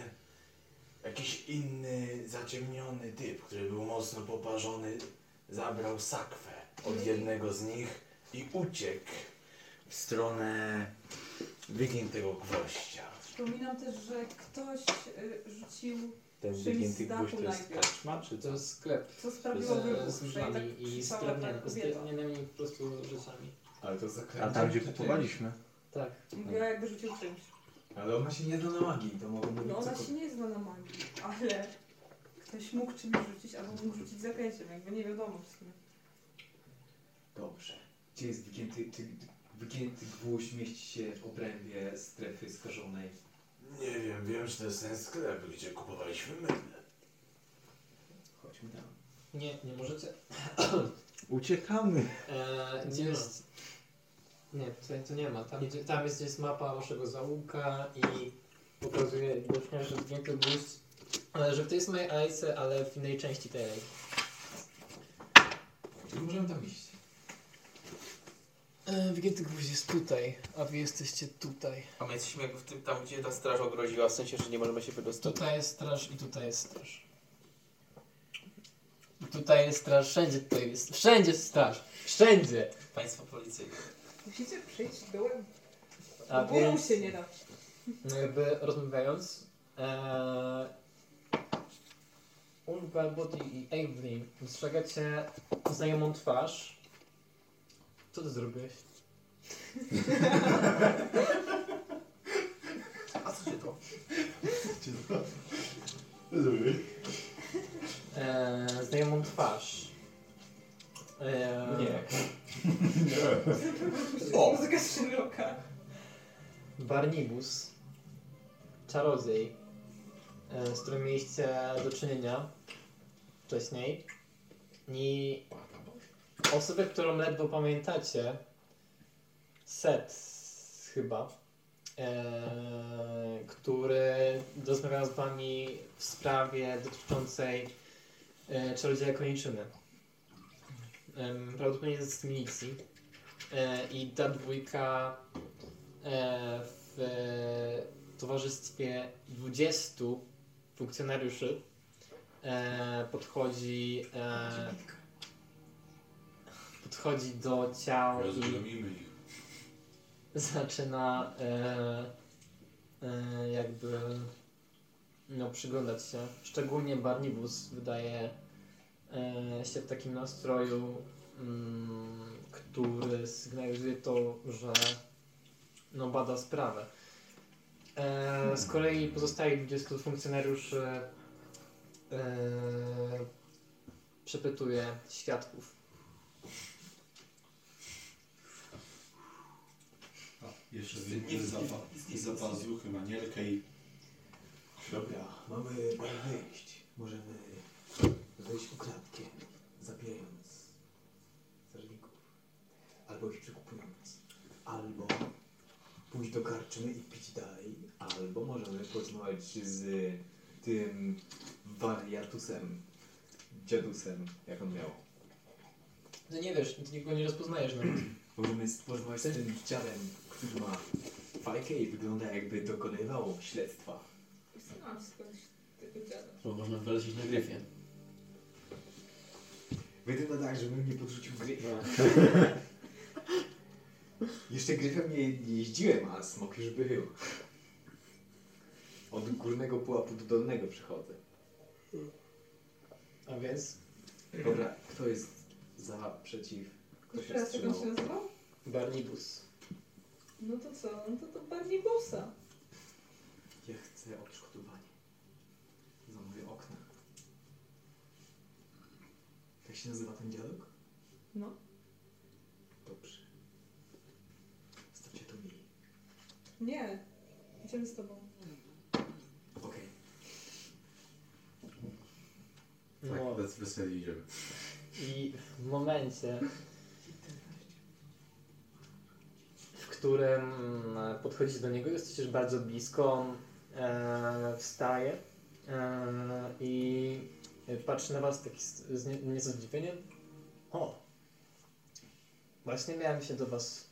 S52: jakiś inny zaciemniony typ, który był mocno poparzony, zabrał sakwę od jednego z nich i uciekł w stronę wygiętego gwoździa.
S3: Przypominam też, że ktoś y, rzucił
S52: Ten
S3: czymś
S52: wygięty
S3: z dachu
S52: gwóźdź to jest tak.
S3: najpierw.
S52: kaczma, czy
S2: To jest sklep.
S3: Co sprawiło
S2: Z-
S3: wybuch,
S2: Z
S3: że i tak
S2: różami i z
S3: krzyczała ta
S2: drewnianymi- z
S3: kobieta.
S2: drewnianymi po prostu rzeczami.
S5: Ale to zakręca.
S53: A tam, gdzie
S5: czy ty?
S53: kupowaliśmy?
S2: Tak.
S3: Mówiła jakby rzucił czymś.
S5: Ale ona się nie zna na magii, to mogą mówić
S3: No ona
S5: cokolwiek.
S3: się nie zna na magii, ale ktoś mógł czymś rzucić albo mógł rzucić zaklęciem, jakby nie wiadomo w sumie.
S5: Dobrze. Gdzie jest wygięty, ty, wygięty gwóźdź mieści się w obrębie strefy skażonej?
S52: Nie wiem, wiem, że to jest ten sklep, gdzie kupowaliśmy mydle.
S5: Chodźmy tam.
S2: Nie, nie możecie.
S53: Uciekamy.
S2: Eee, gdzie
S54: Nie ma.
S2: jest... Nie, tutaj to nie ma. Tam, gdzie, tam jest, jest mapa waszego załuka i pokazuje widocznie, że zgięty gwóźdź. Ale e, że w tej samej alejce, ale w innej części tej alejki.
S5: Tylko możemy tam iść.
S2: Eee, Wygięty gwóźdź jest tutaj, a wy jesteście tutaj.
S1: A my jesteśmy jakby w tym tam, gdzie ta straż ogroziła, w sensie, że nie możemy się wydostać.
S55: tak.
S2: Tutaj jest straż i tutaj jest straż. I Tutaj jest straż, wszędzie tutaj jest. Wszędzie jest straż! Wszędzie!
S1: Państwo policyjne.
S3: Musicie przyjść dołem.
S2: A
S3: Górą
S2: więc-
S3: się nie da.
S2: No jakby rozmawiając, e, Ulga, Body i Avery, dostrzegacie znajomą twarz. Co ty zrobiłeś?
S1: A co się to?
S2: E, znajomą twarz. E,
S5: Nie.
S3: O! Muzyka szeroka.
S2: Barnibus, czarodziej, e, z którym mieliście do czynienia wcześniej. I osobę, którą ledwo pamiętacie, Set chyba, e, który rozmawiał z wami w sprawie dotyczącej e, czarodzieja koniczyny. Em, prawdopodobnie jest z milicji. E, I ta dwójka e, w e, towarzystwie 20 funkcjonariuszy e, podchodzi e, podchodzi do ciał i
S52: Rozgromimy ich.
S2: zaczyna e, e, jakby no, przyglądać się. Szczególnie Barnibus wydaje e, się w takim nastroju, mm, który sygnalizuje to, że no, bada sprawę. E, z kolei pozostałych 20 funkcjonariuszy e, przepytuje świadków.
S52: Jeszcze wyjmę za, pa- za pazuchy manierkę i... Dobra,
S56: Mamy wejść. Możemy wejść ukradkiem, zabijając strażników. Albo ich przekupując. Albo pójść do karczymy i pić dalej.
S13: Albo możemy porozmawiać z tym wariatusem, dziadusem, jak on miał.
S2: No nie wiesz, ty nikogo nie rozpoznajesz nawet.
S13: Możemy z- porozmawiać z tym dziadem, który ma fajkę i wygląda jakby dokonywał śledztwa.
S3: Znałam skądś tego dziada.
S55: Bo można wylecieć na gryfie.
S13: Wygląda tak, żebym nie podrzucił gryfa. Jeszcze gryfem nie, nie jeździłem, a smok już był. Od górnego pułapu do dolnego przychodzę.
S2: A więc?
S13: Dobra, kto jest za, przeciw? Kto
S3: Już
S13: się
S3: raz jak on
S13: wstrzymał?
S3: się nazywał?
S2: Barnibus.
S3: No to co? No to to bardziej bossa.
S13: Ja chcę odszkodowanie. Zamówię okna. Tak się nazywa ten dialog?
S3: No.
S13: Dobrze. Zostawcie to mi.
S3: Nie. Idziemy z tobą.
S13: Okej.
S2: No.
S52: Tak, bez weseli idziemy.
S2: I w momencie, w którym mm, podchodzisz do niego, jesteś już bardzo blisko, on e, wstaje e, i patrzy na was taki z, z nie- nieco zdziwieniem. O, właśnie miałem się do was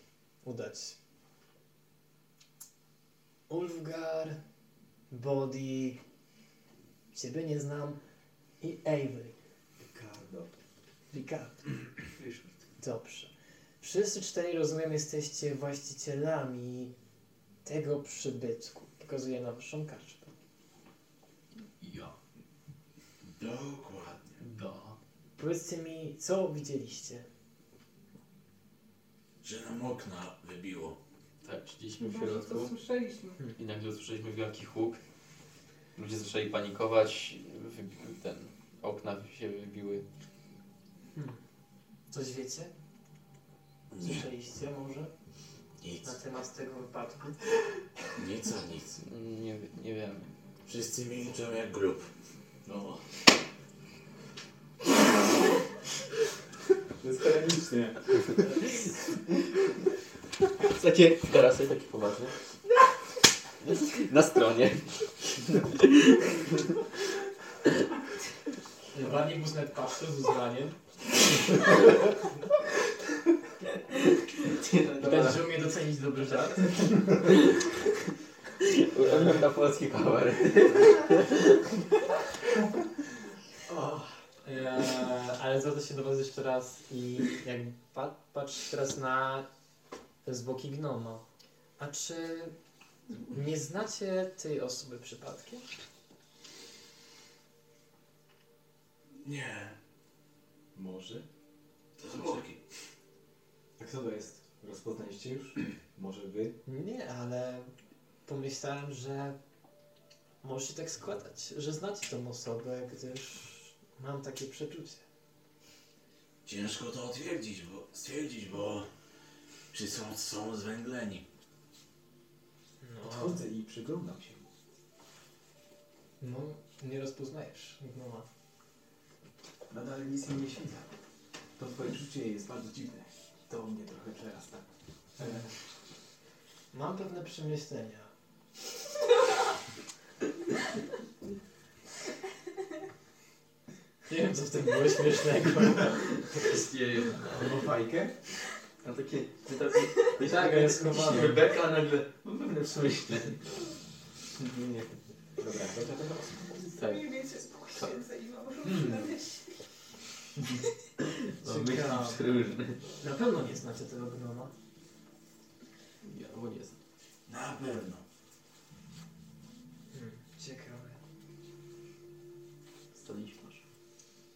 S2: udać. Ulfgar, Body, ciebie nie znam i Avery.
S13: Ricardo.
S2: Ricardo. Dobrze. Wszyscy czterej, rozumiem, jesteście właścicielami tego przybytku. Pokazuję na waszą karczmę.
S52: Ja. Dokładnie. Do.
S2: Powiedzcie mi, co widzieliście?
S52: Że nam okna wybiło.
S1: Tak, siedzieliśmy w
S3: Chyba, że to
S1: środku
S3: słyszeliśmy.
S1: i nagle usłyszeliśmy wielki huk. Ludzie zaczęli panikować, wybi- ten, okna się wybiły.
S2: Coś wiecie? Słyszeliście może? Nic. Na temat tego wypadku?
S52: Nic a nic.
S1: Nie, nie wiem.
S52: Wszyscy milczą jak grób. No.
S13: To jest ironicznie.
S1: Takie, teraz jest takie poważne. Na stronie.
S2: Barney Busnet patrzy z uznaniem. Widać, że umie docenić dobry żart.
S1: Urobiłem na polski cover.
S2: O, e, ale zwraca się do Was jeszcze raz i jak pa, patrz teraz na zwłoki gnoma. A czy nie znacie tej osoby przypadkiem?
S52: Nie.
S13: Może?
S52: To są orki.
S13: A kto to jest? Rozpoznaliście już? Może wy?
S2: Nie, ale pomyślałem, że może się tak składać, że znacie tą osobę, gdyż mam takie przeczucie.
S52: Ciężko to otwierdzić, bo, stwierdzić, bo czy są, są zwęgleni.
S13: Odchodzę i przyglądam się mu.
S2: No, nie rozpoznajesz No. gnoma.
S13: Nadal nic mi nie świta. To twoje czucie jest bardzo dziwne. To mnie trochę przerasta.
S2: E, Mam pewne przemyślenia. Nie wiem, co w tym było śmiesznego.
S1: Wszystkie...
S57: Albo fajkę?
S1: A takie... Ty taki... Ty
S2: Tak,
S1: tak,
S2: jest
S1: jest
S2: schowane.
S1: Rebeka, a nagle... Mam pewne przemyślenie.
S57: Nie, nie. Dobra, dobra, dobra.
S1: Tak.
S3: Nie wiecie, poświęcę i mam różne myśli.
S1: Mam myśli
S2: Ciekawe.
S1: przeróżne.
S2: Na pewno nie znacie tego gnoma.
S1: Ja, bo nie znam.
S52: Na pewno.
S2: Hmm. Ciekawe.
S1: Staliśmy aż.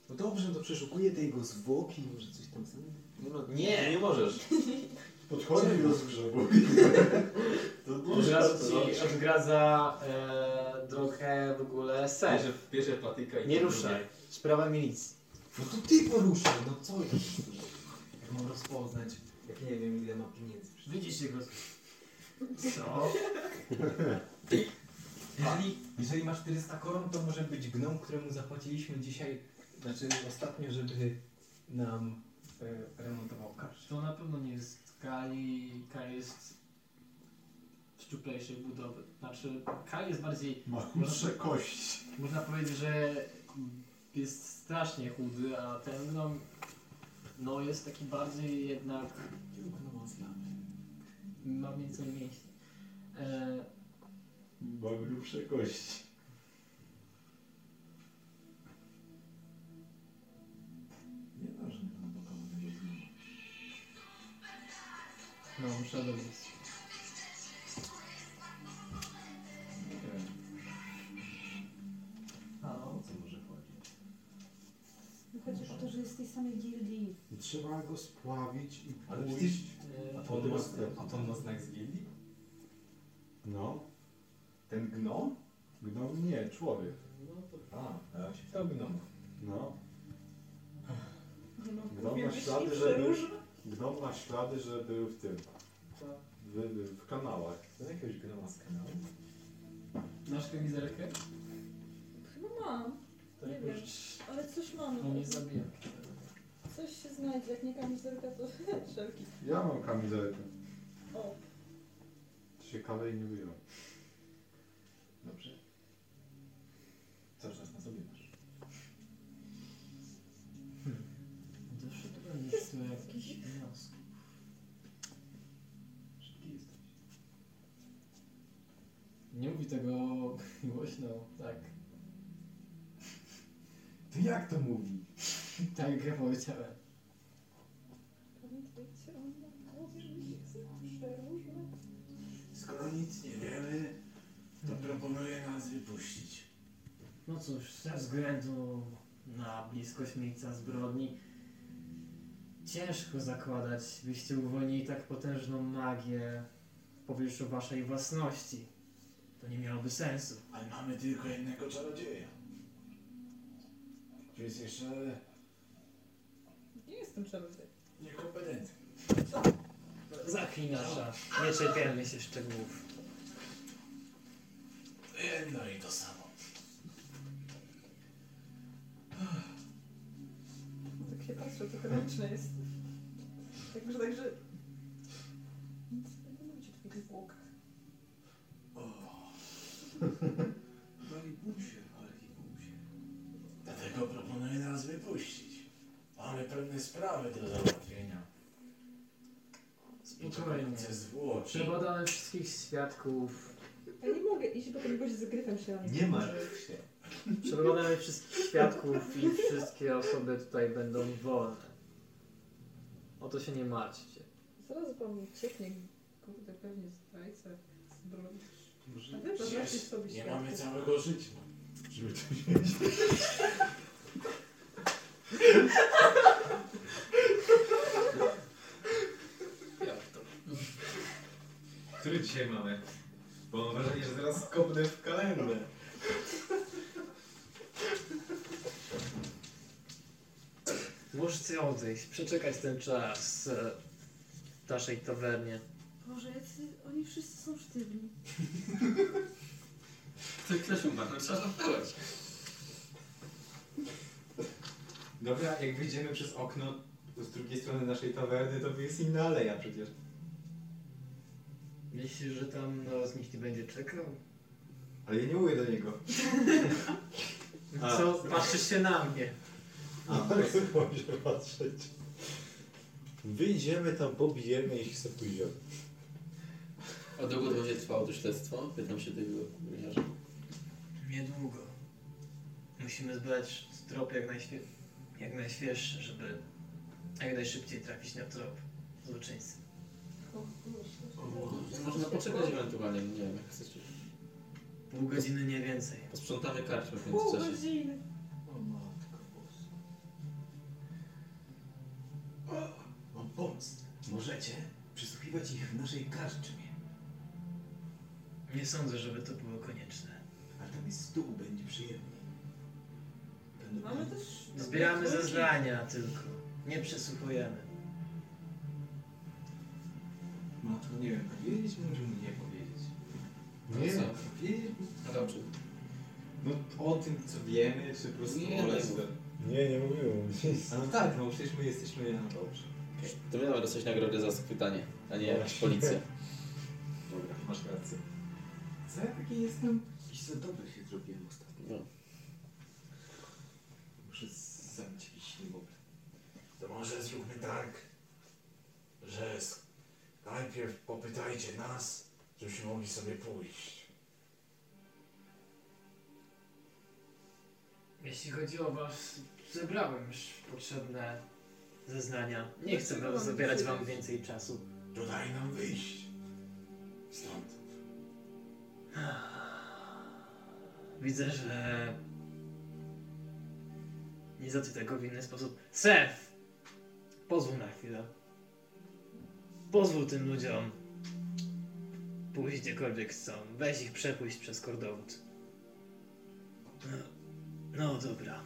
S58: No dobrze, to przeszukuję te jego zwłoki, może coś tam znajdę.
S1: Nie, ma-
S57: Nie, nie możesz.
S52: Podchodzę i rozgrzebuję.
S57: To
S2: Od razu ci odgradza e, drogę w ogóle ser.
S57: Bierze, bierze patyka i
S2: Nie
S57: to
S2: ruszaj.
S57: drugie.
S2: Sprawa milicji.
S58: No to ty poruszaj, no co ja Jak mam rozpoznać, jak nie wiem ile ma pieniędzy.
S2: Widzisz jego.
S58: Co?
S5: Jeżeli, jeżeli masz 400 koron, to może być gnom, któremu zapłaciliśmy dzisiaj, znaczy ostatnio, żeby nam e, remontował karsz.
S2: To na pewno nie jest Kali. Kali jest szczuplejszej budowy. Znaczy, Kali jest bardziej.
S52: Ma chudsze kości.
S2: Można powiedzieć, że jest strasznie chudy, a ten gnom no jest taki bardziej jednak. Ma więcej mięśni. E,
S52: Ma grubsze kości. Nieważne, no bo to będzie znowu.
S2: no, muszę dobrze.
S52: Nie wiem, o co może chodzić.
S3: Chociaż to, że jest z tej samej gildii.
S52: Trzeba go spławić i
S5: Ale
S52: pójść.
S2: y,
S5: A to on ma, a to on ma znak z gildii?
S52: No. Ten gnom? Gnom nie, człowiek.
S5: No to...
S52: A,
S5: A, ja się pytał gnoma.
S52: no.
S3: Nie no,
S52: Gnom
S3: mówię,
S52: ma
S3: myśli
S52: ślady, że był,
S3: przeróżne.
S52: gnom ma ślady, że był w tym. W, w, w kanałach.
S5: To jakiegoś gnoma z kanału?
S2: Masz kamizelkę?
S3: Chyba No mam,
S2: To
S3: nie wiem. Ale coś
S2: On
S3: mam.
S2: No nie zabija.
S3: Coś się znajdzie, jak nie kamizelka, to wszelki.
S59: Ja mam kamizelkę.
S3: O,
S59: To się kalej nie wyjął.
S5: Dobrze. Cały czas na sobie masz.
S2: Doszło do nic do jakichś wniosków.
S5: Szybki jesteś.
S2: Nie mówi tego głośno, tak.
S5: To jak to mówi?
S2: Tak jak ja powiedziałem.
S3: pamiętajcie o mnie. Mówię, przeróżne.
S52: Skoro nic nie wiemy, to proponuję nas wypuścić.
S2: No cóż, ze względu na bliskość miejsca zbrodni ciężko zakładać, byście uwolnili tak potężną magię w powietrzu waszej własności. To nie miałoby sensu.
S52: Ale mamy tylko jednego czarodzieja. Tu jest jeszcze
S3: Nie jestem czarodziej.
S52: niekompetentny.
S2: Zaklinasza, nie czepiamy się szczegółów.
S52: Jedno i to samo.
S3: Tak się patrzę, to chroniczne jest. Także, także... Nic nie mówicie o twoich zwłokach.
S52: Malibusie, Malibusie. Dlatego proponuję nas wypuścić. Mamy pewne sprawy do załatwienia. I
S2: Spokojnie.
S52: czekające zwłoki.
S2: Przebadamy wszystkich świadków,
S3: Ja nie mogę iść, bo kogoś z gryfem się na mnie
S5: Nie ma.
S3: patrzy.
S2: Przeglądamy wszystkich świadków i wszystkie osoby tutaj będą wolne. O to się nie martwcie.
S3: Zaraz wam ucieknie, kurde, pewnie zdrajca zbrodni.
S52: Może
S3: A wy wyobraźcie
S52: przecież
S3: sobie
S52: Nie
S3: świat.
S52: mamy całego życia. Żeby tu się
S7: Który dzisiaj mamy? Bo mam wrażenie, że zaraz skopnę w kalendę.
S2: Możecie odejść, przeczekać ten czas e, w naszej tawernie.
S3: Boże, jacy, oni wszyscy są sztywni.
S1: Ty też umarł, trzeba zapytać.
S7: Dobra, jak wyjdziemy przez okno z drugiej strony naszej tawerny, to jest inna aleja przecież.
S2: Myślisz, że tam na was nikt nie będzie czekał?
S7: Ale ja nie mówię do niego. A.
S2: Co? Patrzysz się na mnie.
S52: Tak się patrzeć. Wyjdziemy tam, pobijemy i ich sobie pójdziemy.
S1: A długo to będzie trwało to śledztwo? Pytam się tego gliniarza.
S60: Niedługo. Musimy zbadać trop jak, najświe... jak najświeższy, żeby jak najszybciej trafić na trop złoczyńcy.
S1: Można poczekać ewentualnie, nie wiem jak chcecie.
S60: Pół godziny, nie więcej.
S1: Posprzątamy karczmę w międzyczasie.
S52: O matko boska. Mam pomysł. Możecie przysłuchiwać ich w naszej karczmie.
S60: Nie sądzę, żeby to było konieczne.
S52: Ale tam jest stół, będzie przyjemniej. Będą
S3: Mamy też...
S2: No,
S60: Zbieramy zeznania tylko. Nie przesłuchujemy.
S52: Matko, nie wiem, powiedzieć możemy nie powiedzieć.
S1: No co?
S52: powiedzieć?
S1: Ale o czym?
S7: No o tym co wiemy, czy po prostu
S1: Nie,
S7: o
S1: nie
S7: lesbę.
S52: Nie, nie mówiłem.
S7: A no tak, no przecież my jesteśmy na dobrze.
S1: To my mamy dostać nagrodę za schwytanie, a nie policja.
S7: Dobra, masz rację. Co ja taki jestem?
S52: Jakiś za dobry się zrobiłem ostatnio.
S1: No.
S52: Muszę zabić jakiś niemowlę.
S61: To może zróbmy tak, że s- najpierw popytajcie nas, żebyśmy mogli sobie pójść.
S60: Jeśli chodzi o was, zebrałem już potrzebne zeznania. Nie chcę wam zabierać wam więcej czasu.
S61: To daj nam wyjść. Stąd.
S60: Widzę, że nie załatwi tego w inny sposób. Sef! Pozwól na chwilę. Pozwól tym ludziom pójść gdziekolwiek chcą. Weź ich przepłyść przez kordowód. No, no dobra.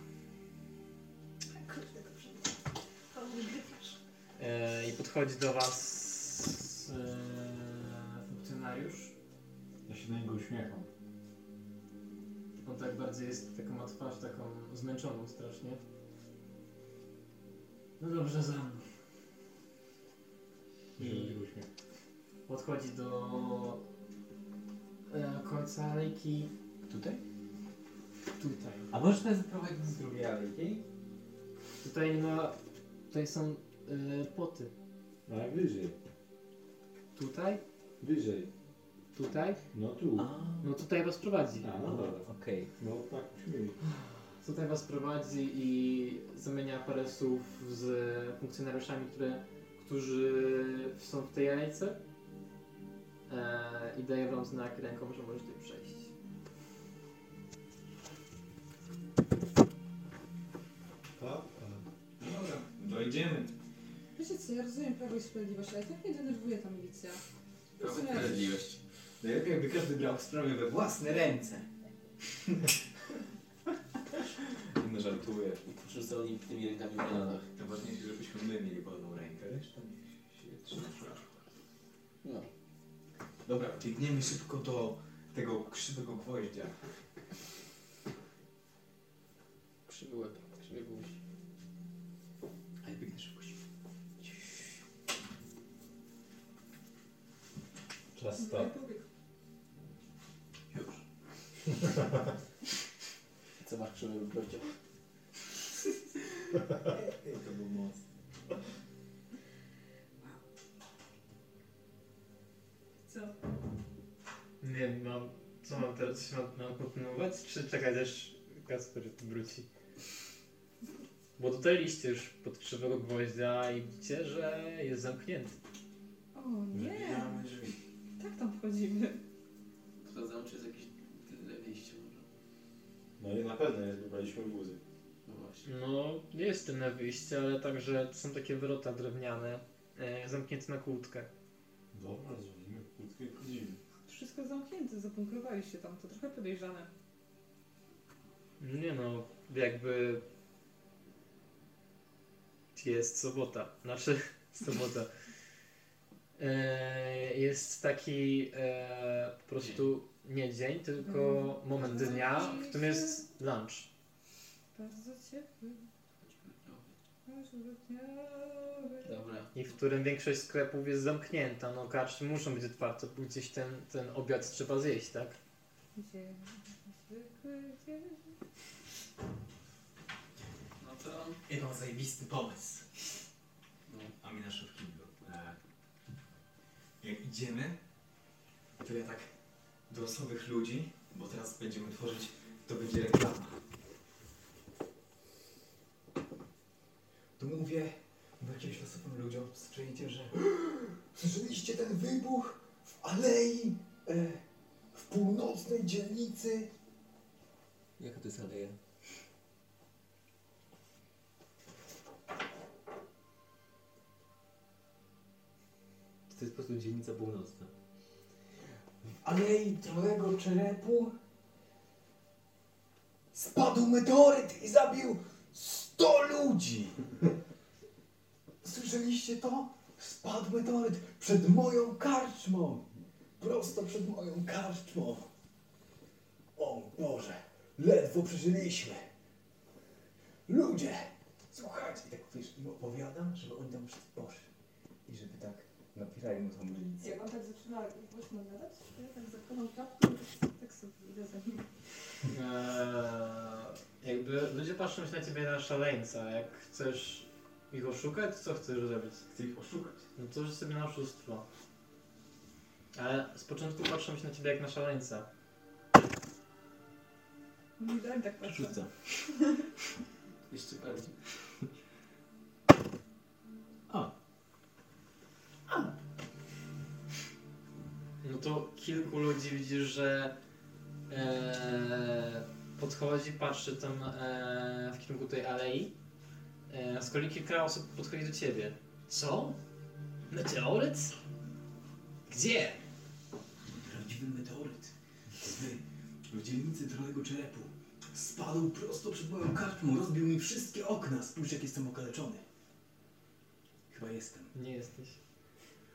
S2: E, I podchodzi do was e, funkcjonariusz.
S62: Ja się na niego uśmiecham.
S63: On tak bardziej jest, taką ma twarz taką zmęczoną strasznie. No dobrze, za mną. I podchodzi do e, końca alejki.
S5: Tutaj?
S63: Tutaj.
S5: A możesz nas zaprowadzić z drugiej alejki?
S63: Tutaj nie ma... Tutaj są e, poty.
S62: No, Ale wyżej.
S63: Tutaj?
S62: Wyżej.
S63: Tutaj?
S62: No tu.
S63: No tutaj was prowadzi.
S62: A, no dobra.
S5: Okej.
S62: No tak brzmi.
S63: Tutaj was prowadzi i zamienia parę słów z funkcjonariuszami, które, którzy są w tej alejce e, i daje wam znak ręką, że możecie przejść.
S7: Tak? Dobra, dojdziemy.
S3: Wiecie co, ja rozumiem Prawo i Sprawiedliwość, ale tak mnie denerwuje ta milicja. Rozumiem, że-
S7: Najlepiej jakby każdy brał sprawę we własne ręce. No żartuję.
S1: Rzucał nim tymi rękami w
S52: No,
S1: bananach.
S7: Najważniejsze, żebyśmy my mieli wolną rękę. Reszta niech się trzyma szlaku.
S1: No.
S7: Dobra, biegniemy szybko do tego krzywego gwoździa.
S1: Krzywy łeb, krzywy guś.
S7: A ja biegnę szybko.
S62: Czas stop.
S1: Co masz krzywy w brodzie?
S7: Ej, to był mocny.
S3: Co?
S2: Nie wiem, mam, co mam teraz, czy mam, mam kontynuować, czy czekać aż Kasper wróci? Bo dotarliście już pod krzywego gwoździa i widzicie, że jest zamknięty.
S3: O nie!
S7: Wybijamy drzwi.
S3: Tak tam wchodzimy.
S1: Sprawdzam, czy jest jakieś tyle wyjście może.
S52: No i na pewno nie zdobyliśmy guzy.
S1: No właśnie.
S2: No, jest tylne wyjście, ale także są takie wyrota drewniane, e, zamknięte na kłódkę.
S62: Dobra, dzwonimy krótko i wchodzimy.
S3: Wszystko zamknięte, zapunkrowali się tam, to trochę podejrzane.
S2: No Nie no, jakby... Jest sobota, znaczy sobota. E, jest taki e, po prostu nie dzień, tylko moment dnia, w którym jest lunch.
S3: Bardzo ciepły. Choćby dniowy.
S1: Dobra.
S2: I w którym większość sklepów jest zamknięta. No karczmy muszą być otwarte, bo gdzieś ten, ten obiad trzeba zjeść, tak?
S3: Dzień, zwykły dzień.
S1: No to...
S52: Ja mam zajebisty pomysł. A mi na szybkiego. Jak idziemy, to ja tak dorosłych ludzi, bo teraz będziemy tworzyć, to będzie reklama. To mówię do jakimś losowym ludziom, słyszeliście, że słyszeliście ten wybuch w alei e, w północnej dzielnicy.
S5: Jaka to jest aleja? Czy to jest po prostu dzielnica północna?
S52: alei Trolego Czerepu spadł meteoryt i zabił 100 ludzi. Słyszeliście to? Spadł meteoryt przed moją karczmą. Prosto przed moją karczmą. O Boże, ledwo przeżyliśmy. Ludzie, słuchajcie. I tak wiesz, im opowiadam, żeby oni tam wszyscy poszli. I żeby tak napierali mu tą milicję.
S3: Jak on tak zaczyna głośno gadać, to ja tak zakładam czapkę i tak sobie idę za nim.
S2: Eee, jakby ludzie patrzą się na ciebie na szaleńca. Jak chcesz ich oszukać, co chcesz zrobić? Chcę ich oszukać. No to rzuć sobie na oszustwo. Ale z początku patrzą się na ciebie jak na szaleńca.
S3: Nie dałem tak patrzę.
S1: Rzucę. Jeszcze bardziej.
S2: No to kilku ludzi widzisz, że e, podchodzi, patrzy tam e, w kierunku tej alei. E, z kolei kilka osób podchodzi do ciebie. Co? Meteoryt? Gdzie?
S52: Prawdziwy meteoryt. Zwy, w dzielnicy Trolego Czerepu. Spadł prosto przed moją kartą, rozbił mi wszystkie okna. Spójrz, jak jestem okaleczony. Chyba jestem.
S2: Nie jesteś.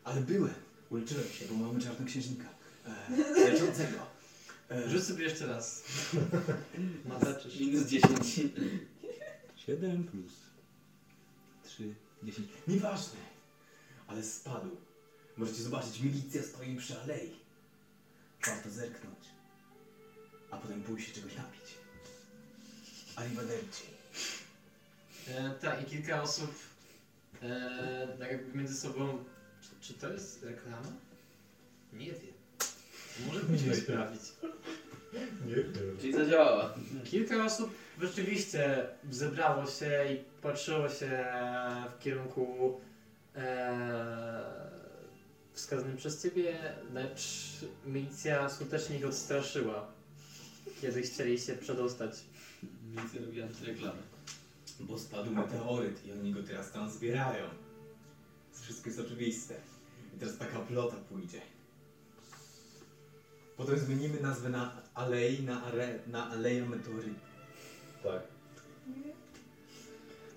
S52: Ale byłem. Uleczyłem się, bo mamy czarnoksiężnika. Eee, leczącego. Eee,
S2: Rzuć sobie jeszcze raz. Mataczysz.
S1: Minus 10.
S52: 7 plus 3, 10. Nieważne. Ale spadł. Możecie zobaczyć, milicja stoi przy alei. Warto zerknąć. A potem pójść się czegoś napić. Arrivederci.
S2: E, tak, i kilka osób e, tak jakby między sobą. Czy, czy to jest reklama? Nie wiem. Może będziemy sprawdzić.
S64: Nie wiem.
S1: Czyli zadziałała.
S2: Kilka osób rzeczywiście zebrało się i patrzyło się w kierunku e, wskazanym przez ciebie, lecz milicja skutecznie ich odstraszyła, kiedy chcieli się przedostać.
S1: Milicja robi antyreklamę.
S52: Bo spadł meteoryt i oni go teraz tam zbierają. Wszystko jest oczywiste. I teraz taka plota pójdzie. Potem zmienimy nazwę na alei na, are, na aleję meteorytu.
S1: Tak.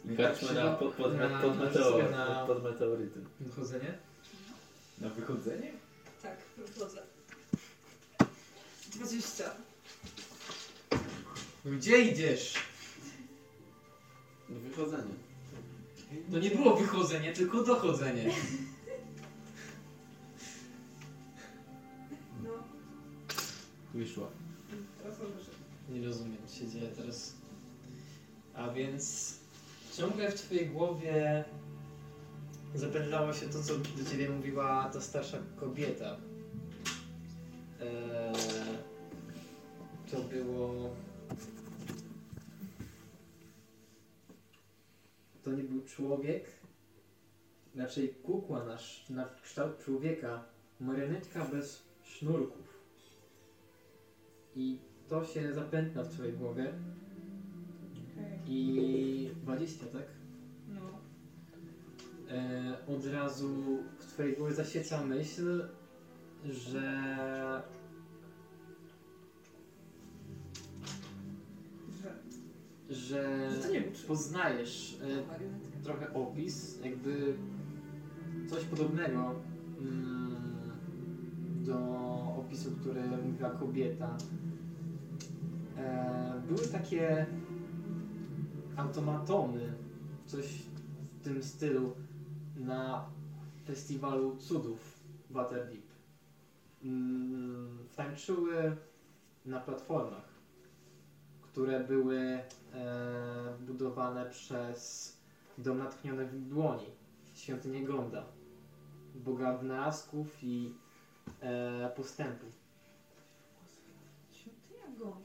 S1: I
S52: Nie.
S7: tak
S1: patrzmy na pod, pod,
S2: Na-
S1: pod, meteor,
S2: na-
S1: pod, pod meteoryty.
S2: Wychodzenie?
S52: Na wychodzenie?
S3: Tak, wychodzę. 20.
S2: Gdzie idziesz?
S1: No wychodzenie.
S2: To nie było wychodzenie, tylko dochodzenie.
S3: No,
S1: Wyszła.
S3: teraz on wyszedł.
S2: Nie rozumiem, co się dzieje teraz. A więc ciągle w twojej głowie zapędzało się to, co do ciebie mówiła ta starsza kobieta. Eee, to było... To nie był człowiek, raczej kukła na, sz- na kształt człowieka, marionetka bez sznurków. I to się zapętna w twojej głowie. I 20, tak?
S3: No.
S2: E, od razu w twojej głowie zasieca myśl, że
S3: Że...
S2: że
S3: Że to nie był człowiek.
S2: poznajesz e, trochę opis, jakby coś podobnego mm, do opisu, który mówiła kobieta. E, były takie automatony, coś w tym stylu na festiwalu cudów w Waterdeep. Mm, tańczyły na platformach które były e, budowane
S65: budowane przez dom natchniony w dłoni, świątynię Gonda, boga wynalazków i e, postępu.
S3: Świątynia go.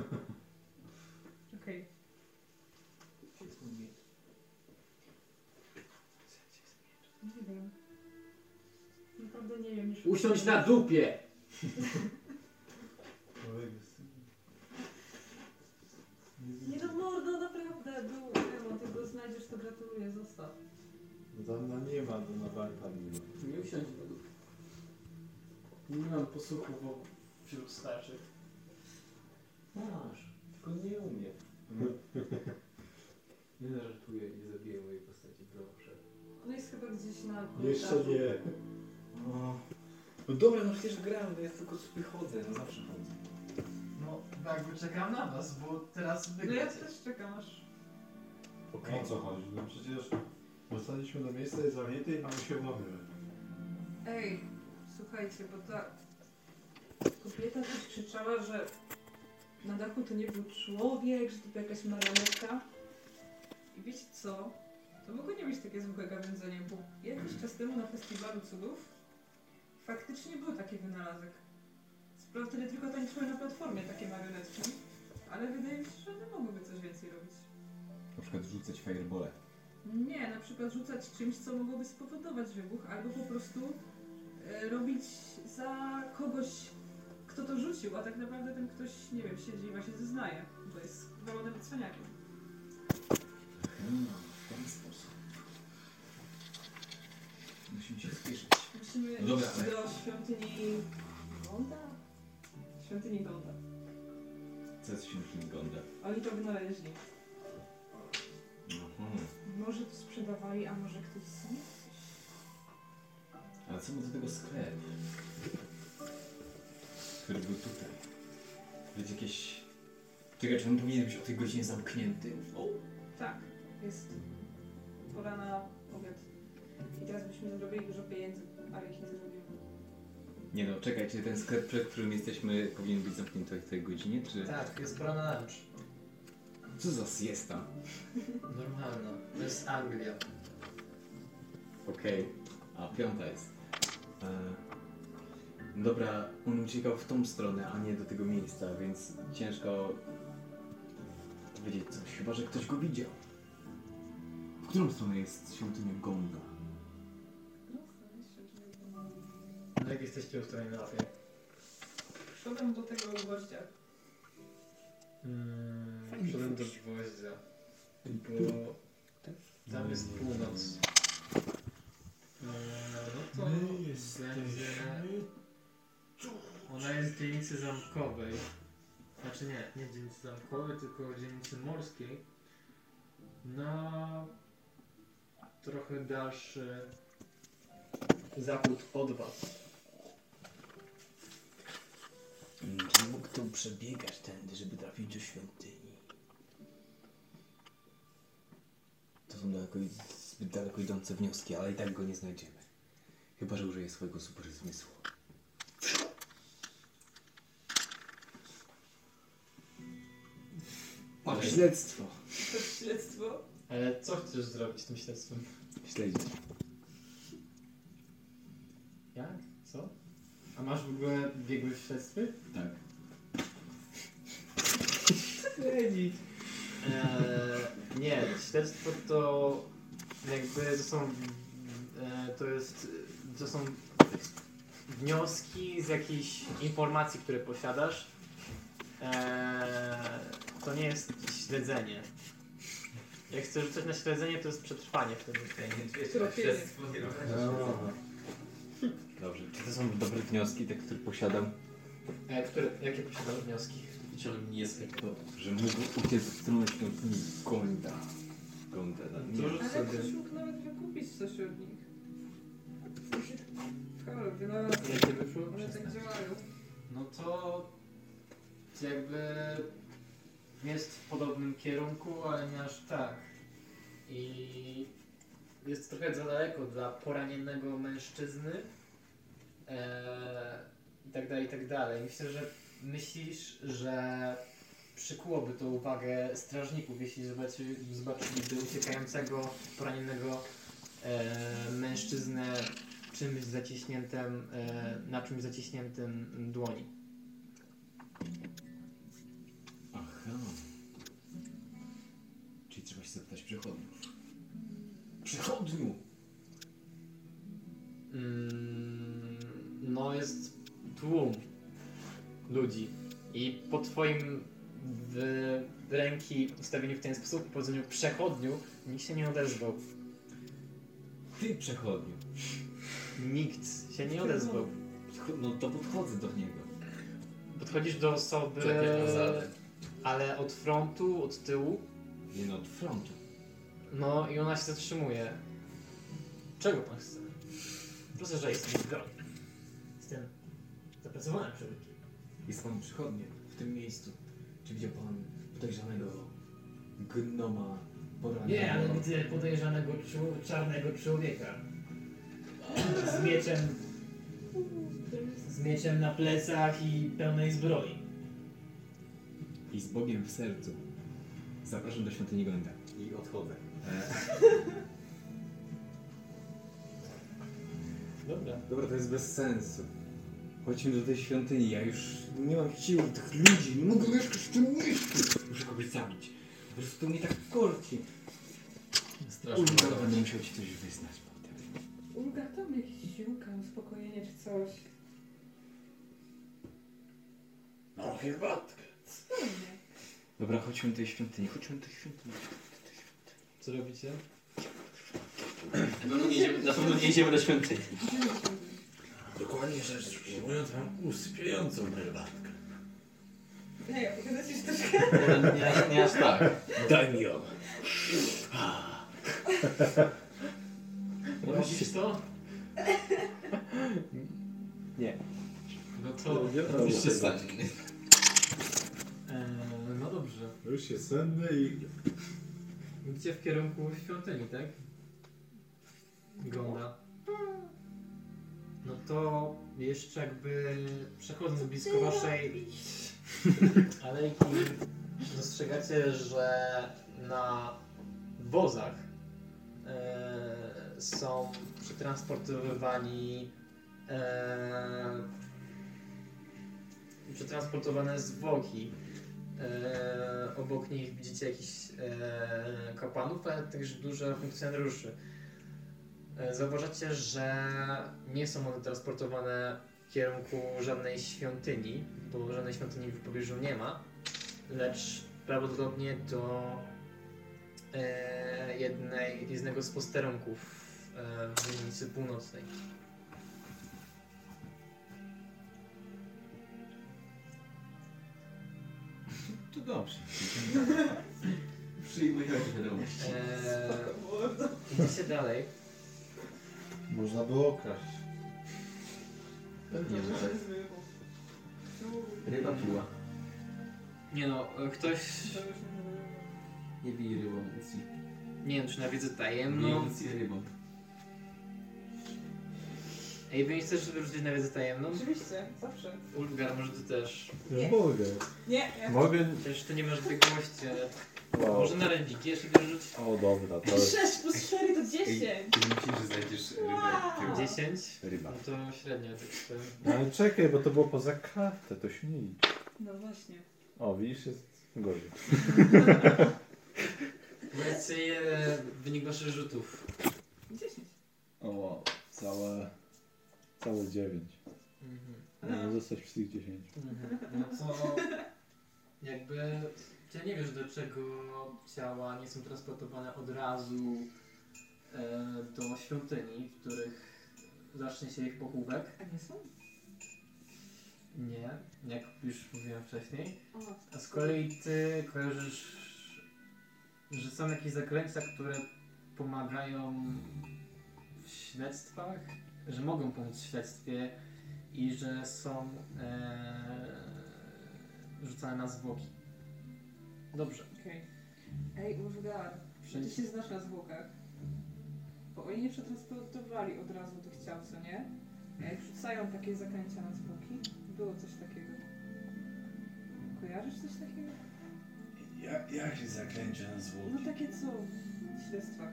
S3: Okej. Nie wiem. Naprawdę nie wiem. Już
S65: Usiądź na dupie!
S3: Nie no mordo, naprawdę. Był emot. Jak go znajdziesz, to gratuluję. Zostaw.
S5: Dawna nie ma, to na banka nie ma.
S2: Nie usiądź na dół. Nie mam posłuchu wo- wśród starszych.
S5: Masz, tylko nie umie. Nie żartuję, nie zabiję mojej postaci, proszę.
S3: No jest chyba gdzieś na...
S5: Jeszcze nie.
S66: No. No dobra, no przecież gram, to ja tylko sobie chodzę, no zawsze chodzę.
S2: No, jakby czekam na was, bo teraz
S3: No ja
S2: wygracie.
S3: też czekam aż...
S67: O co chodzi? No przecież dostaliśmy do miejsca jest zajęte, a my się umawiamy.
S3: Ej, słuchajcie, bo ta kobieta też krzyczała, że na dachu to nie był człowiek, że to była jakaś marionetka. I wiecie co? To mogło nie być takie złe gawędzenie, bo jakiś czas temu na festiwalu cudów faktycznie był taki wynalazek. Sprawdź wtedy tylko tańczyły na platformie takie marionetki, ale wydaje mi się, że one mogłyby coś więcej robić.
S7: Na przykład rzucać firebole.
S3: Nie, na przykład rzucać czymś, co mogłoby spowodować wybuch, albo po prostu e, robić za kogoś, kto to rzucił, a tak naprawdę ten ktoś, nie wiem, siedzi i właśnie zeznaje, bo jest walonym cwaniakiem.
S66: Hmm, w ten sposób. Musimy się spieszyć.
S3: Musimy
S66: No dobra,
S3: iść
S66: ale-
S3: do świątyni Gonda? Świątyni Gonda.
S7: Co jest śmieszny gonda?
S3: Oni to wynaleźli.
S7: Mhm.
S3: Może to sprzedawali, a może ktoś sam?
S7: Ale co mu do tego sklep? Który był tutaj.
S66: Będzie jakieś... Czekaj, czy on powinien być o tej godzinie zamknięty? O,
S3: Tak, jest pora na obiad. I teraz byśmy zrobili dużo pieniędzy, ale ich nie zrobimy.
S7: Nie no, czekaj, czy ten sklep, przed którym jesteśmy, powinien być zamknięty o tej godzinie, czy...
S65: Tak, jest pora na lunch.
S7: Co za siesta?
S65: Normalno. To jest Anglia.
S7: Okej. A piąta jest. E, Dobra, on uciekał w tą stronę, a nie do tego miejsca, więc ciężko powiedzieć coś, chyba że ktoś go widział. W którą stronę jest świątynia Gonda?
S2: No jak jesteście ustawieni na mapie?
S3: Przodem do tego gwoździa.
S2: Mm, Przodem do gwoździa. Bo tam jest północ. Eee, No to będzie... Ona jest w dzielnicy zamkowej. Znaczy nie, nie w dzielnicy zamkowej, tylko w dzielnicy morskiej. Na trochę dalszy zachód od was.
S66: Czy mógł tu przebiegać tędy, żeby trafić do świątyni?
S7: To są daleko, zbyt daleko idące wnioski, ale i tak go nie znajdziemy. Chyba, że użyje swojego super zmysłu.
S66: O, śledztwo!
S3: To śledztwo?
S2: Ale co chcesz zrobić tym śledztwem?
S7: Śledzić.
S2: Jak? Co? A masz w ogóle biegły w śledztwie?
S7: Tak.
S2: Śledzić.
S65: Eee, nie, śledztwo to jakby to są, e, to jest, to są wnioski z jakichś informacji, które posiadasz. Eee, to nie jest śledzenie. Jak chcesz rzucać na śledzenie, to jest przetrwanie w tym
S3: Tropienie.
S7: Dobrze, czy to są dobre wnioski, te, które posiadam?
S65: E, które, jakie posiadasz wnioski?
S7: Wyciągnąłem nie z tego, że mógł uciec w stronę świątyni Gonda. Gonda, no, nie.
S3: Ale ktoś mógł nawet wykupić coś od nich. Halo, wynalazki.
S2: Jakie wyszło?
S3: One tak działają.
S2: No to jakby jest w podobnym kierunku, ale nie aż tak. I jest trochę za daleko dla poranionego mężczyzny e, eee, i tak dalej, i tak dalej. Myślę, że myślisz, że przykułoby to uwagę strażników, jeśli zobaczy, zobaczyliby uciekającego, poranionego e, mężczyznę czymś zaciśniętym, e, na czymś zaciśniętym dłoni.
S5: Aha. Czyli trzeba się zapytać przechodniów. Przechodniu!
S2: Mm, no jest tłum ludzi i po twoim w, ręki ustawieniu w ten sposób, po powiedzeniu przechodniu, nikt się nie odezwał.
S5: Ty przechodniu.
S2: Nikt się nie odezwał.
S5: No to podchodzę do niego.
S2: Podchodzisz do osoby,
S5: Co jakieś azarty?
S2: ale od frontu, od tyłu.
S5: Nie no, od frontu.
S2: No i ona się zatrzymuje. Czego pan chce?
S68: Proszę, że jestem zgodny. Jestem zapracowany przy wiki.
S5: Jest pan przychodnie w tym miejscu. Czy widział pan podejrzanego gnoma porannego?
S68: Nie, ale widzę podejrzanego czu- czarnego człowieka. Z mieczem. Z mieczem na plecach i pełnej zbroi.
S5: I z Bogiem w sercu. Zapraszam do świątyni Glenda. I odchodzę.
S68: Dobra.
S5: Dobra, to jest bez sensu. Chodźmy do tej świątyni, ja już nie mam sił tych ludzi, nie mogę mieszkać w tym miejscu! Muszę kogoś zabić. Po prostu mnie tak korci.
S1: Strasznie.
S5: Ulga, będę musiał ci coś wyznać.
S3: Ulga tam jakieś ziółka, uspokojenie czy coś.
S69: No herbatkę.
S5: Dobra, chodźmy do tej świątyni, chodźmy do tej świątyni.
S2: Co robicie?
S1: No, nie idziemy, na pewno nie idziemy do świątyni.
S69: Dokładnie rzecz ujmując, mam usypiającą herbatkę.
S3: Ej, a pogadacie się troszkę?
S1: tak.
S69: Daj mi ją.
S68: Widzisz to?
S70: Nie.
S2: No
S68: to-
S1: Oczywiście stać.
S2: no dobrze.
S71: Już się senny i
S2: Idziecie w kierunku świątyni, tak? Gonda. No to jeszcze jakby przechodząc blisko waszej alejki dostrzegacie, że na wozach e, są przetransportowywani e, przetransportowane zwłoki. E, obok nich widzicie jakichś e, kapłanów, ale też dużo funkcjonariuszy. E, zauważacie, że nie są one transportowane w kierunku żadnej świątyni, bo żadnej świątyni w pobliżu nie ma, lecz prawdopodobnie do e, jednej, jednego z posterunków e, w dzielnicy północnej.
S5: To dobrze.
S1: Przyjmuję wiadomość.
S2: Eee, E, idziecie dalej.
S71: można było okraść.
S1: Pewnie, że tak. Ryba piła.
S2: Nie no, e, ktoś...
S1: Nie bij rybą, uci.
S2: Nie wiem, czy na wiedzę
S1: Nie
S2: tajemną.
S1: uci rybą.
S2: Ej, wy nie chcesz wyrzucić na wiedzę tajemną?
S3: Oczywiście, zawsze.
S2: Ulgar, może ty też.
S3: Nie.
S7: Mogę.
S3: Nie, ja
S7: Mogę.
S2: Przecież ty nie masz biegłości, ale...
S7: Wow.
S2: Może na rębiki jeszcze wyrzuć?
S7: O dobra, to jest...
S3: 6 plus 4 to 10.
S1: myślisz, że znajdziesz rybę?
S3: Wow.
S2: 10?
S7: Ryba.
S2: No to średnio, tak powiem.
S7: No ale czekaj, bo to było poza kartę, to się nie liczy.
S3: No właśnie.
S7: O, widzisz, jest gorzej.
S2: Więcej wynik waszych rzutów.
S3: 10.
S7: O, wow. całe... Całe dziewięć. Miałem zostać przy tych dziesięciu.
S2: Mhm, No to jakby ja nie wiesz do czego ciała nie są transportowane od razu e, do świątyni, w których zacznie się ich pochówek.
S3: A nie są?
S2: Nie, jak już mówiłem wcześniej.
S3: O.
S2: A z kolei ty kojarzysz, że są jakieś zaklęcia, które pomagają w śledztwach, że mogą pomóc w śledztwie i że są e, rzucane na zwłoki. Dobrze.
S3: Okej. Ej, oh Ulgar, czy ty
S2: Przecież-
S3: się znasz na zwłokach? Bo oni nie przetransportowali od razu do ciał, co nie? A jak rzucają takie zaklęcia na zwłoki, było coś takiego. Kojarzysz coś takiego?
S52: Ja, jak się zaklęcia na zwłoki?
S3: No takie co w śledztwach.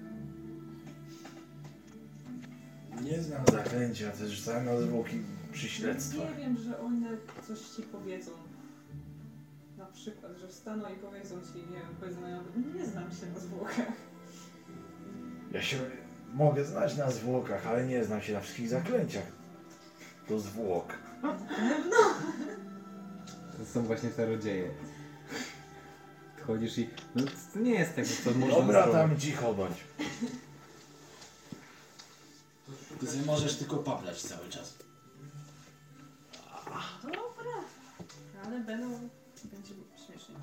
S52: Nie znam zaklęcia, też znam na zwłoki przy śledztwach.
S3: Nie wiem, że one coś ci powiedzą. Na przykład, że wstaną i powiedzą ci, nie wiem, powiedzą nawet, nie znam się na zwłokach.
S52: Ja się mogę znać na zwłokach, ale nie znam się na wszystkich zaklęciach do zwłok.
S5: To są właśnie czarodzieje. Chodzisz i... No to nie jest tego, co można
S52: Dobra,
S5: zrobić.
S52: tam cicho bądź.
S7: Ty sobie możesz tylko paplać cały czas.
S3: Dobra, ale będą, będzie śmiesznie.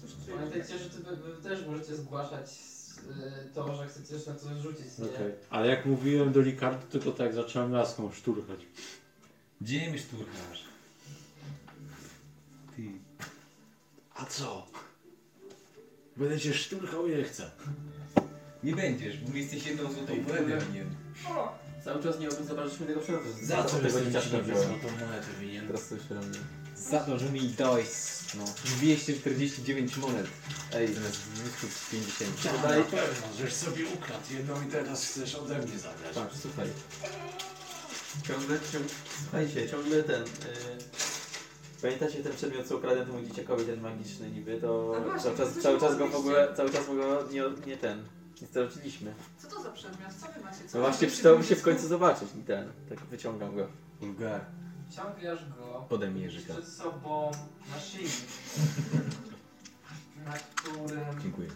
S3: Cóż, czy...
S2: Pamiętajcie, że ty, wy, wy też możecie zgłaszać y, to, że chcecie się na coś rzucić, nie?
S72: Okej. Ale jak mówiłem do Likardu, tylko tak zacząłem laską szturchać.
S7: Gdzie mi szturchasz? Ty. A co? Będę cię szturchał ile chcę.
S5: Nie będziesz, bo jesteś jedną złotą monetę winien.
S1: Cały czas nie zobaczyliśmy tego przerwy.
S5: Za co
S1: tego
S5: jestem
S1: dzieciaczka
S5: ci
S1: wziąłem?
S5: złotą
S7: monetę winien?
S5: Teraz coś robię. Za to, że mi dałeś no, 249 monet. Ej, zamiast 250.
S7: Tak,
S52: No
S5: Daj-
S7: na pewno, żeś sobie ukradł jedną i teraz chcesz ode mnie zabrać.
S1: Tak, słuchaj. Ciągle, ciągle, słuchajcie, ciągle ten... y, Pamiętacie ten przedmiot, co ukradłem temu dzieciakowi, ten magiczny niby, to
S3: A właśnie,
S1: cały
S3: to
S1: czas,
S3: coś
S1: cały czas go w
S3: mówiliście.
S1: ogóle, cały czas go nie, nie ten, nie straciliśmy.
S3: Co to za przedmiot? Co wy macie? Co
S1: No właśnie
S3: wy
S1: przydałoby się w końcu zobaczyć i ten, tak wyciągam go.
S5: Ulgar.
S2: Ciągniesz go
S5: Podaj mi Jerzyka.
S2: przed sobą na szyi, na którym
S5: Dziękuję.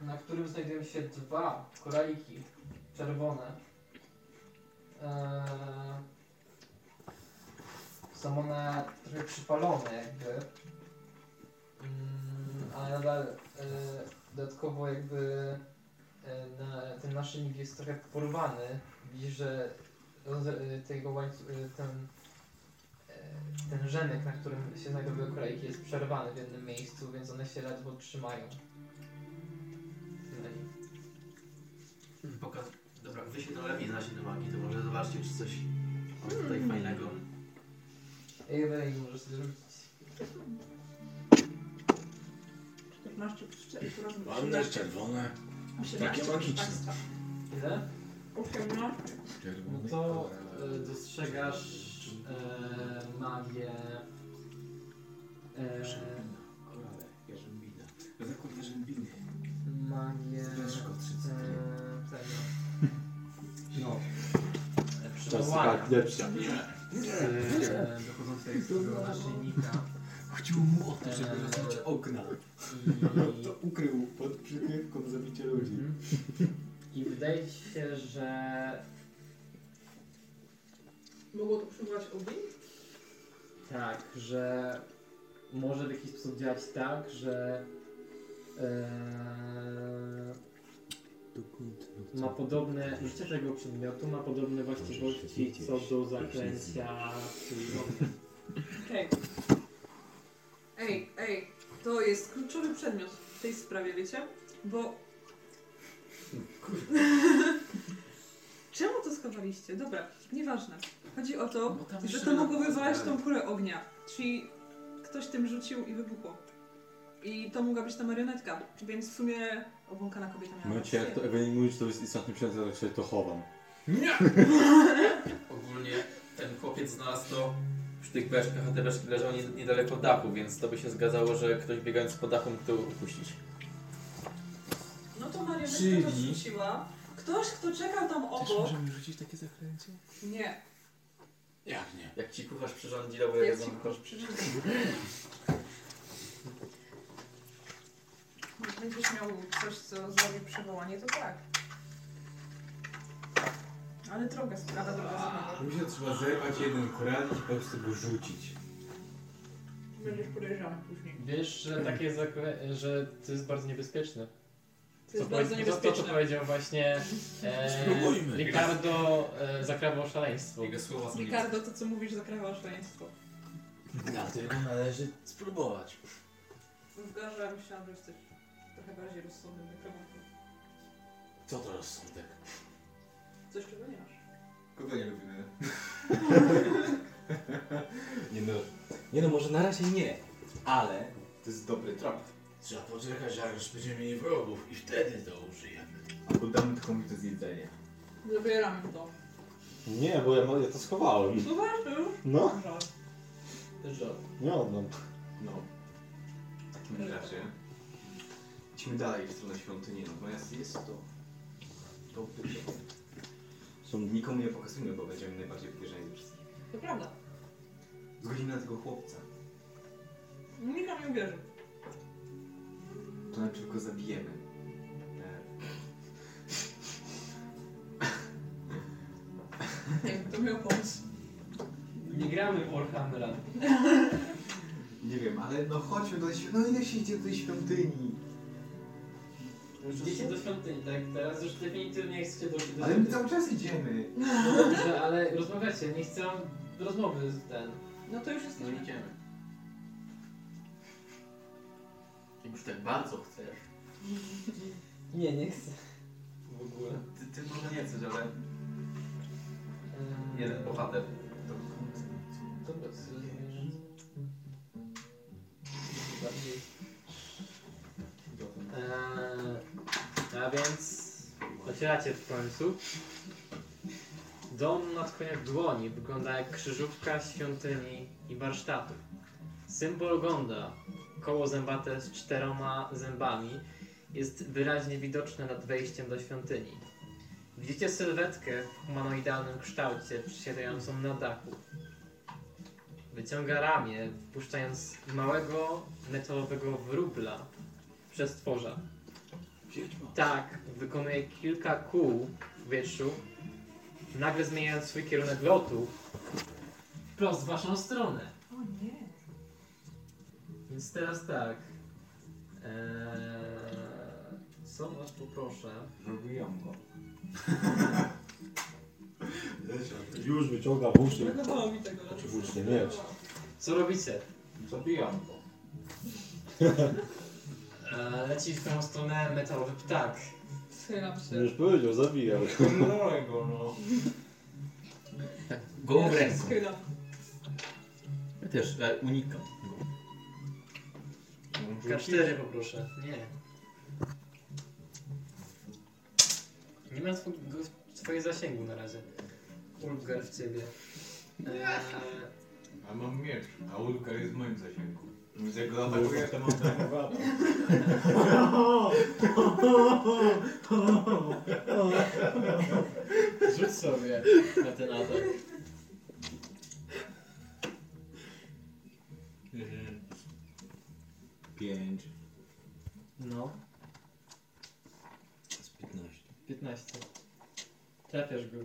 S2: na którym znajdują się dwa koraliki czerwone. Eee, są one trochę przypalone jakby. Mm, ale nadal e, dodatkowo jakby e, na, ten naszyjnik jest trochę porwany. Widzisz, że roz, e, tego łańcu, e, ten, e, ten rzenek, na którym się znajdowały kolejki jest przerwany w jednym miejscu, więc one się ledwo trzymają. Na nim.
S73: Pokaz... Dobra, wy się to lepiej znacie do magii, to może zobaczcie, czy coś mamy tutaj
S1: Hmm.
S73: fajnego.
S2: Ewentualnie możesz sobie zrobić
S3: 14 przy cztery, tu razem
S52: Ładne,
S3: 18.
S52: czerwone.
S3: 18,
S52: Takie magiczne.
S2: Ile?
S3: 18.
S2: No to e, dostrzegasz e, magię. E,
S7: Jarzębina. Zakup jarzębiny.
S2: magię.
S7: Ciężko, trzy cykle.
S2: E, tego.
S7: No.
S2: Przywołania.
S72: tak, lepsza.
S2: Nie.
S7: Nie.
S2: E, dochodzącej z tego naszyjnika.
S7: Chciał mu o to, żeby rozbić okna.
S74: To ukrył pod przykrywką zabicie ludzi.
S2: I wydaje ci się, że
S3: Mogło to przywołać ogień?
S2: Tak, że może w jakiś sposób działać tak, że e, ma podobne, życie tego przedmiotu ma podobne właściwości co do zaklęcia czyli ognia.
S3: Okej. Ej, ej, to jest kluczowy przedmiot w tej sprawie, wiecie? Bo... Czemu to schowaliście? Dobra, nieważne. Chodzi o
S7: No
S3: to, że to
S73: jeszcze-
S3: mogło wywołać tą kulę ognia. Czyli ktoś tym rzucił i wybuchło. I to mogła być ta marionetka, więc w sumie obłąkana kobieta miała
S72: No cię, jak to Ewelin mówi, że to jest istotny przedmiot, to się to chowam.
S1: Ogólnie ten chłopiec znalazł to przy tych beczkach, a te beczki leżą nie- niedaleko dachu, więc to by się zgadzało, że ktoś biegając po dachu mógł to upuścić.
S3: No to marionetka
S1: Czyli-
S3: to rzuciła. Ktoś, kto czekał tam obok...
S7: rzucić takie zaklęcie?
S3: Nie,
S7: Jak nie?
S1: Jak ci kucharz przyrządzi, albo
S3: Jak
S1: jak
S3: ci kucharz przyrządzi. jak będziesz miał coś, co zrobi przywołanie, to tak. Ale droga sprawa, droga sprawa.
S74: Mi się trzeba zerwać jeden koran i po prostu go rzucić.
S3: Będziesz podejrzany później.
S75: Wiesz, że
S1: Hmm.
S75: takie zakle... że to jest bardzo niebezpieczne.
S3: To jest
S75: Co
S3: bardzo
S75: powie-
S3: niebezpieczne.
S75: To, to, co powiedział właśnie e,
S3: Spróbujmy.
S75: Ricardo e, zakrawał szaleństwo.
S1: Jego słowa
S3: Ricardo, to co mówisz zakrawa szaleństwo.
S7: Dlatego należy spróbować.
S3: Zgarzałem się, że jesteś trochę bardziej rozsądnym nekromantem.
S7: Co to rozsądek?
S3: Coś, czego nie masz.
S74: Kogo nie lubimy?
S7: nie, no, nie no, może na razie nie, ale to jest dobry trop.
S1: Trzeba poczekać, aż będziemy mieli wrogów i wtedy to użyjemy.
S7: Albo damy to komuś do zjedzenia.
S3: Zabieram to.
S76: Nie, bo ja, ma- ja to schowałem.
S3: Zobaczył.
S76: No.
S3: Żart.
S7: Żart.
S76: Nie oddam.
S7: No. W takim razie idźmy dalej w stronę świątyni, natomiast jest to dobry plan. Zresztą nikomu nie pokazujmy, bo będziemy najbardziej podejrzani ze wszystkich.
S3: To prawda.
S7: Z godziny na tego chłopca.
S3: Nikt nam nie uwierzy.
S7: To najpierw go zabijemy. E,
S3: Nie, to miał pomysł.
S2: Nie gramy w Warhammera.
S7: Nie wiem, ale no chodźmy do tej świątyni. No ile się idzie do tej świątyni?
S5: Idziecie do świątyni, tak? Teraz już definitywnie chcecie doszli do
S7: Ale my
S5: świątyni.
S7: cały czas idziemy.
S5: No dobrze, ale rozmawiacie, nie chcę rozmowy z ten.
S3: No to już jest
S1: No idziemy. Jak już tak bardzo chcesz.
S5: Nie, nie chcę.
S1: W ogóle. Ty, ty może nie chcesz, ale... Jeden bohater.
S5: Dobra, co rozumiesz? Bardziej.
S2: Eee, a więc otwieracie w końcu. Dom na koniec dłoni wygląda jak krzyżówka świątyni i warsztatu. Symbol gonda, koło zębate z czteroma zębami, jest wyraźnie widoczne nad wejściem do świątyni. Widzicie sylwetkę w humanoidalnym kształcie przysiadającą na dachu. Wyciąga ramię, wpuszczając małego metalowego wróbla przez tworza. Tak, wykonuje kilka kół w powietrzu, nagle zmieniając swój kierunek lotu wprost w waszą stronę.
S3: O nie.
S2: Więc teraz tak. Eee, co was poproszę?
S7: Robiłam go.
S76: Już wyciąga włócznie.
S7: No
S3: Brakowało No mi tego.
S76: Czy włócznie, miecz.
S2: Co robicie?
S7: Zabijam go.
S2: Eee, leci w tą stronę metalowy ptak.
S3: Schylam się.
S76: Już powiedział, zabijał.
S7: go, no.
S1: Gołą
S3: Ja się
S1: ręką.
S3: Schylam.
S1: Ja też e, unikam.
S2: K4 poproszę. Nie. Nie ma twojego, twojego zasięgu na razie. Ulgar w ciebie. Eee,
S13: A mam miecz, a łódka jest w moim zasięgu. Więc jak
S76: No.
S13: go atakuję, to mam tak dwa.
S5: Rzuć sobie na ten atak.
S7: Pięć.
S5: No,
S7: To jest piętnaście.
S5: 15. Trafiasz go.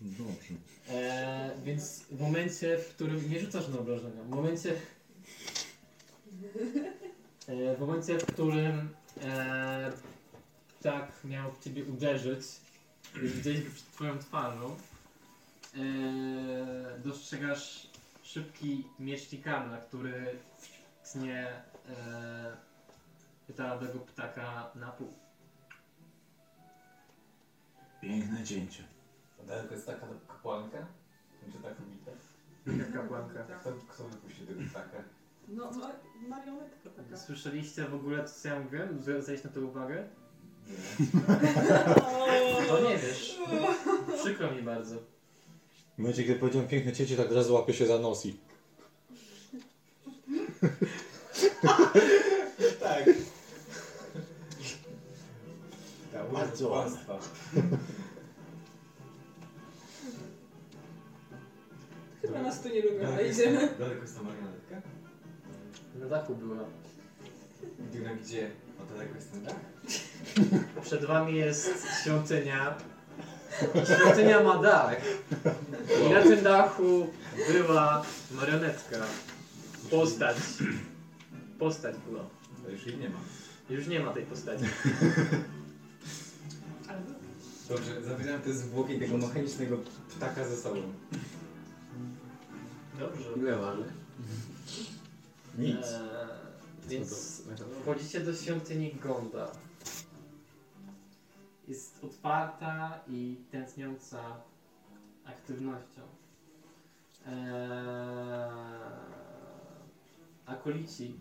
S7: Dobrze.
S5: Eee, więc w momencie, w którym nie rzucasz na obrażenia, w momencie, eee, w momencie, w którym eee, tak miał w ciebie uderzyć, już gdzieś przed twoją twarzą, eee, dostrzegasz szybki miecznik kamla, który tnie eee, pytałego ptaka na pół.
S1: Piękne cięcie.
S13: Daleko jest taka kapłanka? Czy taka bita?
S2: Jaka kapłanka?
S13: Kto, kto wypuści tego ptaka?
S3: No, ma marionetka taka.
S2: Słyszeliście w ogóle co ja mówiłem? Zwracaliście na to uwagę? To nie wiesz. Przykro mi bardzo.
S76: W momencie, kiedy powiedziałem piękne cieci, tak raz łapie się za nos i...
S13: Tak. Ta
S7: Tak,
S77: Bardzo ładne.
S13: łatwa.
S3: Chyba nas tu nie lubią,
S7: Tak,
S3: ale
S13: Daleko jest-
S3: idziemy.
S13: Daleko jest ta marionetka?
S2: Na dachu była.
S13: Gdybym gdzie? O daleko jest ten dach?
S2: Przed wami jest świątynia. I Świątynia ma dach. I na tym dachu była marionetka. Postać. Postać była.
S13: To No już jej nie ma.
S2: Już nie ma tej postaci.
S7: Dobrze, zabieram te zwłoki tego mechanicznego ptaka ze sobą.
S2: Dobrze.
S1: Ile waży?
S7: Nic.
S2: Eee, więc wchodzicie do świątyni Gonda. Jest otwarta i tętniąca aktywnością. Eee, akolici,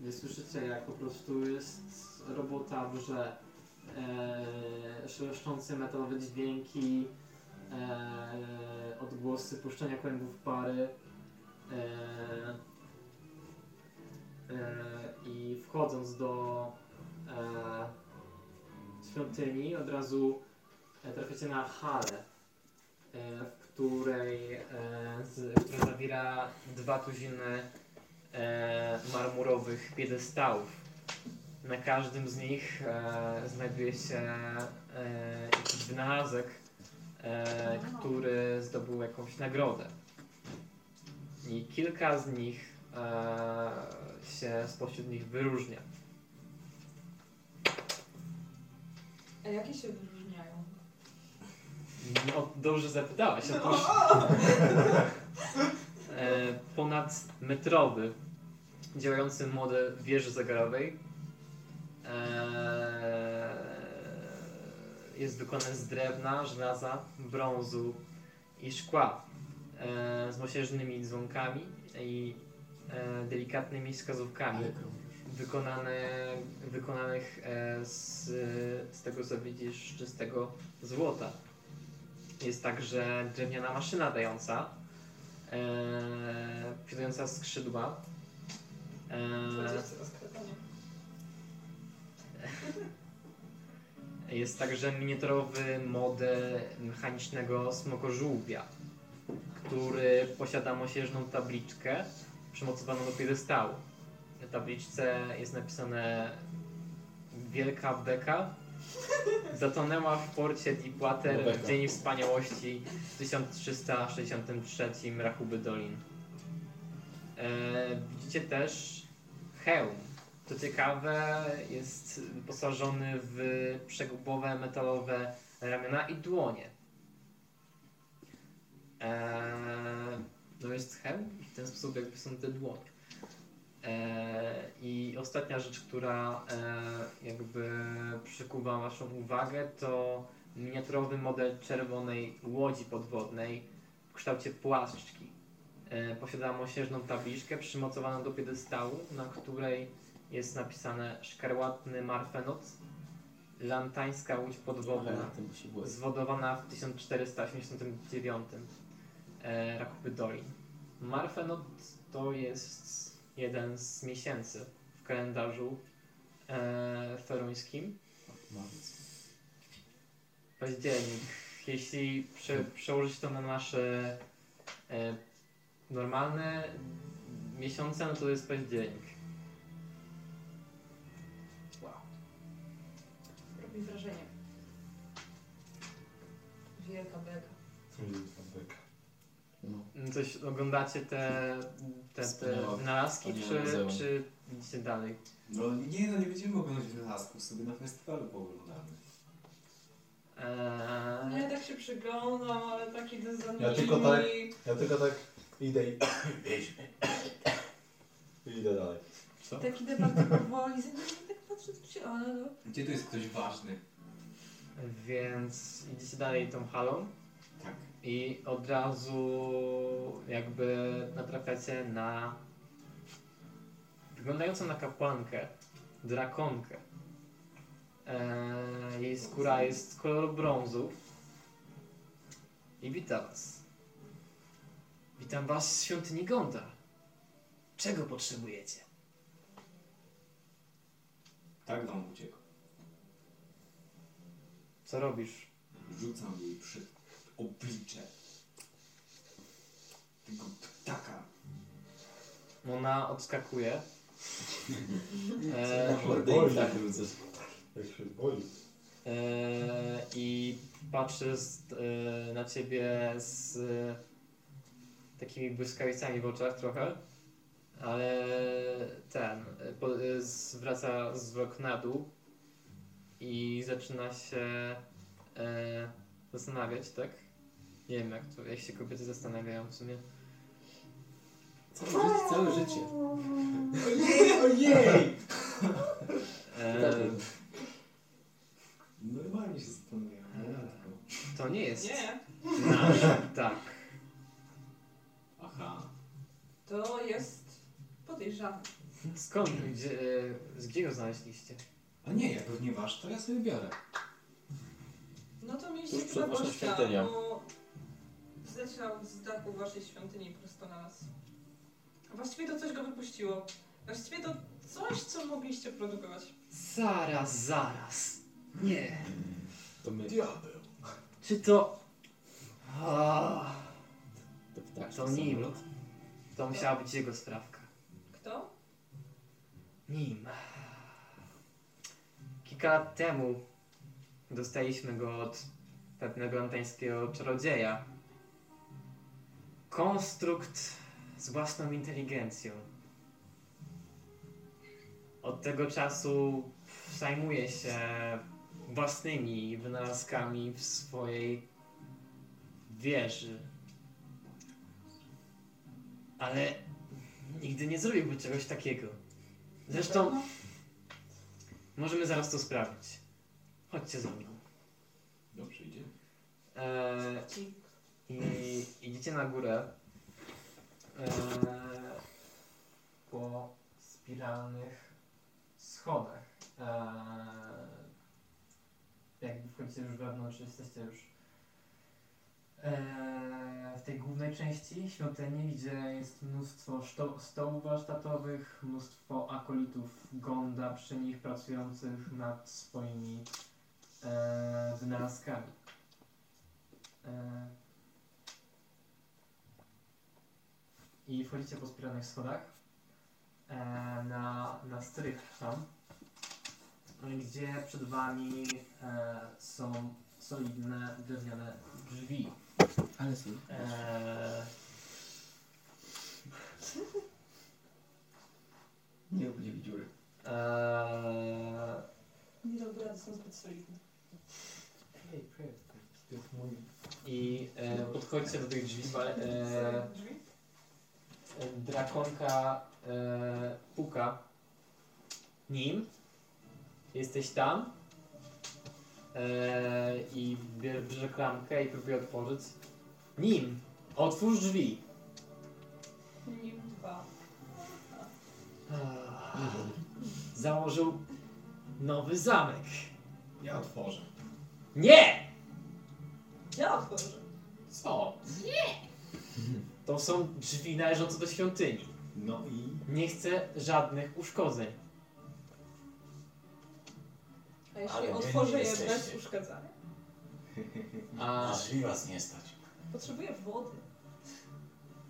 S2: gdzie słyszycie jak po prostu jest robota brze, eee, szeleszczące metalowe dźwięki, eee, odgłosy puszczenia kłębów pary eee, eee, i wchodząc do eee, świątyni od razu e, trafiacie na halę, e, w której, e, z, która zawiera dwa tuziny e, marmurowych piedestałów. Na każdym z nich e, znajduje się e, jakiś wynalazek, e, który zdobył jakąś nagrodę. I kilka z nich e, się spośród nich wyróżnia.
S3: A jakie się wyróżniają?
S2: No, dobrze zapytałaś. Otóż e, ponadmetrowy działający model wieży zegarowej e, jest wykonany z drewna, żelaza, brązu i szkła e, z mosiężnymi dzwonkami i e, delikatnymi wskazówkami wykonane, wykonanych e, z, z tego co widzisz czystego złota. Jest także drewniana maszyna dająca, e, posiadająca skrzydła. eee, E, jest także miniaturowy model mechanicznego smokożółwia, który posiada mosiężną tabliczkę przymocowaną do piedestału. Na tabliczce jest napisane Wielka beka zatonęła w porcie
S78: No
S2: Deepwater
S78: beka.
S2: w Dzień Wspaniałości w 1363 Rachuby Dolin. E, widzicie też hełm. Co ciekawe, jest wyposażony w przegubowe metalowe ramiona i dłonie. Eee, no jest hełm i w ten sposób jakby są te dłonie. Eee, I ostatnia rzecz, która eee, jakby przykuwa Waszą uwagę, to miniaturowy model czerwonej łodzi podwodnej w kształcie płaszczki. Eee, posiada mosiężną tabliczkę przymocowaną do piedestału, na której jest napisane szkarłatny marfenot lantańska łódź
S1: Ale
S2: podwodna
S1: na tym musi było.
S2: zwodowana w 1489 e, Rakuby Dolin. Marfenot to jest jeden z miesięcy w kalendarzu e, feruńskim. Październik. Jeśli prze, przełożyć to na nasze e, normalne miesiące, no to jest październik.
S3: Robi wrażenie. Wielka beka.
S2: No Coś oglądacie te, te, te
S7: Wspaniała.
S2: wynalazki,
S7: Wspaniałe
S2: czy,
S7: muzeum.
S2: czy idziecie dalej?
S7: No nie, no nie będziemy oglądać wynalazków, sobie na festiwalu pooglądamy.
S3: No
S2: Eee,
S3: ja tak się przyglądam, ale tak idę za nimi.
S52: Ja tylko tak, ja tylko tak idę i... I idę dalej.
S7: Co?
S3: Tak idę bardzo powoli za nimi, tak patrzę, co się... Ale no,
S7: Gdzie tu jest ktoś ważny?
S2: więc idziecie dalej tą halą.
S7: Tak.
S2: I od razu jakby natrafiacie na wyglądającą na kapłankę, drakonkę. Eee, jej skóra jest koloru brązu. I witam was. Witam was w świątyni Gonda. Czego potrzebujecie?
S7: Tak nam uciekł.
S2: Co robisz?
S7: Rzucam jej przy oblicze. Tego ptaka.
S2: Ona odskakuje. E,
S7: Mordę i tak rzucasz.
S52: Jak się boi.
S2: Eee, I patrzy z, e, na ciebie z e, takimi błyskawicami w oczach trochę, ale ten e, po, e, zwraca wzrok na dół i zaczyna się e, zastanawiać, tak? Nie wiem, jak, to, jak się kobiety zastanawiają w sumie.
S1: Całe życie.
S7: Ojej, ojej!
S2: Eee,
S52: Normalnie się no zastanawiam.
S2: to nie jest
S3: Nie.
S2: nasz tak.
S3: To jest podejrzane.
S2: Skąd? Gdzie, e, z gdzie ją znaleźliście?
S13: A nie, jak pewnie wasz, to ja sobie biorę.
S3: No to mieliście
S13: Tuż przed
S3: chyba
S13: waszą
S3: gościa,
S13: świątynią.
S3: bo zleciał z dachu waszej świątyni prosto na nas. A właściwie to coś go wypuściło. Właściwie to coś, co mogliście produkować.
S2: Zaraz, zaraz. Nie.
S1: To my.
S79: Diabeł.
S2: Czy to... Ah,
S1: To ptaszki
S2: to
S1: są.
S2: nim. To musiała być jego sprawka.
S3: Kto?
S2: Nim. Kilka lat temu dostaliśmy go od pewnego antańskiego czarodzieja. Konstrukt z własną inteligencją. Od tego czasu zajmuje się własnymi wynalazkami w swojej wieży. Ale nigdy nie zrobiłby czegoś takiego. Zresztą możemy zaraz to sprawdzić. Chodźcie za mną.
S13: Dobrze idzie.
S2: Eee,
S3: no.
S2: I idziecie na górę eee, po spiralnych schodach. Eee, jakby wchodzicie już wewnątrz, jesteście już eee, w tej głównej części świątyni, gdzie jest mnóstwo szto- stołów warsztatowych, mnóstwo akolitów Gonda przy nich pracujących nad swoimi eee, wynalazkami. E, I wchodzicie po spiranych schodach e, na, na strych tam, e, gdzie przed wami e, są solidne drewniane drzwi.
S13: Ale są.
S2: E,
S13: Nie obudziwi dziury.
S2: e,
S3: Dobra, to są zbyt solidne.
S2: I e, podchodźcie do tych drzwi. E, e,
S3: Drzwi?
S2: drakonka e, puka. Nim. Jesteś tam. E, I bierze- bierze klamkę i próbuje otworzyć. Nim. Otwórz drzwi.
S3: Nim dwa.
S13: Ah.
S2: Założył nowy zamek.
S13: Ja otworzę.
S2: Nie!
S3: Ja otworzę.
S2: Co? To są drzwi należące do świątyni.
S13: No i.
S2: Nie chcę żadnych uszkodzeń.
S3: A jeśli
S13: Ale wy nie
S3: otworzę je bez
S13: jesteście.
S3: uszkadzania?
S2: A...
S13: Aż mi was nie stać.
S3: Potrzebuję wody.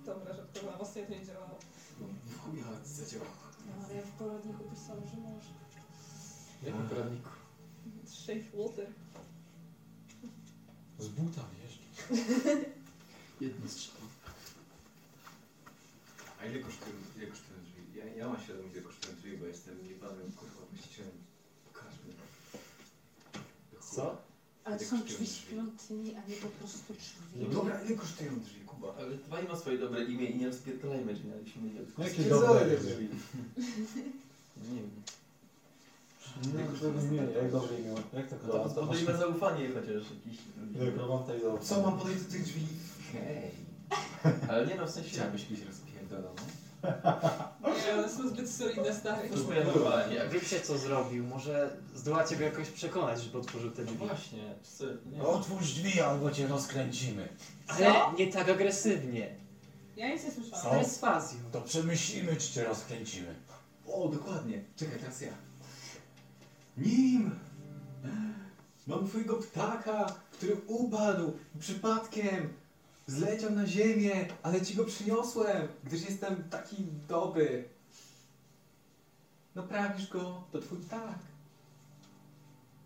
S3: Dobra, że to na ostatnio to nie działało.
S13: No, W chuja zadziałało.
S3: No, ale ja w poradniku pisałam, że może.
S2: W jakim poradniku?
S3: Shape water.
S13: Z buta wiesz. Jedno strzał. A ile kosztują, ile kosztują drzwi? Ja, ja mam świadomość, ile kosztują drzwi, bo jestem jebanym kurwa właścicielem. Pokażmy.
S2: Co?
S80: Ale to
S13: Ile
S80: są
S13: kosztują
S80: drzwi świątyni, a nie po prostu drzwi.
S13: No dobra, ile kosztują drzwi, Kuba?
S6: Ale dbaj ma swoje dobre imię i nie rozpierdalajmy drzwi, ale się myli.
S13: Jakie dobre
S6: drzwi? Nie wiem.
S81: Nie,
S13: No,
S6: Jak
S81: to nie,
S13: tak.
S81: jak dobrze imię. Jak to
S6: No to podejmę zaufanie chociaż jakiś.
S81: Nekromanta i zaufanie.
S13: Co mam podejść do tych drzwi? Hej.
S6: Ale nie no, w sensie...
S13: Chciałbyś być rozpierdolony?
S3: Nie, one są zbyt solidne, stary.
S2: Wiecie co zrobił, może zdołacie go jakoś przekonać, żeby otworzył te drzwi.
S6: Właśnie,
S13: Otwórz drzwi, albo cię rozkręcimy.
S2: Ale nie tak agresywnie.
S3: Ja nic nie
S2: Z
S3: słyszałam.
S2: perswazją.
S13: To przemyślimy, czy cię rozkręcimy. O, dokładnie. Czekaj, teraz ja. Nim! Mam twojego ptaka, który upadł przypadkiem. Zleciał na ziemię, ale ci go przyniosłem, gdyż jestem taki dobry. Naprawisz No go, to twój ptak.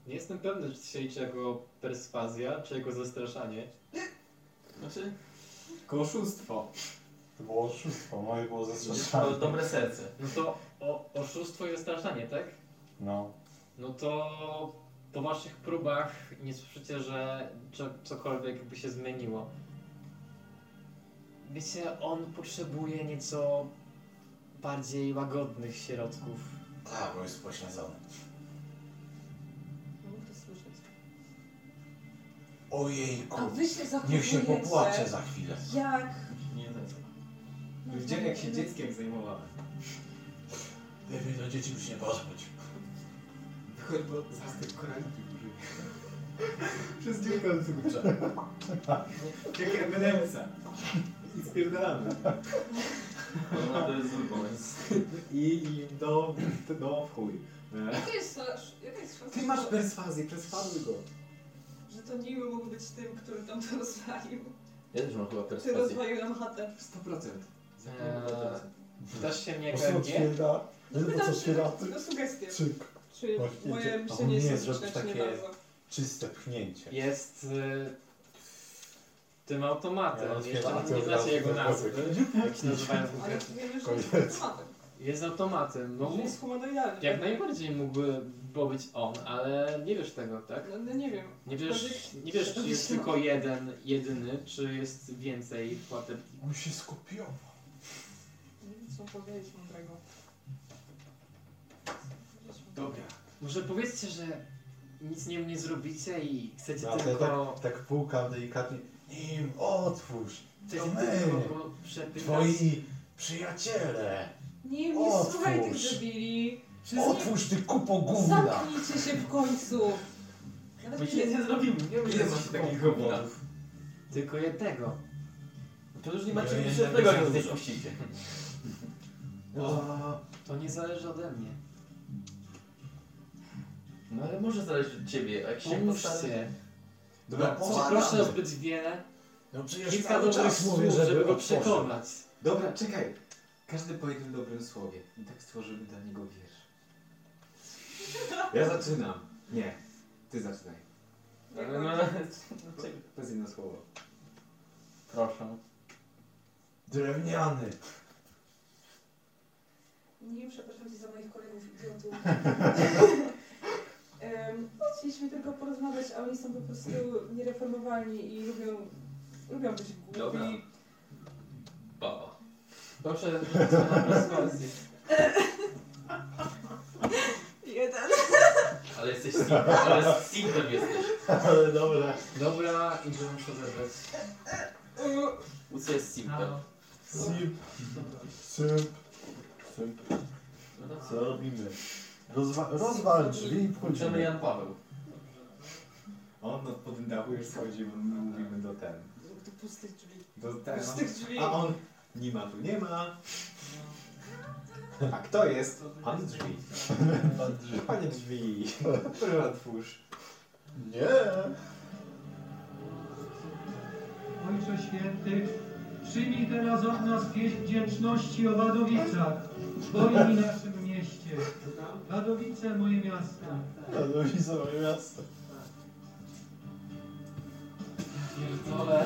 S8: Nie jestem pewny, czy się liczy jako perswazja, czy jako zastraszanie.
S6: Znaczy...
S13: Koszustwo.
S81: To było oszustwo, moje było
S6: To
S81: zastraszane.
S6: dobre serce.
S2: No to o, oszustwo i ostraszanie, tak?
S81: No.
S2: No to po waszych próbach nie słyszycie, że czo- cokolwiek by się zmieniło. Wiecie, on potrzebuje nieco bardziej łagodnych środków.
S13: A, bo jest pośledzony.
S3: Mogę to słyszeć.
S13: Ojejku,
S3: A wy się zachowujecie.
S13: niech się popłacze za chwilę.
S3: Jak
S6: Nie, to jest...
S80: No,
S7: Widziałem no. jak
S13: Mhm.
S7: się dzieckiem zajmowała.
S52: Lepiej do dzieci już nie podchodź.
S7: Wychodź, bo zastyk koraliki użyję. Przez dziurkę od klucza. Jak emelemca. I spierdalamy.
S1: No to jest zły pomysł.
S7: I, i do, do w chuj.
S3: Jaka jest, szasz- jaka jest szansa,
S7: Ty masz perswazję, perswazuj go.
S3: że- że to niły mógł być tym, który tam to rozwalił?
S1: Ja też mam chyba
S3: Ty
S1: perspazję.
S3: rozwalił nam chatę.
S7: 100%.
S2: Dasz Eee, się mnie
S82: Osłuch
S2: głębie?
S82: świera. Ledwo co świera.
S3: No sugestie.
S82: Cyk.
S3: Czy
S82: Właśnie,
S3: moje
S82: to-
S3: myślenie
S82: albo
S3: jest
S82: nie, zrobić
S3: sceptyczne, nie
S82: takie-
S3: bardzo.
S7: Czyste pchnięcie.
S2: Jest y, tym automatem.
S7: Ja mam
S2: Jeszcze
S7: świetny
S2: nie
S7: automat,
S2: znacie jego nazwy.
S7: automat.
S2: Jak się nazywają
S3: Ale
S2: konkretnie.
S3: wiemy, że
S7: Koniec.
S3: jest automatem.
S2: Jest automatem. No,
S3: Że jest humanoidalny.
S2: jak najbardziej mógłby być on, ale nie wiesz tego, tak?
S3: No, no nie wiem.
S2: Nie wiesz,
S3: Aczkolwiek-
S2: nie wiesz czy jest
S3: aczkolwiek-
S2: tylko jeden, jedyny, czy jest więcej płatek.
S82: On się skupił.
S3: Nie wiem, co powiedzieć mądrego.
S7: Dobra.
S2: Może powiedzcie, że nic nie nie zrobicie i chcecie
S7: No, ale
S2: tylko...
S7: tak, tak pukam delikatnie. Nim, otwórz. To
S2: Chcecie
S7: my.
S2: tylko go przepytać.
S7: Twoi przyjaciele.
S3: Nie, nie słuchaj tych
S7: Otwórz.
S3: debili.
S7: Otwórz ty kupo gówna.
S3: Zamknijcie się w końcu. Nawet nie
S1: zrobimy. Nie
S7: Ile masz takich robotów?
S2: Tylko jednego.
S1: To już
S2: nie
S1: macie nic
S2: żadnego,
S1: żadnego,
S2: jak
S1: jak
S2: już
S1: nie
S2: nie
S1: puścicie.
S2: O, to nie zależy ode mnie.
S1: No ale może zależeć od ciebie, a jak się
S2: Pomóżcie.
S1: postawi-
S2: Dobra,
S1: No,
S2: proszę o zbyt wiele.
S7: No przecież
S2: Kilka
S7: cały
S2: dobrych
S7: czas
S2: słów,
S7: mówię,
S2: żeby,
S7: żeby
S2: go
S7: otworzył.
S2: przekonać.
S83: Dobra, czekaj. Każdy po jednym dobrym słowie. I tak stworzymy dla niego wiersz.
S7: Ja zaczynam. Nie. Ty zaczynaj.
S1: Ale no,
S7: To jest jedno słowo.
S1: Proszę.
S7: Drewniany.
S3: Nie przepraszam cię za moich kolegów idiotów. Em, no, Chcieliśmy tylko porozmawiać, a oni są po prostu niereformowalni i lubią, lubią być głupi.
S84: Dobra. Baba.
S2: Proszę, proszę na perswazję.
S3: Jeden.
S1: Ale jesteś singlem, ale singlem jesteś.
S7: Ale dobra.
S2: Dobra, idziemy muszę zebrać.
S1: Ucja jest simplem.
S7: Simp. Simp. Simp. Co robimy? Rozwa rozwal drzwi i wchodzimy.
S1: Włączamy Jan Paweł.
S7: On no, po tym dachu już schodzi, bo my mówimy do ten.
S3: No, Do pustych drzwi.
S7: Do ten.
S3: Pustych drzwi.
S7: A on, nie ma tu, nie ma.
S3: No.
S7: A kto jest? Pan drzwi. Pan drzwi. Panie drzwi. Proszę otwórz. Nie.
S85: Ojcze Święty, przyjmij teraz od nas pieśń wdzięczności o Wadowicach, Twoim i naszym mieście. Wadowice, moje miasto.
S7: Wadowice, moje miasto.
S2: Pierdolę.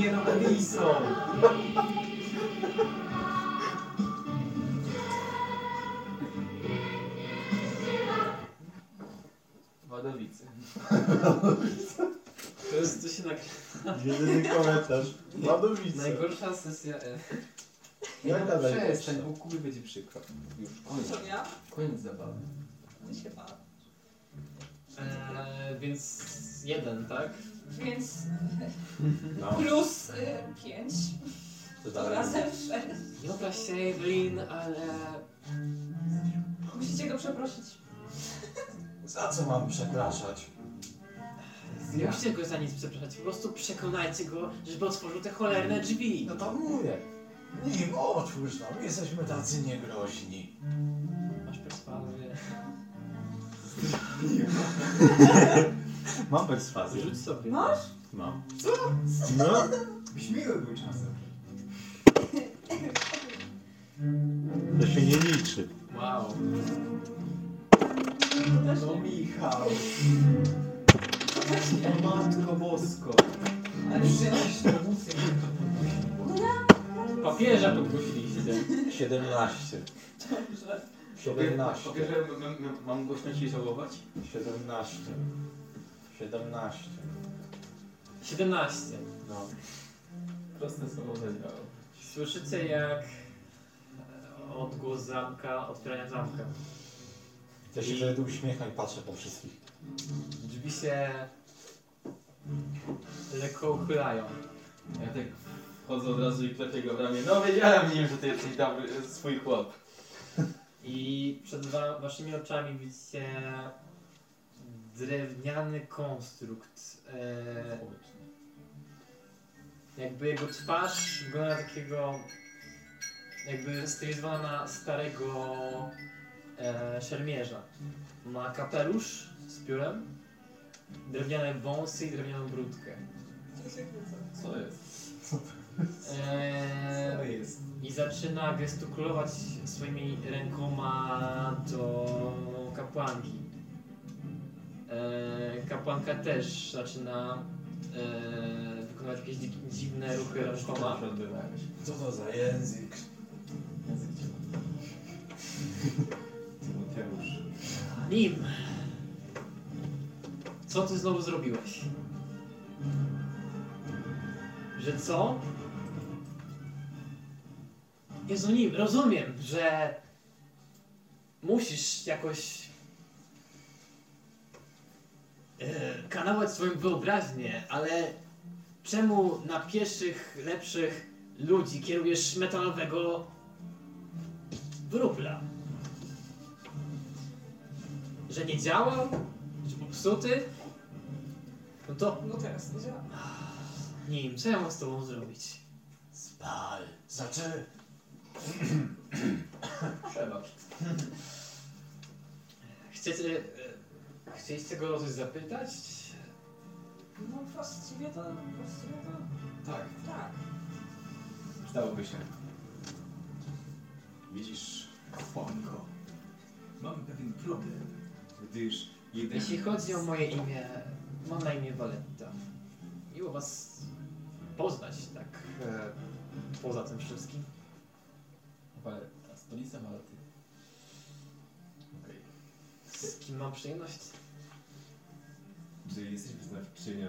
S7: Nie no, Edison!
S1: Wadowice.
S2: To jest, to się nagrywa.
S7: Jedyny komentarz. Wadowice.
S2: Najgorsza sesja E.
S7: Ja
S1: No,
S7: dalej
S1: Przestań,
S7: patrzę.
S1: bo kurwy będzie przykro. Już,
S3: Co
S1: koniec.
S3: ja?
S1: Koniec zabawy.
S3: On się bał.
S2: Eee, więc jeden, tak?
S3: Więc
S2: No.
S3: plus y, pięć.
S2: To
S3: To
S2: dalej.
S3: razem sześć.
S2: Dobra, Shaylin, No ale...
S3: Musicie go przeprosić.
S7: Za co mam przepraszać?
S2: Nie musicie go za nic przepraszać, po prostu przekonajcie go, żeby otworzył te cholerne drzwi.
S7: No to mówię. Nim otwórz nam, jesteśmy tacy niegroźni.
S2: Masz perswazję.
S7: Mam perswazję.
S2: Rzuć sobie.
S3: Masz?
S7: Mam.
S3: Co?
S7: No. Śmiły był czasem. To się nie liczy.
S2: Wow.
S7: No Michał. No matko bosko.
S3: Ale
S7: Przyjaźń to wózek.
S2: Papieża podgłosiliście.
S5: 17.
S3: Dobrze.
S5: 17.
S1: Pokażę, m- m- mam głośno ci żałować?
S5: 17. 17.
S2: 17.
S5: No.
S1: Proste słowo zadziałało.
S2: Słyszycie jak e, odgłos zamka, otwierania zamka.
S5: Ja się wtedy uśmiecham i patrzę po wszystkich.
S2: Drzwi się lekko uchylają.
S6: Ja tak wchodzę od razu i klepię go w ramię. No wiedziałem, nim, że ty jesteś tam y, swój chłop.
S2: I przed wa- waszymi oczami widzicie drewniany konstrukt. E, jakby jego twarz wygląda na takiego, jakby stylizowana na starego e, szermierza. Ma kapelusz z piórem, drewniane wąsy i drewnianą brudkę. Co jest? Eee, I zaczyna gestykulować swoimi rękoma do kapłanki. Eee, kapłanka też zaczyna eee, wykonywać jakieś dzi- dziwne ruchy rękoma.
S52: Co to za język?
S6: Język
S52: Tymoteusz.
S2: Nim! Co ty znowu zrobiłeś? Że co? Jezu, Nim, rozumiem, że musisz jakoś e, kanałować swoją wyobraźnię, ale czemu na pieszych, lepszych ludzi kierujesz metalowego wróbla? Że nie działał? Że popsuty? No to... No teraz nie działa. Nie wiem, co ja mam z tobą zrobić? Spal. Znaczy... Przebacz. Chcecie... e, Chcieliście go o coś zapytać?
S3: No właściwie to, właściwie to...
S13: Tak.
S3: Tak.
S13: Przydałoby się. Widzisz, Fonko, mam pewien problem, gdyż jeden...
S2: Jeśli chodzi o moje imię, mam na imię Valetta. Miło was poznać tak e, poza tym wszystkim.
S1: Valetta, stolica Malty.
S2: Z kim mam przyjemność?
S52: Czy jesteś wyznawczynią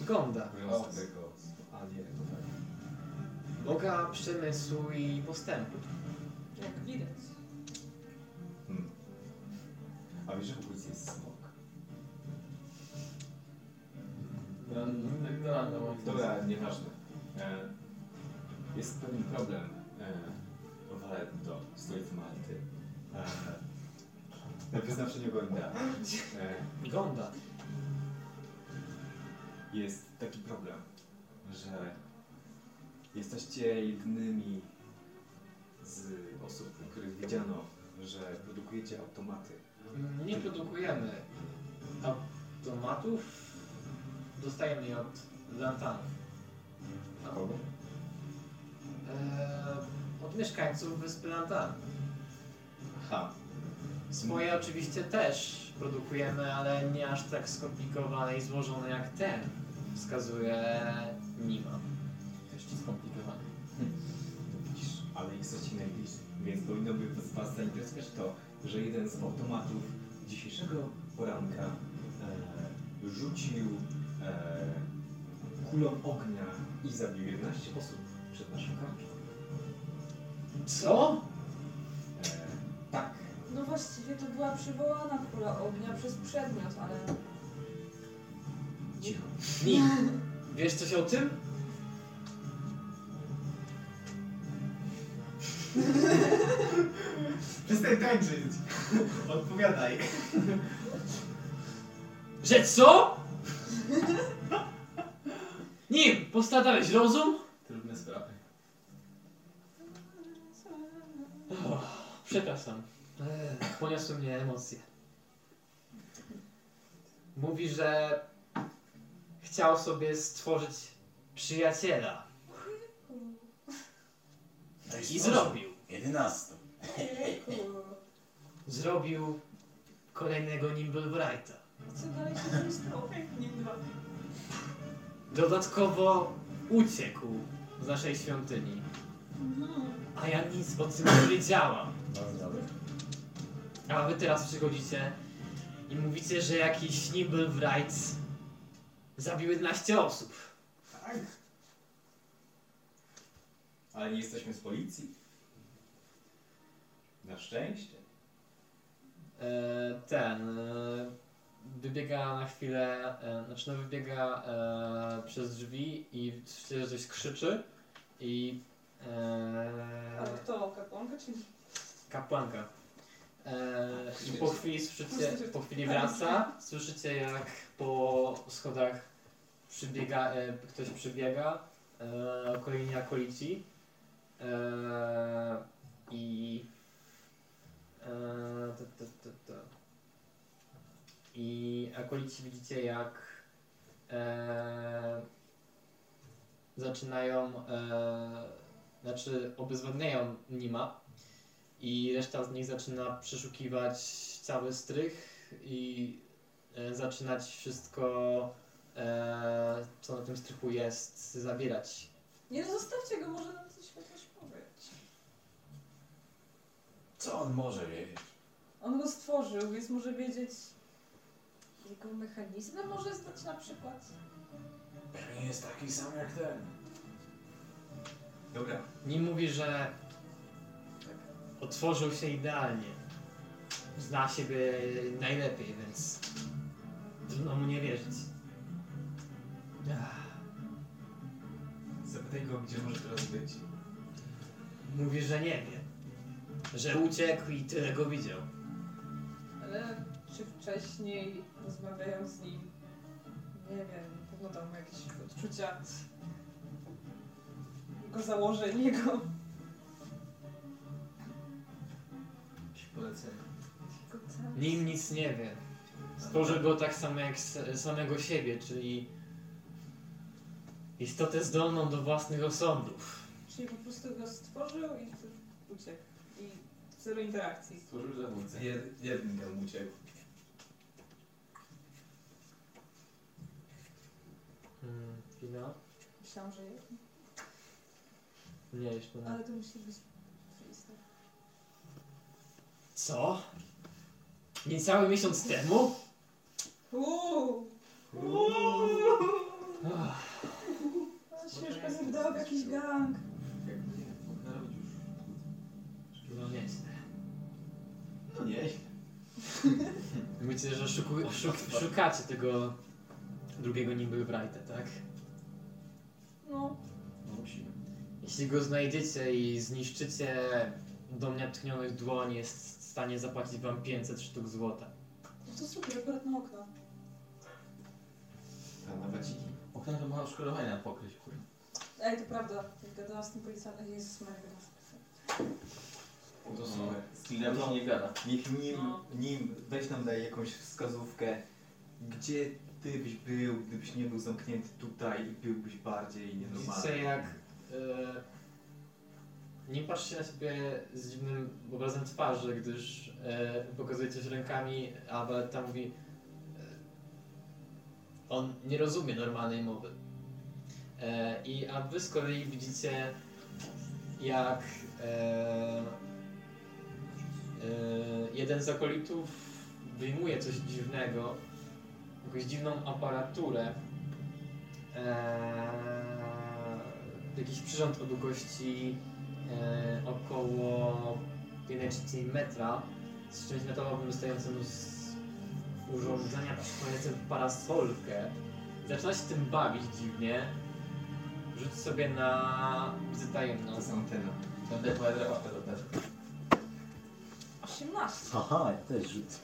S2: Gonda.
S52: królewskiego Aliego, tak?
S2: Boga przemysłu i postępu.
S3: Jak widać.
S52: Hmm. A wiesz, że w okolicy jest smok?
S6: Ignorantna moim
S52: Dobra, nieważne. E, jest pewien problem e, walent do stolicy Malty. E, na wyznaczeniu Gonda. E,
S2: Gonda.
S52: Jest taki problem, że jesteście jedynymi z osób, u których widziano, że produkujecie automaty.
S2: Mm, Nie produkujemy automatów. Dostajemy je od Lantanów.
S52: Kogo?
S2: Eee, od mieszkańców wyspy Lantan.
S52: Ha.
S2: Swoje oczywiście też produkujemy, ale nie aż tak skomplikowane i złożone jak ten. Wskazuje Nima.
S1: Jeszcze skomplikowane.
S52: Widzisz, ale jesteście najbliżsi, więc powinno by was- was zainteresować to, że jeden z automatów dzisiejszego poranka e, rzucił e, kulą ognia i zabił 11 osób przed naszą kartą.
S2: Co?
S52: tak.
S3: No właściwie to była przywołana kula ognia przez przedmiot, ale...
S52: Cicho.
S2: Nim, wiesz coś o tym?
S6: Przestań tańczyć! Odpowiadaj.
S2: Że co? Nim, postradałeś rozum?
S6: Trudne sprawy.
S2: Och, Oh, przepraszam. Eee, Poniosły mnie emocje. Mówi, że chciał sobie stworzyć przyjaciela. Tak I zrobił.
S13: Jedenastu.
S3: Jejku.
S2: Zrobił kolejnego Nimblewrighta.
S3: Co dalej się dzieje z tą ognikiem?
S2: Dodatkowo uciekł z naszej świątyni.
S3: No.
S2: A ja nic o tym nie wiedziałam. A wy teraz przychodzicie i mówicie, że jakiś Nimblewright zabił 11 osób.
S52: Tak. Ale nie jesteśmy z policji. Na szczęście.
S2: E, ten. E,
S86: wybiega na chwilę, e, znaczy no wybiega e, przez drzwi i słyszycie, że coś krzyczy i
S3: A
S86: e,
S3: kto? Kapłanka czy
S86: kapłanka. E, I po chwili słyszycie, po chwili wraca, słyszycie jak po schodach przybiega, e, ktoś przybiega, e, kolejni akolici e, i e, ta, ta, ta, ta. i akolici widzicie jak e, zaczynają, e, znaczy obezwładniają Nima i reszta z nich zaczyna przeszukiwać cały strych i e, zaczynać wszystko, e, co na tym strychu jest, zabierać.
S3: Nie zostawcie go, może nam coś chociaż powie.
S52: Co on może wiedzieć?
S3: On go stworzył, więc może wiedzieć jego mechanizmy może znać na przykład.
S52: Pewnie jest taki sam jak ten.
S1: Dobra.
S2: Nim mówi, że otworzył się idealnie. Zna siebie najlepiej, więc trudno mu nie wierzyć. Ach,
S1: Zapytaj go, gdzie może teraz być.
S2: Mówi, że nie wie. Że uciekł i tyle go widział.
S3: Ale czy wcześniej rozmawiając z nim, nie wiem, na pewno dał mu jakieś odczucia jego założeń, jego,
S1: Polecenie.
S3: jego cel.
S2: Nim nic nie wie. Stworzył go tak samo jak s- samego siebie, czyli istotę zdolną do własnych osądów.
S3: Czyli po prostu go stworzył i tu- uciekł. I zero interakcji.
S1: Stworzył zabójcę. Jed, jeden gam uciekł.
S2: Hmm, Fina?
S3: Myślałam, że jest.
S2: Nie, jeszcze nie.
S3: Ale to musi być tak. freestyle.
S2: Co? Niecały miesiąc temu?
S3: Uuu!
S2: Ach,
S3: Śmieszka sobie dał jakiś gang.
S2: No nieźle.
S1: No nie.
S2: Mówicie, że szuku, szuk, szukacie tego drugiego niby Brighta, tak?
S3: No,
S1: No musimy.
S2: Jeśli go znajdziecie i zniszczycie do mnie tchnionych dłoni, jest w stanie zapłacić wam 500 sztuk złota.
S3: no to super, akurat na okno.
S1: A nawet ci. Okna no to ma odszkodowania pokryć, kurwa.
S3: Ej, to prawda. Jak gadałam z tym policjantem, Jezus Maria, gadałam z policjantem.
S1: To
S5: No,
S1: są.
S5: z Killem
S1: to nie gada.
S5: Niech nim, nim weź nam daje jakąś wskazówkę, gdzie ty byś był, gdybyś nie był zamknięty tutaj i byłbyś bardziej
S2: Widzicie
S5: nienormalny.
S2: jak e, nie patrzcie na siebie z dziwnym obrazem twarzy, gdyż e, pokazujecie się rękami, a Valetta mówi e, on nie rozumie normalnej mowy. E, I a wy z kolei widzicie jak e, e, jeden z akolitów wyjmuje coś dziwnego, jakąś dziwną aparaturę, Eee, jakiś przyrząd o długości eee, około 1,3 metra z czymś metalowym wystającym z urządzenia przypominającym parasolkę. Zaczyna się tym bawić dziwnie. Rzuć sobie na widzę tajemną. To jest antena.
S1: Będę pojadę łapę do też.
S3: 18.
S87: Aha, ja też rzucę.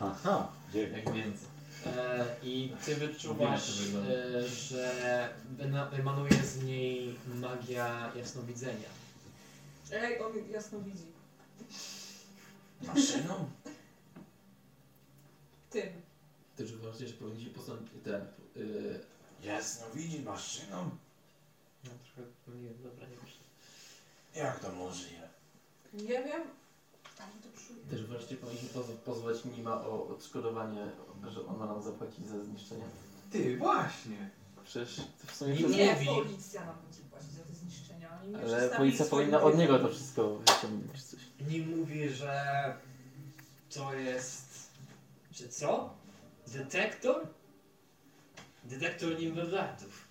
S87: Aha, dziewięć.
S1: Jak więcej.
S2: E, I ty wyczuwasz,
S1: Wiem, jak to wygląda.
S2: e, że wyna- emanuje z niej magia jasnowidzenia.
S3: Ej, on jasno widzi.
S1: Maszyną?
S3: Tym.
S1: Ty czy uważacie, że powinniście postąpić ten... Yy...
S52: Jasno widzi maszyną?
S2: No trochę, nie wiem, dobra, nie muszę.
S52: Jak to możliwe?
S3: Nie wiem, ale to czuję.
S1: Też wreszcie powinniśmy poz pozwać Nima o odszkodowanie, że on ma nam zapłacić za zniszczenie.
S5: Ty, właśnie.
S1: Przecież to w sumie to
S3: Nie, policja nam będzie płacić za te zniszczenia. Oni nie
S88: Ale
S3: przestawili
S88: policja
S3: swoich
S88: powinna od
S3: ludzi.
S88: niego to wszystko wyciągnąć czy coś.
S2: Nie mówi, że to jest. że co? Detektor? Detektor nimbelantów.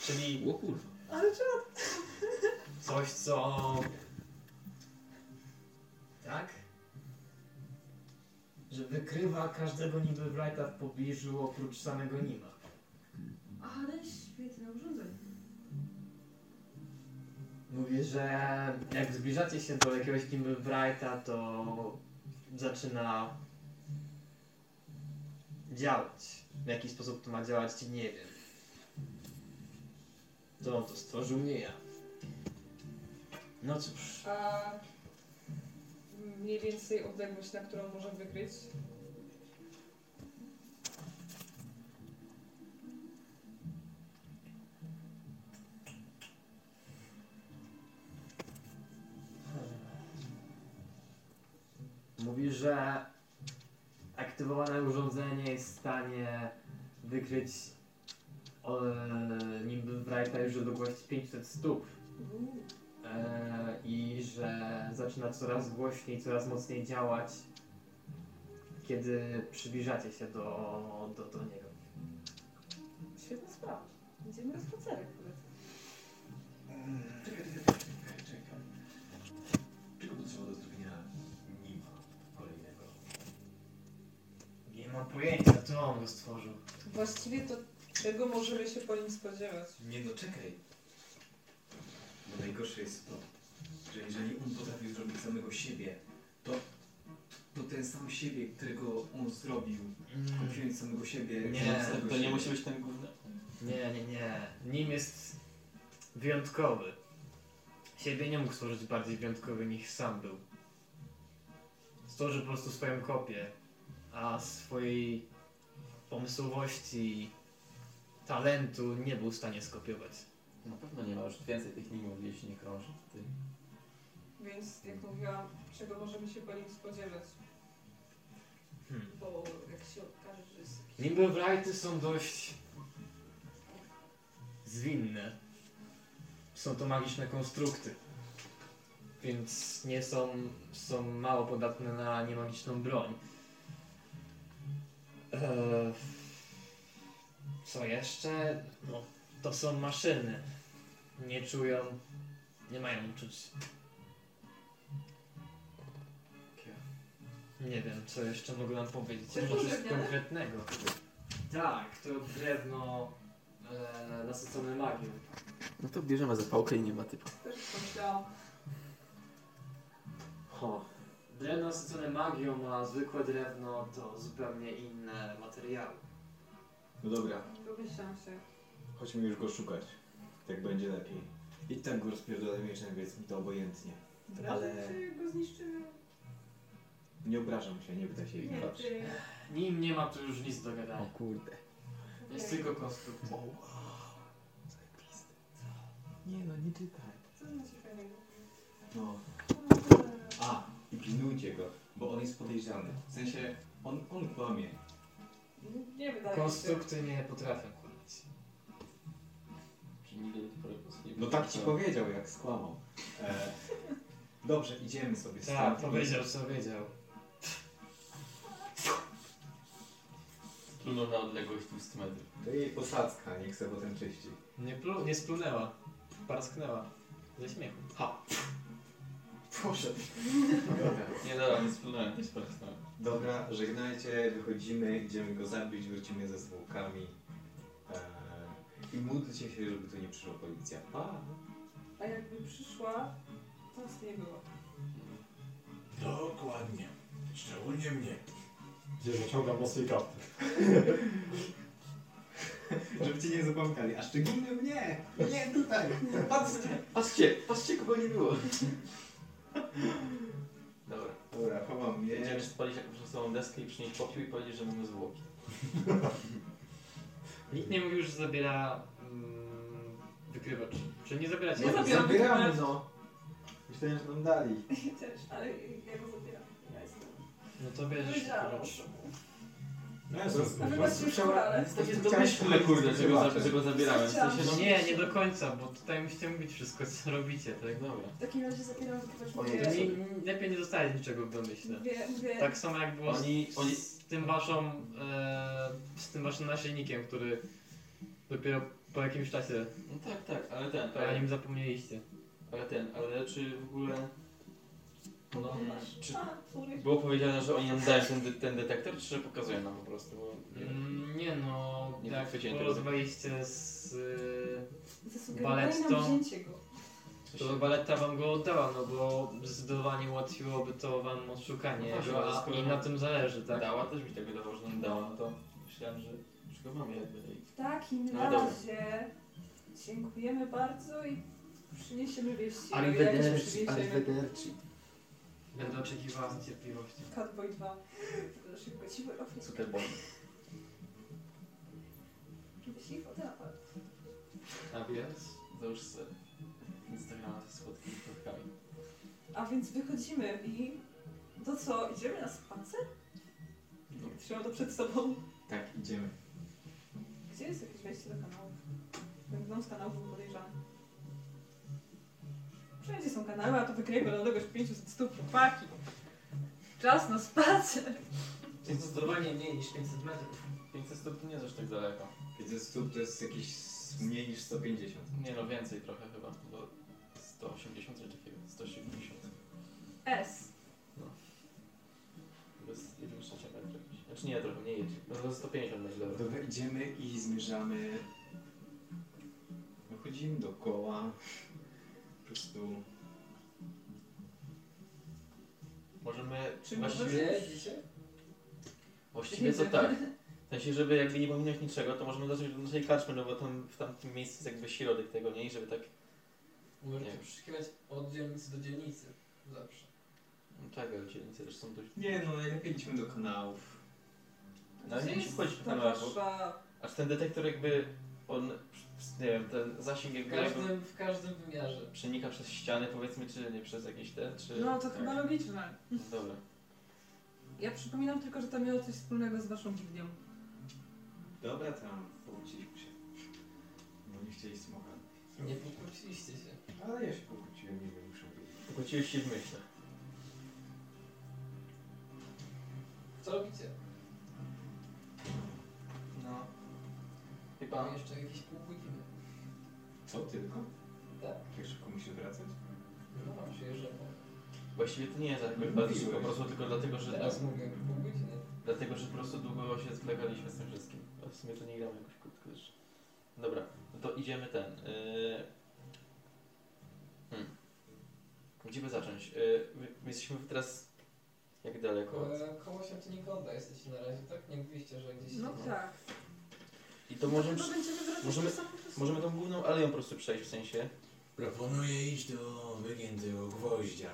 S2: Czyli
S3: Ale czemu?
S2: coś, co. Tak? że wykrywa każdego niby wrajta w pobliżu oprócz samego Nima.
S3: Ale świetne urządzenie.
S2: Mówi, że jak zbliżacie się do jakiegoś Niby wrajta, to zaczyna działać. W jaki sposób to ma działać, nie wiem. To on to stworzył, nie ja. No cóż,
S3: A mniej więcej odległość, na którą może wykryć.
S2: mówi, że aktywowane urządzenie jest w stanie wykryć o, niby Wrighta już do długości 500 stóp. E, I że zaczyna coraz głośniej, coraz mocniej działać, kiedy przybliżacie się do, do, do niego.
S3: Świetna sprawa. Idziemy na spacerek polecam.
S7: Czego potrzeba do zrobienia nima kolejnego?
S2: Nie mam pojęcia, to on go stworzył.
S3: Właściwie to czego możemy się po nim spodziewać?
S7: Nie no, czekaj. Bo najgorsze jest to, że jeżeli on potrafi zrobić samego siebie, to, to ten sam siebie, którego on zrobił, tylko wziąć samego siebie, wziąć samego siebie.
S2: ten główny. Nie, nie, nie. Nim jest wyjątkowy. Siebie nie mógł stworzyć bardziej wyjątkowy niż sam był. Stworzył po prostu swoją kopię, a swojej pomysłowości i talentu nie był w stanie skopiować.
S1: Na pewno nie ma już więcej tych nimów, jeśli nie krąży. Ty.
S3: Więc jak mówiłam, czego możemy się po nim spodziewać?
S2: Hmm.
S3: Bo jak się okaże, że jest jakiś...
S2: Nimby wrighty są dość zwinne. Są to magiczne konstrukty. Więc nie są, są mało podatne na niemagiczną broń. Eee, co jeszcze? No, to są maszyny. Nie czują, nie mają uczuć. Nie wiem, co jeszcze mogę nam powiedzieć.
S3: Coś
S2: Może coś
S3: drewniane?
S2: konkretnego. Tak, to drewno e, nasycone magią.
S1: No to bierzemy zapałkę i nie ma typu.
S3: Też pomyślałam.
S2: Ho. Drewno nasycone magią, a zwykłe drewno to zupełnie inne materiały.
S7: No dobra,
S3: Domyślam się.
S7: chodźmy już go szukać. Tak będzie lepiej. I tak go rozpierdolę jeszcze, więc mi to obojętnie.
S3: Ale... się go zniszczymy.
S7: Nie obrażam się, nie pytaj się
S3: Nie,
S7: Dobrze.
S3: ty.
S2: Nim nie ma tu już nic do
S1: Tak.
S2: gadania. O
S7: kurde.
S2: Jest tylko konstrukt.
S7: Nie no, nie czytaj.
S3: Co znaczy fajnego?
S7: No. A, i pilnujcie go, bo on jest podejrzany. W sensie, on, on kłamie.
S3: Nie wydaje mi się.
S2: Konstrukty nie potrafią kłamać.
S1: Czyli nigdy do tej pory po prostu nie
S7: No tak ci powiedział, jak skłamał. E, dobrze, idziemy sobie
S2: Tak, powiedział co wiedział.
S1: Plunął na odległość 200 metrów.
S7: To jej posadzka, niech sobie potem czyści.
S5: Nie, plu, nie splunęła. Parsknęła. Ze śmiechu.
S7: Ha! Poszedł.
S1: Nie dobra, nie splunąłem, nie splunąłem.
S7: Dobra, żegnajcie, wychodzimy, idziemy go zabić, wrócimy ze zwłokami. E, I módlcie się, żeby tu nie przyszła policja. Pa!
S3: A jakby przyszła, to nas nie było.
S52: Dokładnie. Szczególnie mnie.
S89: Gdzie wyciągam mocniej karty.
S7: Żeby cię nie zapomnieli, a szczególnie mnie! Nie tutaj! Patrzcie, patrzcie, patrzcie kogo nie było.
S1: Dobra.
S7: Dobra, chowam je.
S1: Będziemy spalić jakąś osobą deskę i przynieść popiół i powiedzieć, że mamy zwłoki.
S2: Nikt nie mówił, że zabiera mm, wykrywacz. Że nie zabieracie.
S3: Nie zabieram,
S7: Zabieramy,
S3: tylko-
S7: no! Myślałem, że nam dali.
S3: Ja też, ale ja go zabieram. Ja jestem.
S2: No to bierzesz
S3: Powiedziałam.
S2: wykrywacz.
S7: No
S1: ja zrobię.
S3: A wy macie już kurale.
S1: Takie domyślne, kurde, że go, za- że go zabieramy. W sensie, no
S2: Nie, nie do końca, bo tutaj musicie mówić wszystko, co robicie, tak?
S1: No
S2: Dobra.
S3: W takim razie zabieram wykrywać
S2: To nie, lepiej nie zostawić niczego w domyśle.
S3: Mówię, mówię.
S2: Tak samo jak było
S1: Oni-
S2: z,
S1: oni-
S2: z tym waszą, e, z tym waszym naszyjnikiem, który dopiero po jakimś czasie,
S1: No tak, tak, ale ten,
S2: o
S1: ale,
S2: nim zapomnieliście.
S1: ale ten, ale czy w ogóle No, czy było powiedziane, że oni nam dają ten, de- ten detektor, czy że pokazują nam po prostu? Bo nie wiem.
S90: Mm, Nie no,
S1: Nie
S90: jak
S1: wychwyciłem tego.
S90: porozmawialiście z
S2: e,
S90: y,
S3: Zasugerowali nam
S90: Balettą,
S3: wzięcie go.
S90: to Baletta wam go oddała, no bo zdecydowanie ułatwiłoby to wam odszukanie
S1: No tak,
S90: go,
S1: ale
S90: a
S1: skoro
S90: i na
S1: nam
S90: tym zależy, tak?
S1: Dała, też mi tak wydawało, że nam dała, no to myślałem, że już go mamy jakby. i-
S3: W takim
S1: No, dobra.
S3: razie dziękujemy bardzo i przyniesiemy wieści.
S90: Arrivederci,
S3: arrivederci.
S90: Będę oczekiwała z niecierpliwością.
S3: Catboy 2. Tylko Szybko ci wyrobię.
S1: Superboy.
S3: Żebyś ich oddała.
S1: A wiesz? Załóż sobie Instagrama ze słodkimi kropkami.
S3: A więc wychodzimy i... To co, idziemy na spacer?
S1: No.
S3: Trzymam to przed sobą.
S1: Tak, idziemy.
S3: Gdzie jest jakieś wejście do kanałów? Ten dom z kanałów był podejrzany. Wszędzie są kanały, a tu wykryjemy do tego 500 stóp chłopaki. Czas na spacer.
S91: Jest
S2: zdecydowanie mniej niż 500 metrów.
S1: 500 stóp to nie jest aż tak daleko.
S7: 500 stóp to jest jakieś s- mniej niż 150.
S1: Nie no, więcej trochę chyba, bo 180 czy takiego, 170.
S3: S.
S1: To jest 1 trzecia metra. jakoś. Znaczy nie, trochę mniej jedzie. No to 150 będzie dobra.
S7: Dobra, idziemy i zmierzamy. No, chodzimy dookoła. Po prostu.
S1: Możemy...
S7: Czy
S1: właściwie...
S7: możemy dzisiaj?
S1: Właściwie to tak. W sensie, żeby jakby nie pominąć niczego, to możemy zacząć od naszej karczmy, no bo tam w tamtym miejscu jest jakby środek tego, nie? I żeby tak...
S2: Możecie przeszukiwać od dzielnicy do dzielnicy. Zawsze.
S1: No tak, ale dzielnice też są dość...
S7: Nie no, najlepiej idźmy do kanałów.
S1: No ale nie
S3: jest
S1: się wchodzi
S3: ta
S1: na bo...
S3: wasza-
S1: Aż ten detektor jakby... On... Nie wiem, ten zasięg
S2: W
S1: jakby...
S2: każdym, w każdym wymiarze.
S1: Przenika przez ściany powiedzmy, czy nie przez jakieś te, czy...
S3: No to
S1: tak.
S3: chyba logiczne.
S1: No Dobra.
S3: Ja przypominam tylko, że to miało coś wspólnego z waszą widnią.
S7: Dobra, tam pokłóciliśmy się. Bo nie chcieli smoka.
S2: Nie pokłóciliście się.
S7: Ale ja się pokłóciłem, nie wiem, muszę wiedzieć.
S1: Wróciłeś się w myślach.
S2: Co robicie?
S1: No.
S2: Chyba jeszcze jakieś pół godziny.
S7: Co tylko?
S2: Tak.
S7: Jak szybko musi wracać?
S2: No mam przyjeżdżamy.
S1: Właściwie to nie jest jakoś bardzo szybko, po prostu tylko dlatego, że... tak.
S2: Teraz mówię, pół godziny.
S1: Dlatego, że po prostu długo się zwlekaliśmy z tym wszystkim. A w sumie to nie gramy jakoś krótko też. Dobra, no to idziemy ten. Yy... Hmm. Gdzie by zacząć? Yy, my- my jesteśmy teraz jak daleko? od-
S2: Ko- e, Koło Świętonikonda jesteście na razie, tak? Nie mówiliście, że gdzieś...
S3: No tak.
S1: I to możemy,
S3: Chyba będziemy wracać
S1: możemy,
S3: do samochodu.
S1: możemy tą główną aleją po prostu przejść w sensie.
S52: Proponuję iść do wygiętego gwoździa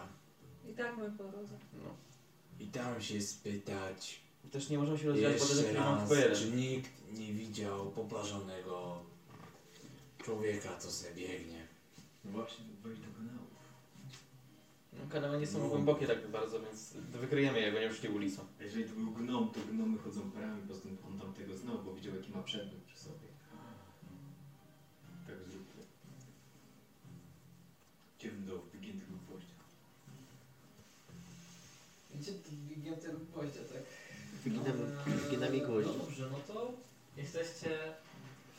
S3: I tak my po drodze.
S1: No.
S52: i tam się spytać.
S1: Też nie możemy się rozwijać, bo
S52: Jeszcze
S1: będę mam
S52: raz,
S1: tylko jeden.
S52: czy nikt nie widział poparzonego człowieka, co se biegnie?
S7: Właśnie, wejść do kanału.
S1: No, kanały nie są
S7: No.
S1: głębokie tak bardzo, więc wykryjemy je, jak będziemy szli ulicą.
S7: A Jeżeli to był gnom, to gnomy chodzą parami, bo stąd on tam tego znał, bo widział jaki ma przedmiot przy sobie. Tak zróbmy. Idziemy do wygiętego gwoździa.
S2: Gdzie to wyginam tego gwoździa, tak?
S1: Wyginamy-
S2: Eee,
S1: wyginamy gwoździe.
S2: No dobrze, no to jesteście...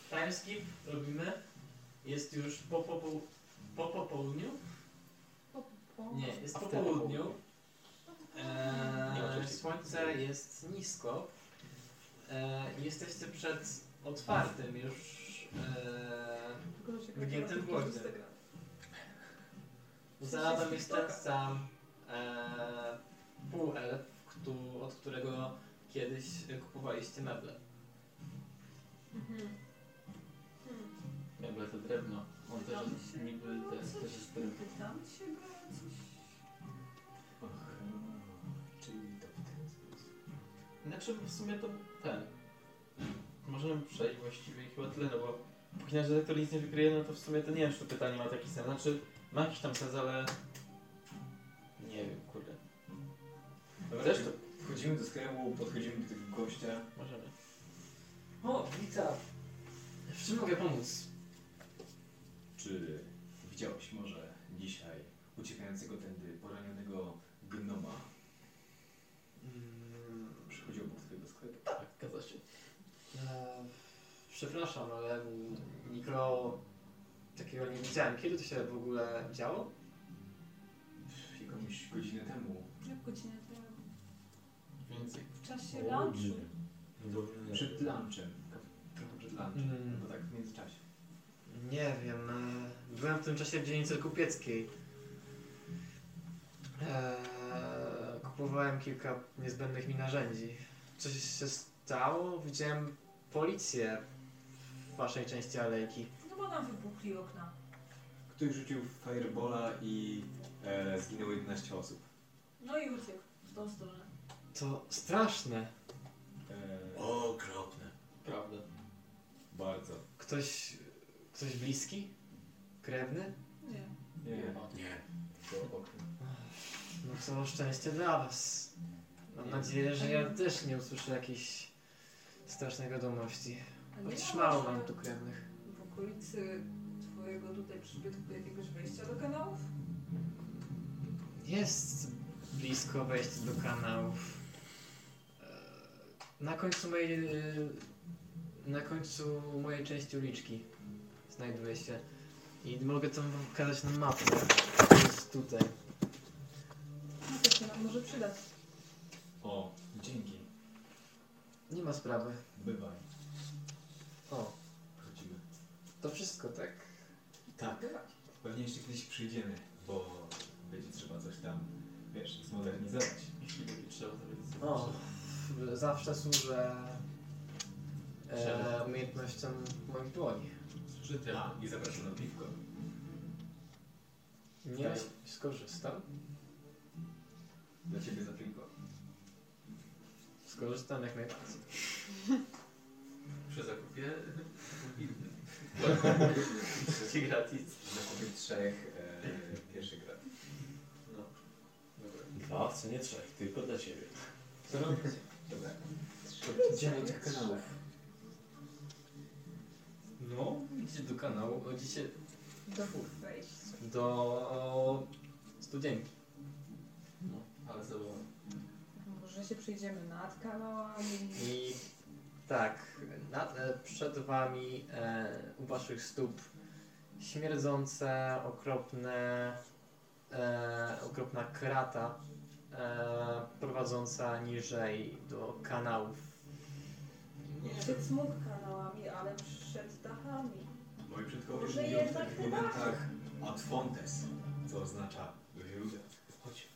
S2: Timeskip robimy. Jest już po, popoł- po popołudniu. Nie, jest po
S1: After
S2: południu.
S1: Nie,
S2: Eee,
S1: oczywiście.
S2: słońce jest nisko. Eee, jesteście przed otwartym już eee, wygiętym głośnym. Za nami jest ten sam eee, półelf, któ- od którego kiedyś e, kupowaliście meble.
S3: Mhm. Hmm.
S1: Jakby to drewno. On też
S3: Pytam
S1: jest
S3: się
S1: niby
S3: go
S1: też, też
S3: No, coś?
S1: jest drewno.
S3: Pytam się go o coś?
S7: Ach, czyli to w ten sposób.
S1: Znaczy w sumie to ten. Możemy przejść właściwie i chyba tyle, no bo póki nasz redaktor nic nie wykryje, no to w sumie to nie wiem, czy to pytanie ma taki sens. Znaczy ma jakiś tam sens, ale nie wiem, kurde.
S7: Dobra,
S1: Chcesz to?
S7: Wchodzimy do sklepu, podchodzimy do tego gościa.
S1: Możemy.
S2: O, witam. W czym mogę pomóc?
S7: Czy widziałeś może dzisiaj uciekającego tędy poranionego gnoma?
S2: Mm,
S7: Przychodził obok twojego sklepu.
S1: Tak, zgadza się.
S2: Eee, Przepraszam, ale mikro takiego nie widziałem. Kiedy to się w ogóle działo?
S7: Jego mi jakoś godzinę temu.
S3: Jak godzinę temu?
S7: Więcej.
S3: W czasie lunchu?
S7: Przed lunchem. Trochę przed lunchem. Bo tak w międzyczasie.
S2: Mm, Nie wiem. e, Byłem w tym czasie w dzielnicy kupieckiej. E, Kupowałem kilka niezbędnych mi narzędzi. Coś się stało? Widziałem policję w waszej części alejki.
S3: No bo nam wybuchli okna.
S7: Ktoś rzucił firebola i e, zginęło 11 osób.
S3: No i uciekł w tą stronę.
S2: To straszne.
S7: E, Okropne. Prawda. Bardzo.
S2: Ktoś, ktoś bliski? Krewny?
S3: Nie.
S7: Nie. Nie. To okropne.
S2: No to szczęście dla was. Mam nadzieję, że ja też nie usłyszę jakichś strasznych wiadomości.
S3: A nie
S2: Chociaż
S3: ma
S2: mało
S3: może-
S2: mam tu krewnych.
S3: W okolicy twojego tutaj przybytku do jakiegoś wejścia do kanałów?
S2: Jest blisko wejście do kanałów. Eee, Na końcu mojej... e, Na końcu mojej części uliczki znajduje się. I mogę to wam pokazać na mapie. Jest tutaj.
S3: No to się nam może przydać.
S7: O, dzięki.
S2: Nie ma sprawy.
S7: Bywaj.
S2: O,
S7: Wchodzimy.
S2: to wszystko, tak?
S7: Tak. Pewnie jeszcze kiedyś przyjdziemy, bo będzie trzeba coś tam, wiesz, zmodernizować. Jeśli będzie trzeba zmodernizować.
S2: O, No, zawsze służę e,
S7: Czemu?
S2: umiejętnościom moich dłoni.
S7: Żyty. A, i zapraszam na piwko.
S2: Nie
S7: Tak.
S2: skorzystam.
S7: Dla ciebie za piwko.
S2: Skorzystam jak najbardziej.
S1: Przy zakupie
S7: Trzy gratis. Zakupię trzech e, pierwszych gratis. No. Dobra.
S52: Dwa w cenie trzech, tylko dla ciebie.
S7: Co robić? Dobra.
S52: Dziewięć kanałów.
S2: No, idzie do kanału, o, dzisiaj
S3: Do wejścia.
S2: do o, studienki.
S1: No, ale zabawa.
S3: Może się przyjdziemy nad kanałami.
S2: I tak, nad, e, przed wami e, u waszych stóp śmierdzące, okropne, e, okropna krata e, prowadząca niżej do kanałów.
S3: Przed smug kanałami, ale przed dachami.
S7: Moi przodkowie
S3: Może
S7: mówią w
S3: jednak
S7: takich
S3: te
S7: momentach ad fontes, co oznacza źródło. Chodź.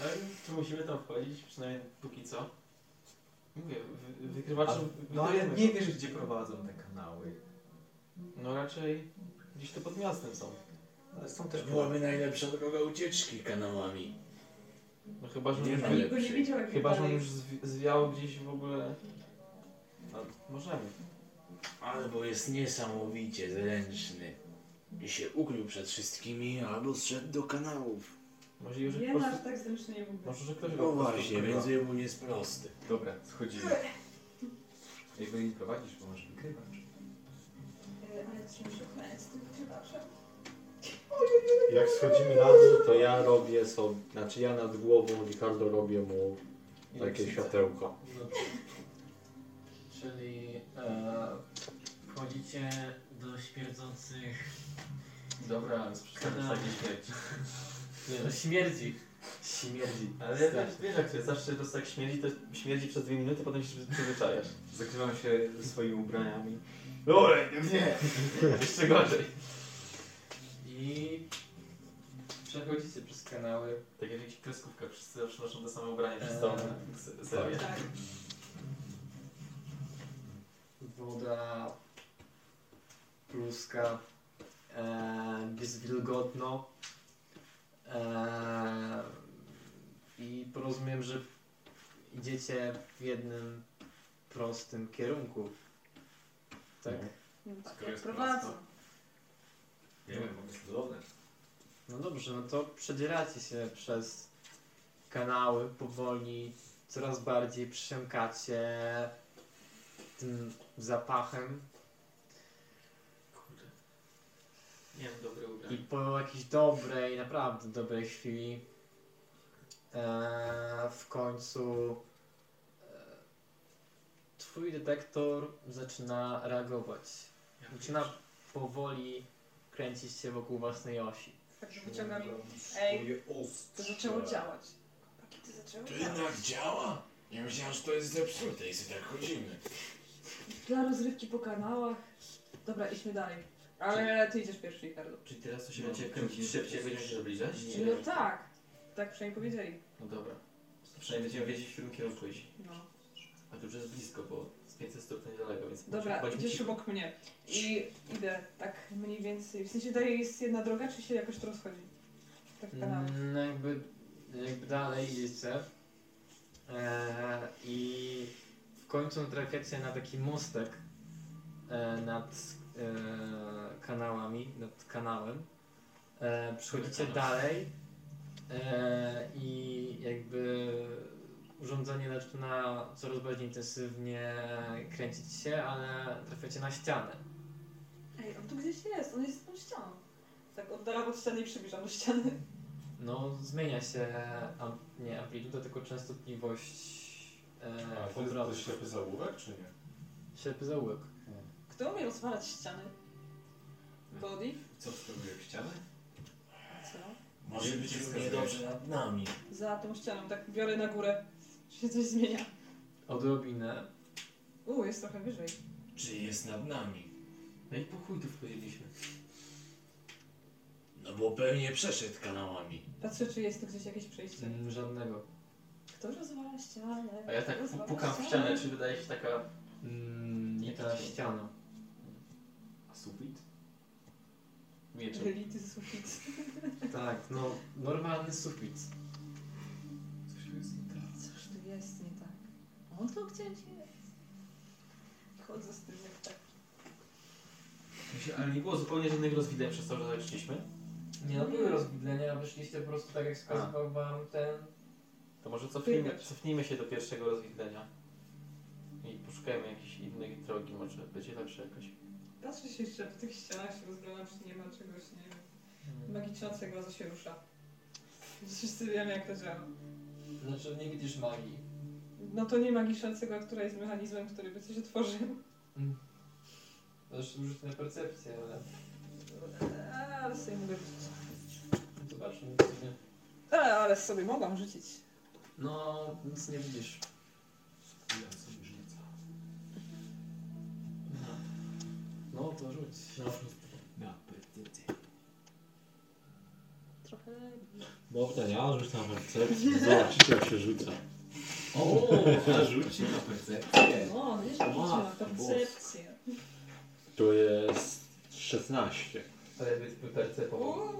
S1: Ale to musimy tam wchodzić, przynajmniej póki co. Mówię, wy, wykrywaczem...
S7: A- No ale nie wiesz, gdzie prowadzą te kanały.
S1: No raczej gdzieś tu pod miastem są.
S7: Ale są
S52: To byłaby najlepsza droga ucieczki kanałami.
S1: No chyba, że on
S52: Nie
S1: już,
S52: ma lepszej.
S1: chyba, że on już zwi- zwiał gdzieś w ogóle. A, możemy.
S52: Albo jest niesamowicie zręczny i się ukrył przed wszystkimi, albo zszedł do kanałów.
S1: Możliwe,
S3: Nie masz tak zręcznie nie mówię.
S1: Może, że ktoś
S52: No właśnie, więc wybór jest prosty.
S7: Dobra, schodzimy. Jakby nie prowadzisz, bo masz wykrywacz.
S3: E, Ale czym się chlęć z tym wykrywaczem?
S92: Jak schodzimy na dół, to ja robię sobie, znaczy ja nad głową Ricardo robię mu takie światełko.
S5: Czyli e, wchodzicie do śmierdzących.
S1: Dobra, ale sprzedajesz
S5: kanałów.
S1: takie śmierci.
S5: Nie, no śmierdzi. Śmierdzi.
S1: Ale ja też
S5: Strasznie.
S1: wiesz, jak to jest, zawsze po prostu tak śmierdzi, to śmierdzi przez dwie minuty, potem się przyzwyczajasz.
S7: Zakrywam się swoimi ubraniami. Dobra, nie!
S1: Jeszcze gorzej.
S2: I przechodzicie przez kanały.
S1: Tak jak w jakichś kreskówkach, wszyscy zawsze noszą te same ubrania
S5: E,
S1: przez całą
S2: Eee,
S1: se- serię.
S2: tak. Woda, pluska, e, jest wilgotno. E, I rozumiem, że idziecie w jednym prostym kierunku. Tak?
S3: No tak
S7: Skoro
S3: jak
S7: jest
S3: prowadzą.
S7: prosto. Nie wiem, mogę cudowne.
S2: No dobrze, no to przedzieracie się przez kanały powoli, coraz bardziej przysiąkacie tym zapachem
S1: Nie wiem, dobre
S2: i
S1: ubranie.
S2: po jakiejś dobrej, naprawdę dobrej chwili e, w końcu e, twój detektor zaczyna reagować. Zaczyna powoli kręcić się wokół własnej osi.
S3: Tak, że wyciągam i... Ej, to znaczy, zaczęło
S1: Tak.
S3: działać. Pakiety zaczęły
S52: To
S1: no-
S3: działać.
S52: jednak działa? Ja myślałem, że to jest zepsute i sobie tak chodzimy.
S3: Dla rozrywki po kanałach. Dobra, idźmy dalej. Ale ty idziesz pierwszy, Ricardo.
S1: Czyli teraz to no, się będzie kręcić szybciej, jak będziemy się zbliżać?
S3: No tak, tak przynajmniej powiedzieli.
S1: No dobra. To przynajmniej będziemy wiedzieć, w którym kierunku iść.
S3: No.
S1: A to już jest blisko, bo z 500 stóp to niedaleko, więc...
S3: Dobra,
S1: chodźmy
S3: idziesz
S1: cicho.
S3: obok mnie. I idę tak mniej więcej. W sensie daje jest jedna droga, czy się jakoś to rozchodzi? Tak
S1: Mm.
S3: w kanałach.
S2: No jakby, jakby dalej idziecie eee, i w końcu trafiacie na taki mostek e, nad e, kanałami, nad kanałem. E, przechodzicie
S1: Kanał.
S2: dalej e, i jakby urządzenie zaczyna coraz bardziej intensywnie kręcić się, ale trafiacie na ścianę.
S3: Ej, on tu gdzieś jest, on jest z tą ścianą. Tak oddalam od ściany i przybliżam do ściany.
S2: No, zmienia się am, nie amplituda, tylko częstotliwość e,
S7: Tak,
S93: A, to jest, to jest ślepy zaułek, czy nie?
S2: Ślepy zaułek.
S3: Kto umie rozwalać ściany? Body?
S1: Co spróbuję ściany?
S3: Co?
S52: Może być równie dobrze nad nami.
S3: Za tą ścianą, tak biorę na górę. Czy się coś zmienia?
S2: Odrobinę.
S3: U, jest trochę wyżej.
S52: Czy jest nad nami?
S1: No i po chuj tu wchodziliśmy.
S52: No bo pewnie przeszedł kanałami.
S3: Patrzę, czy jest tu gdzieś jakieś przejście.
S2: mm, Żadnego.
S3: Kto rozwala ścianę?
S1: Mm. A ja tak
S3: Kto rozwala
S1: pukam w ścianę, czy wydaje się taka...
S2: nie Mm, ta ściana.
S1: A sufit?
S3: Wylity sufit.
S2: Tak, no, normalny sufit.
S3: Cóż tu jest nie tak? On tu gdzieś jest. Chodzę z tym jak tak.
S1: Mi się- Ale nie było zupełnie żadnego rozwidlenia przez to, że tak szliśmy.
S2: Nie, no były rozwidlenia, wyszliście po prostu tak jak wskazywał wam ten...
S1: To może cofnijmy, cofnijmy się do pierwszego rozwidlenia. I poszukajmy jakiejś innej drogi, może będzie lepsze jakoś.
S3: Patrzę się jeszcze po tych ścianach, się rozglądam, czy nie ma czegoś, nie
S2: Mm.
S3: wiem, magiczącego, co się rusza. Wszyscy wiemy, jak to działa.
S2: Znaczy, nie widzisz magii.
S3: No to nie magiczącego, która jest mechanizmem, który by coś otworzył.
S2: Zresztą rzuć na percepcję, ale...
S3: Eee, Ale sobie mogę rzucić.
S2: no, Zobaczmy sobie.
S3: Eee, ale sobie mogłam rzucić.
S2: No, nic nie widzisz. No to rzuć. No,
S7: Na percepcję.
S3: Trochę...
S7: Dobra, ja rzucam na percepcję. Zobaczcie jak się rzuca.
S94: O, a rzuci na percepcję.
S3: O, wiesz, rzuciła na percepcję.
S95: To jest 16.
S1: Ale byśmy percepował.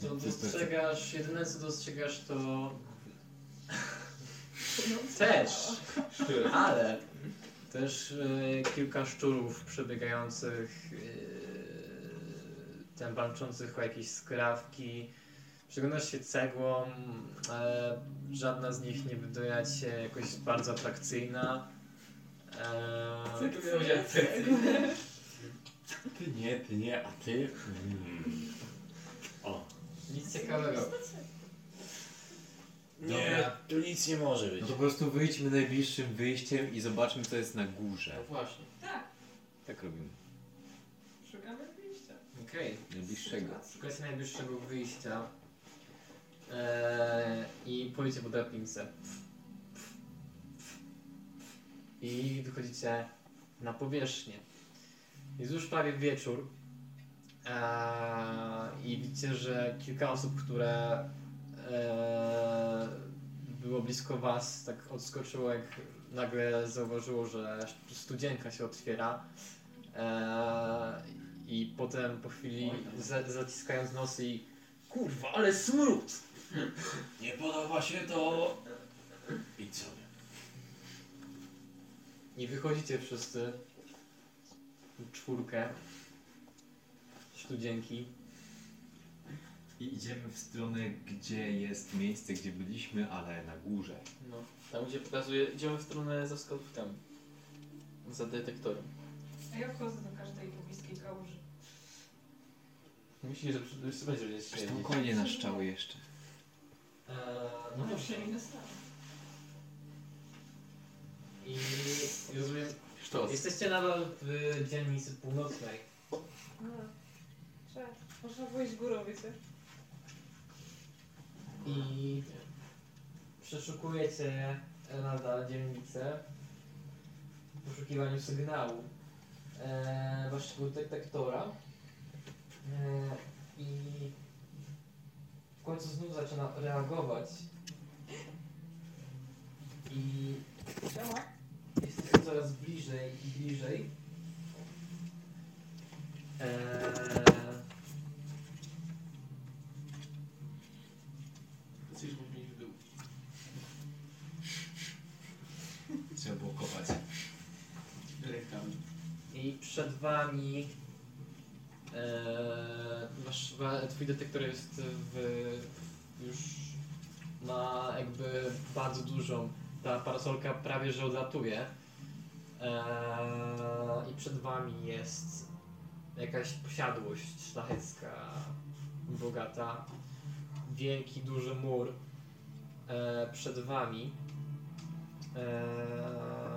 S2: To dostrzegasz, jedyne co dostrzegasz to... Też, ale też e, kilka szczurów przebiegających, e, tam walczących o jakieś skrawki. Przyglądasz się cegłą, ale żadna z nich nie wydaje ci się jakoś bardzo atrakcyjna. E,
S1: Cegły powiedziałem, cegły.
S7: Ty nie, ty nie, a ty? Mm. O.
S2: Nic ciekawego.
S52: Nie, tu nic nie może być.
S7: No to po prostu wyjdźmy najbliższym wyjściem i zobaczmy co jest na górze.
S1: No właśnie.
S3: Tak,
S7: Tak robimy.
S3: szukamy wyjścia.
S2: Okej.
S7: Najbliższego.
S2: Szukacie najbliższego wyjścia eee, i pójdziecie po drabince. I wychodzicie na powierzchnię. Jest już prawie wieczór eee, i widzicie, że kilka osób, które eee, było blisko was, tak odskoczyło, jak nagle zauważyło, że studzienka się otwiera. Eee, i potem po chwili za, zaciskając nos i kurwa, ale smród!
S52: Nie podoba się to. I co?
S2: I wychodzicie wszyscy w czwórkę studzienki.
S7: I idziemy w stronę, gdzie jest miejsce, gdzie byliśmy, ale na górze.
S1: No, tam gdzie pokazuje, idziemy w stronę za wskazówkami. Za detektorem.
S3: A ja wchodzę do każdej pobliskiej kałuży.
S1: Myślisz, że przy- już będzie gdzieś
S7: Spokojnie na szczały jeszcze.
S2: Eee,
S3: No ale przynajmniej na stałe.
S2: I rozumiem, jesteście nadal w dzielnicy północnej.
S3: A, Może No, Trzeba było iść górą, wiecie?
S2: I przeszukujecie nadal dzielnicę w poszukiwaniu sygnału e, waszego detektora. E, I w końcu znów zaczyna reagować. I jesteście coraz bliżej i bliżej. E,
S1: Coś mówi w dół.
S96: Trzeba było kopać.
S1: Rękami.
S2: I przed wami e, wasz, wa, twój detektor jest w, już ma jakby bardzo dużą. Ta parasolka prawie że odlatuje. E, I przed wami jest jakaś posiadłość szlachecka, bogata. Wielki, duży mur e, przed wami. E,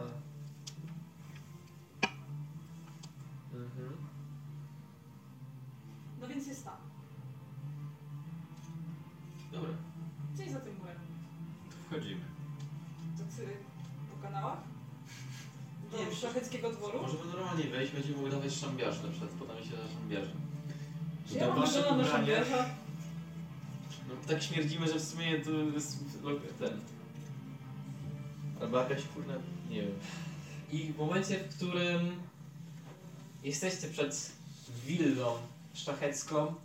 S2: Mhm.
S3: No więc jest tam.
S1: Dobra,
S3: Gdzieś za tym murem.
S1: to wchodzimy.
S3: To ty po kanałach? Do
S1: Nie,
S3: szlacheckiego dworu?
S1: Możemy normalnie wejść, będziemy mogli dawać szambiarzy na przykład, podamy się za szambiarzem.
S3: Czy ja mam wygląda na szambiarza?
S1: No tak śmierdzimy, że w sumie to jest ten. Albo jakaś kurna, nie wiem.
S2: I w momencie, w którym jesteście przed willą szlachecką,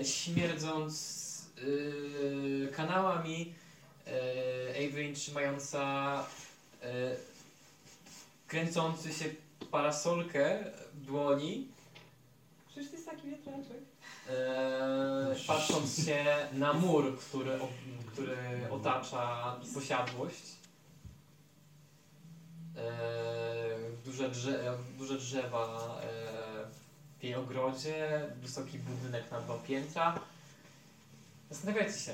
S2: e, śmierdząc e, kanałami, yy, Avery trzymająca e, kręcący się parasolkę w dłoni,
S3: Przecież to jest taki wiatraczek.
S2: Eee, patrząc się na mur, który, o- który otacza posiadłość. Eee, duże, drze- duże drzewa eee, w jej ogrodzie, wysoki budynek na dwa piętra. Zastanawiajcie się,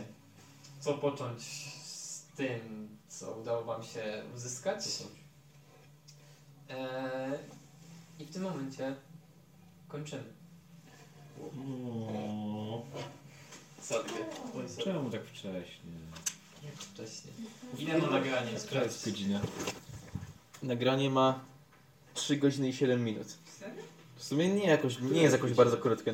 S2: co począć z tym, co udało wam się uzyskać. Eee, I w tym momencie kończymy. Sobie.
S7: Czemu tak wcześnie?
S2: Jak wcześniej. Ile ma nagranie? Sprawdź.
S1: godzina. Nagranie ma 3 godziny i 7 minut.
S3: Serio?
S1: W sumie nie jakoś, nie jest jakoś bardzo krótkie, no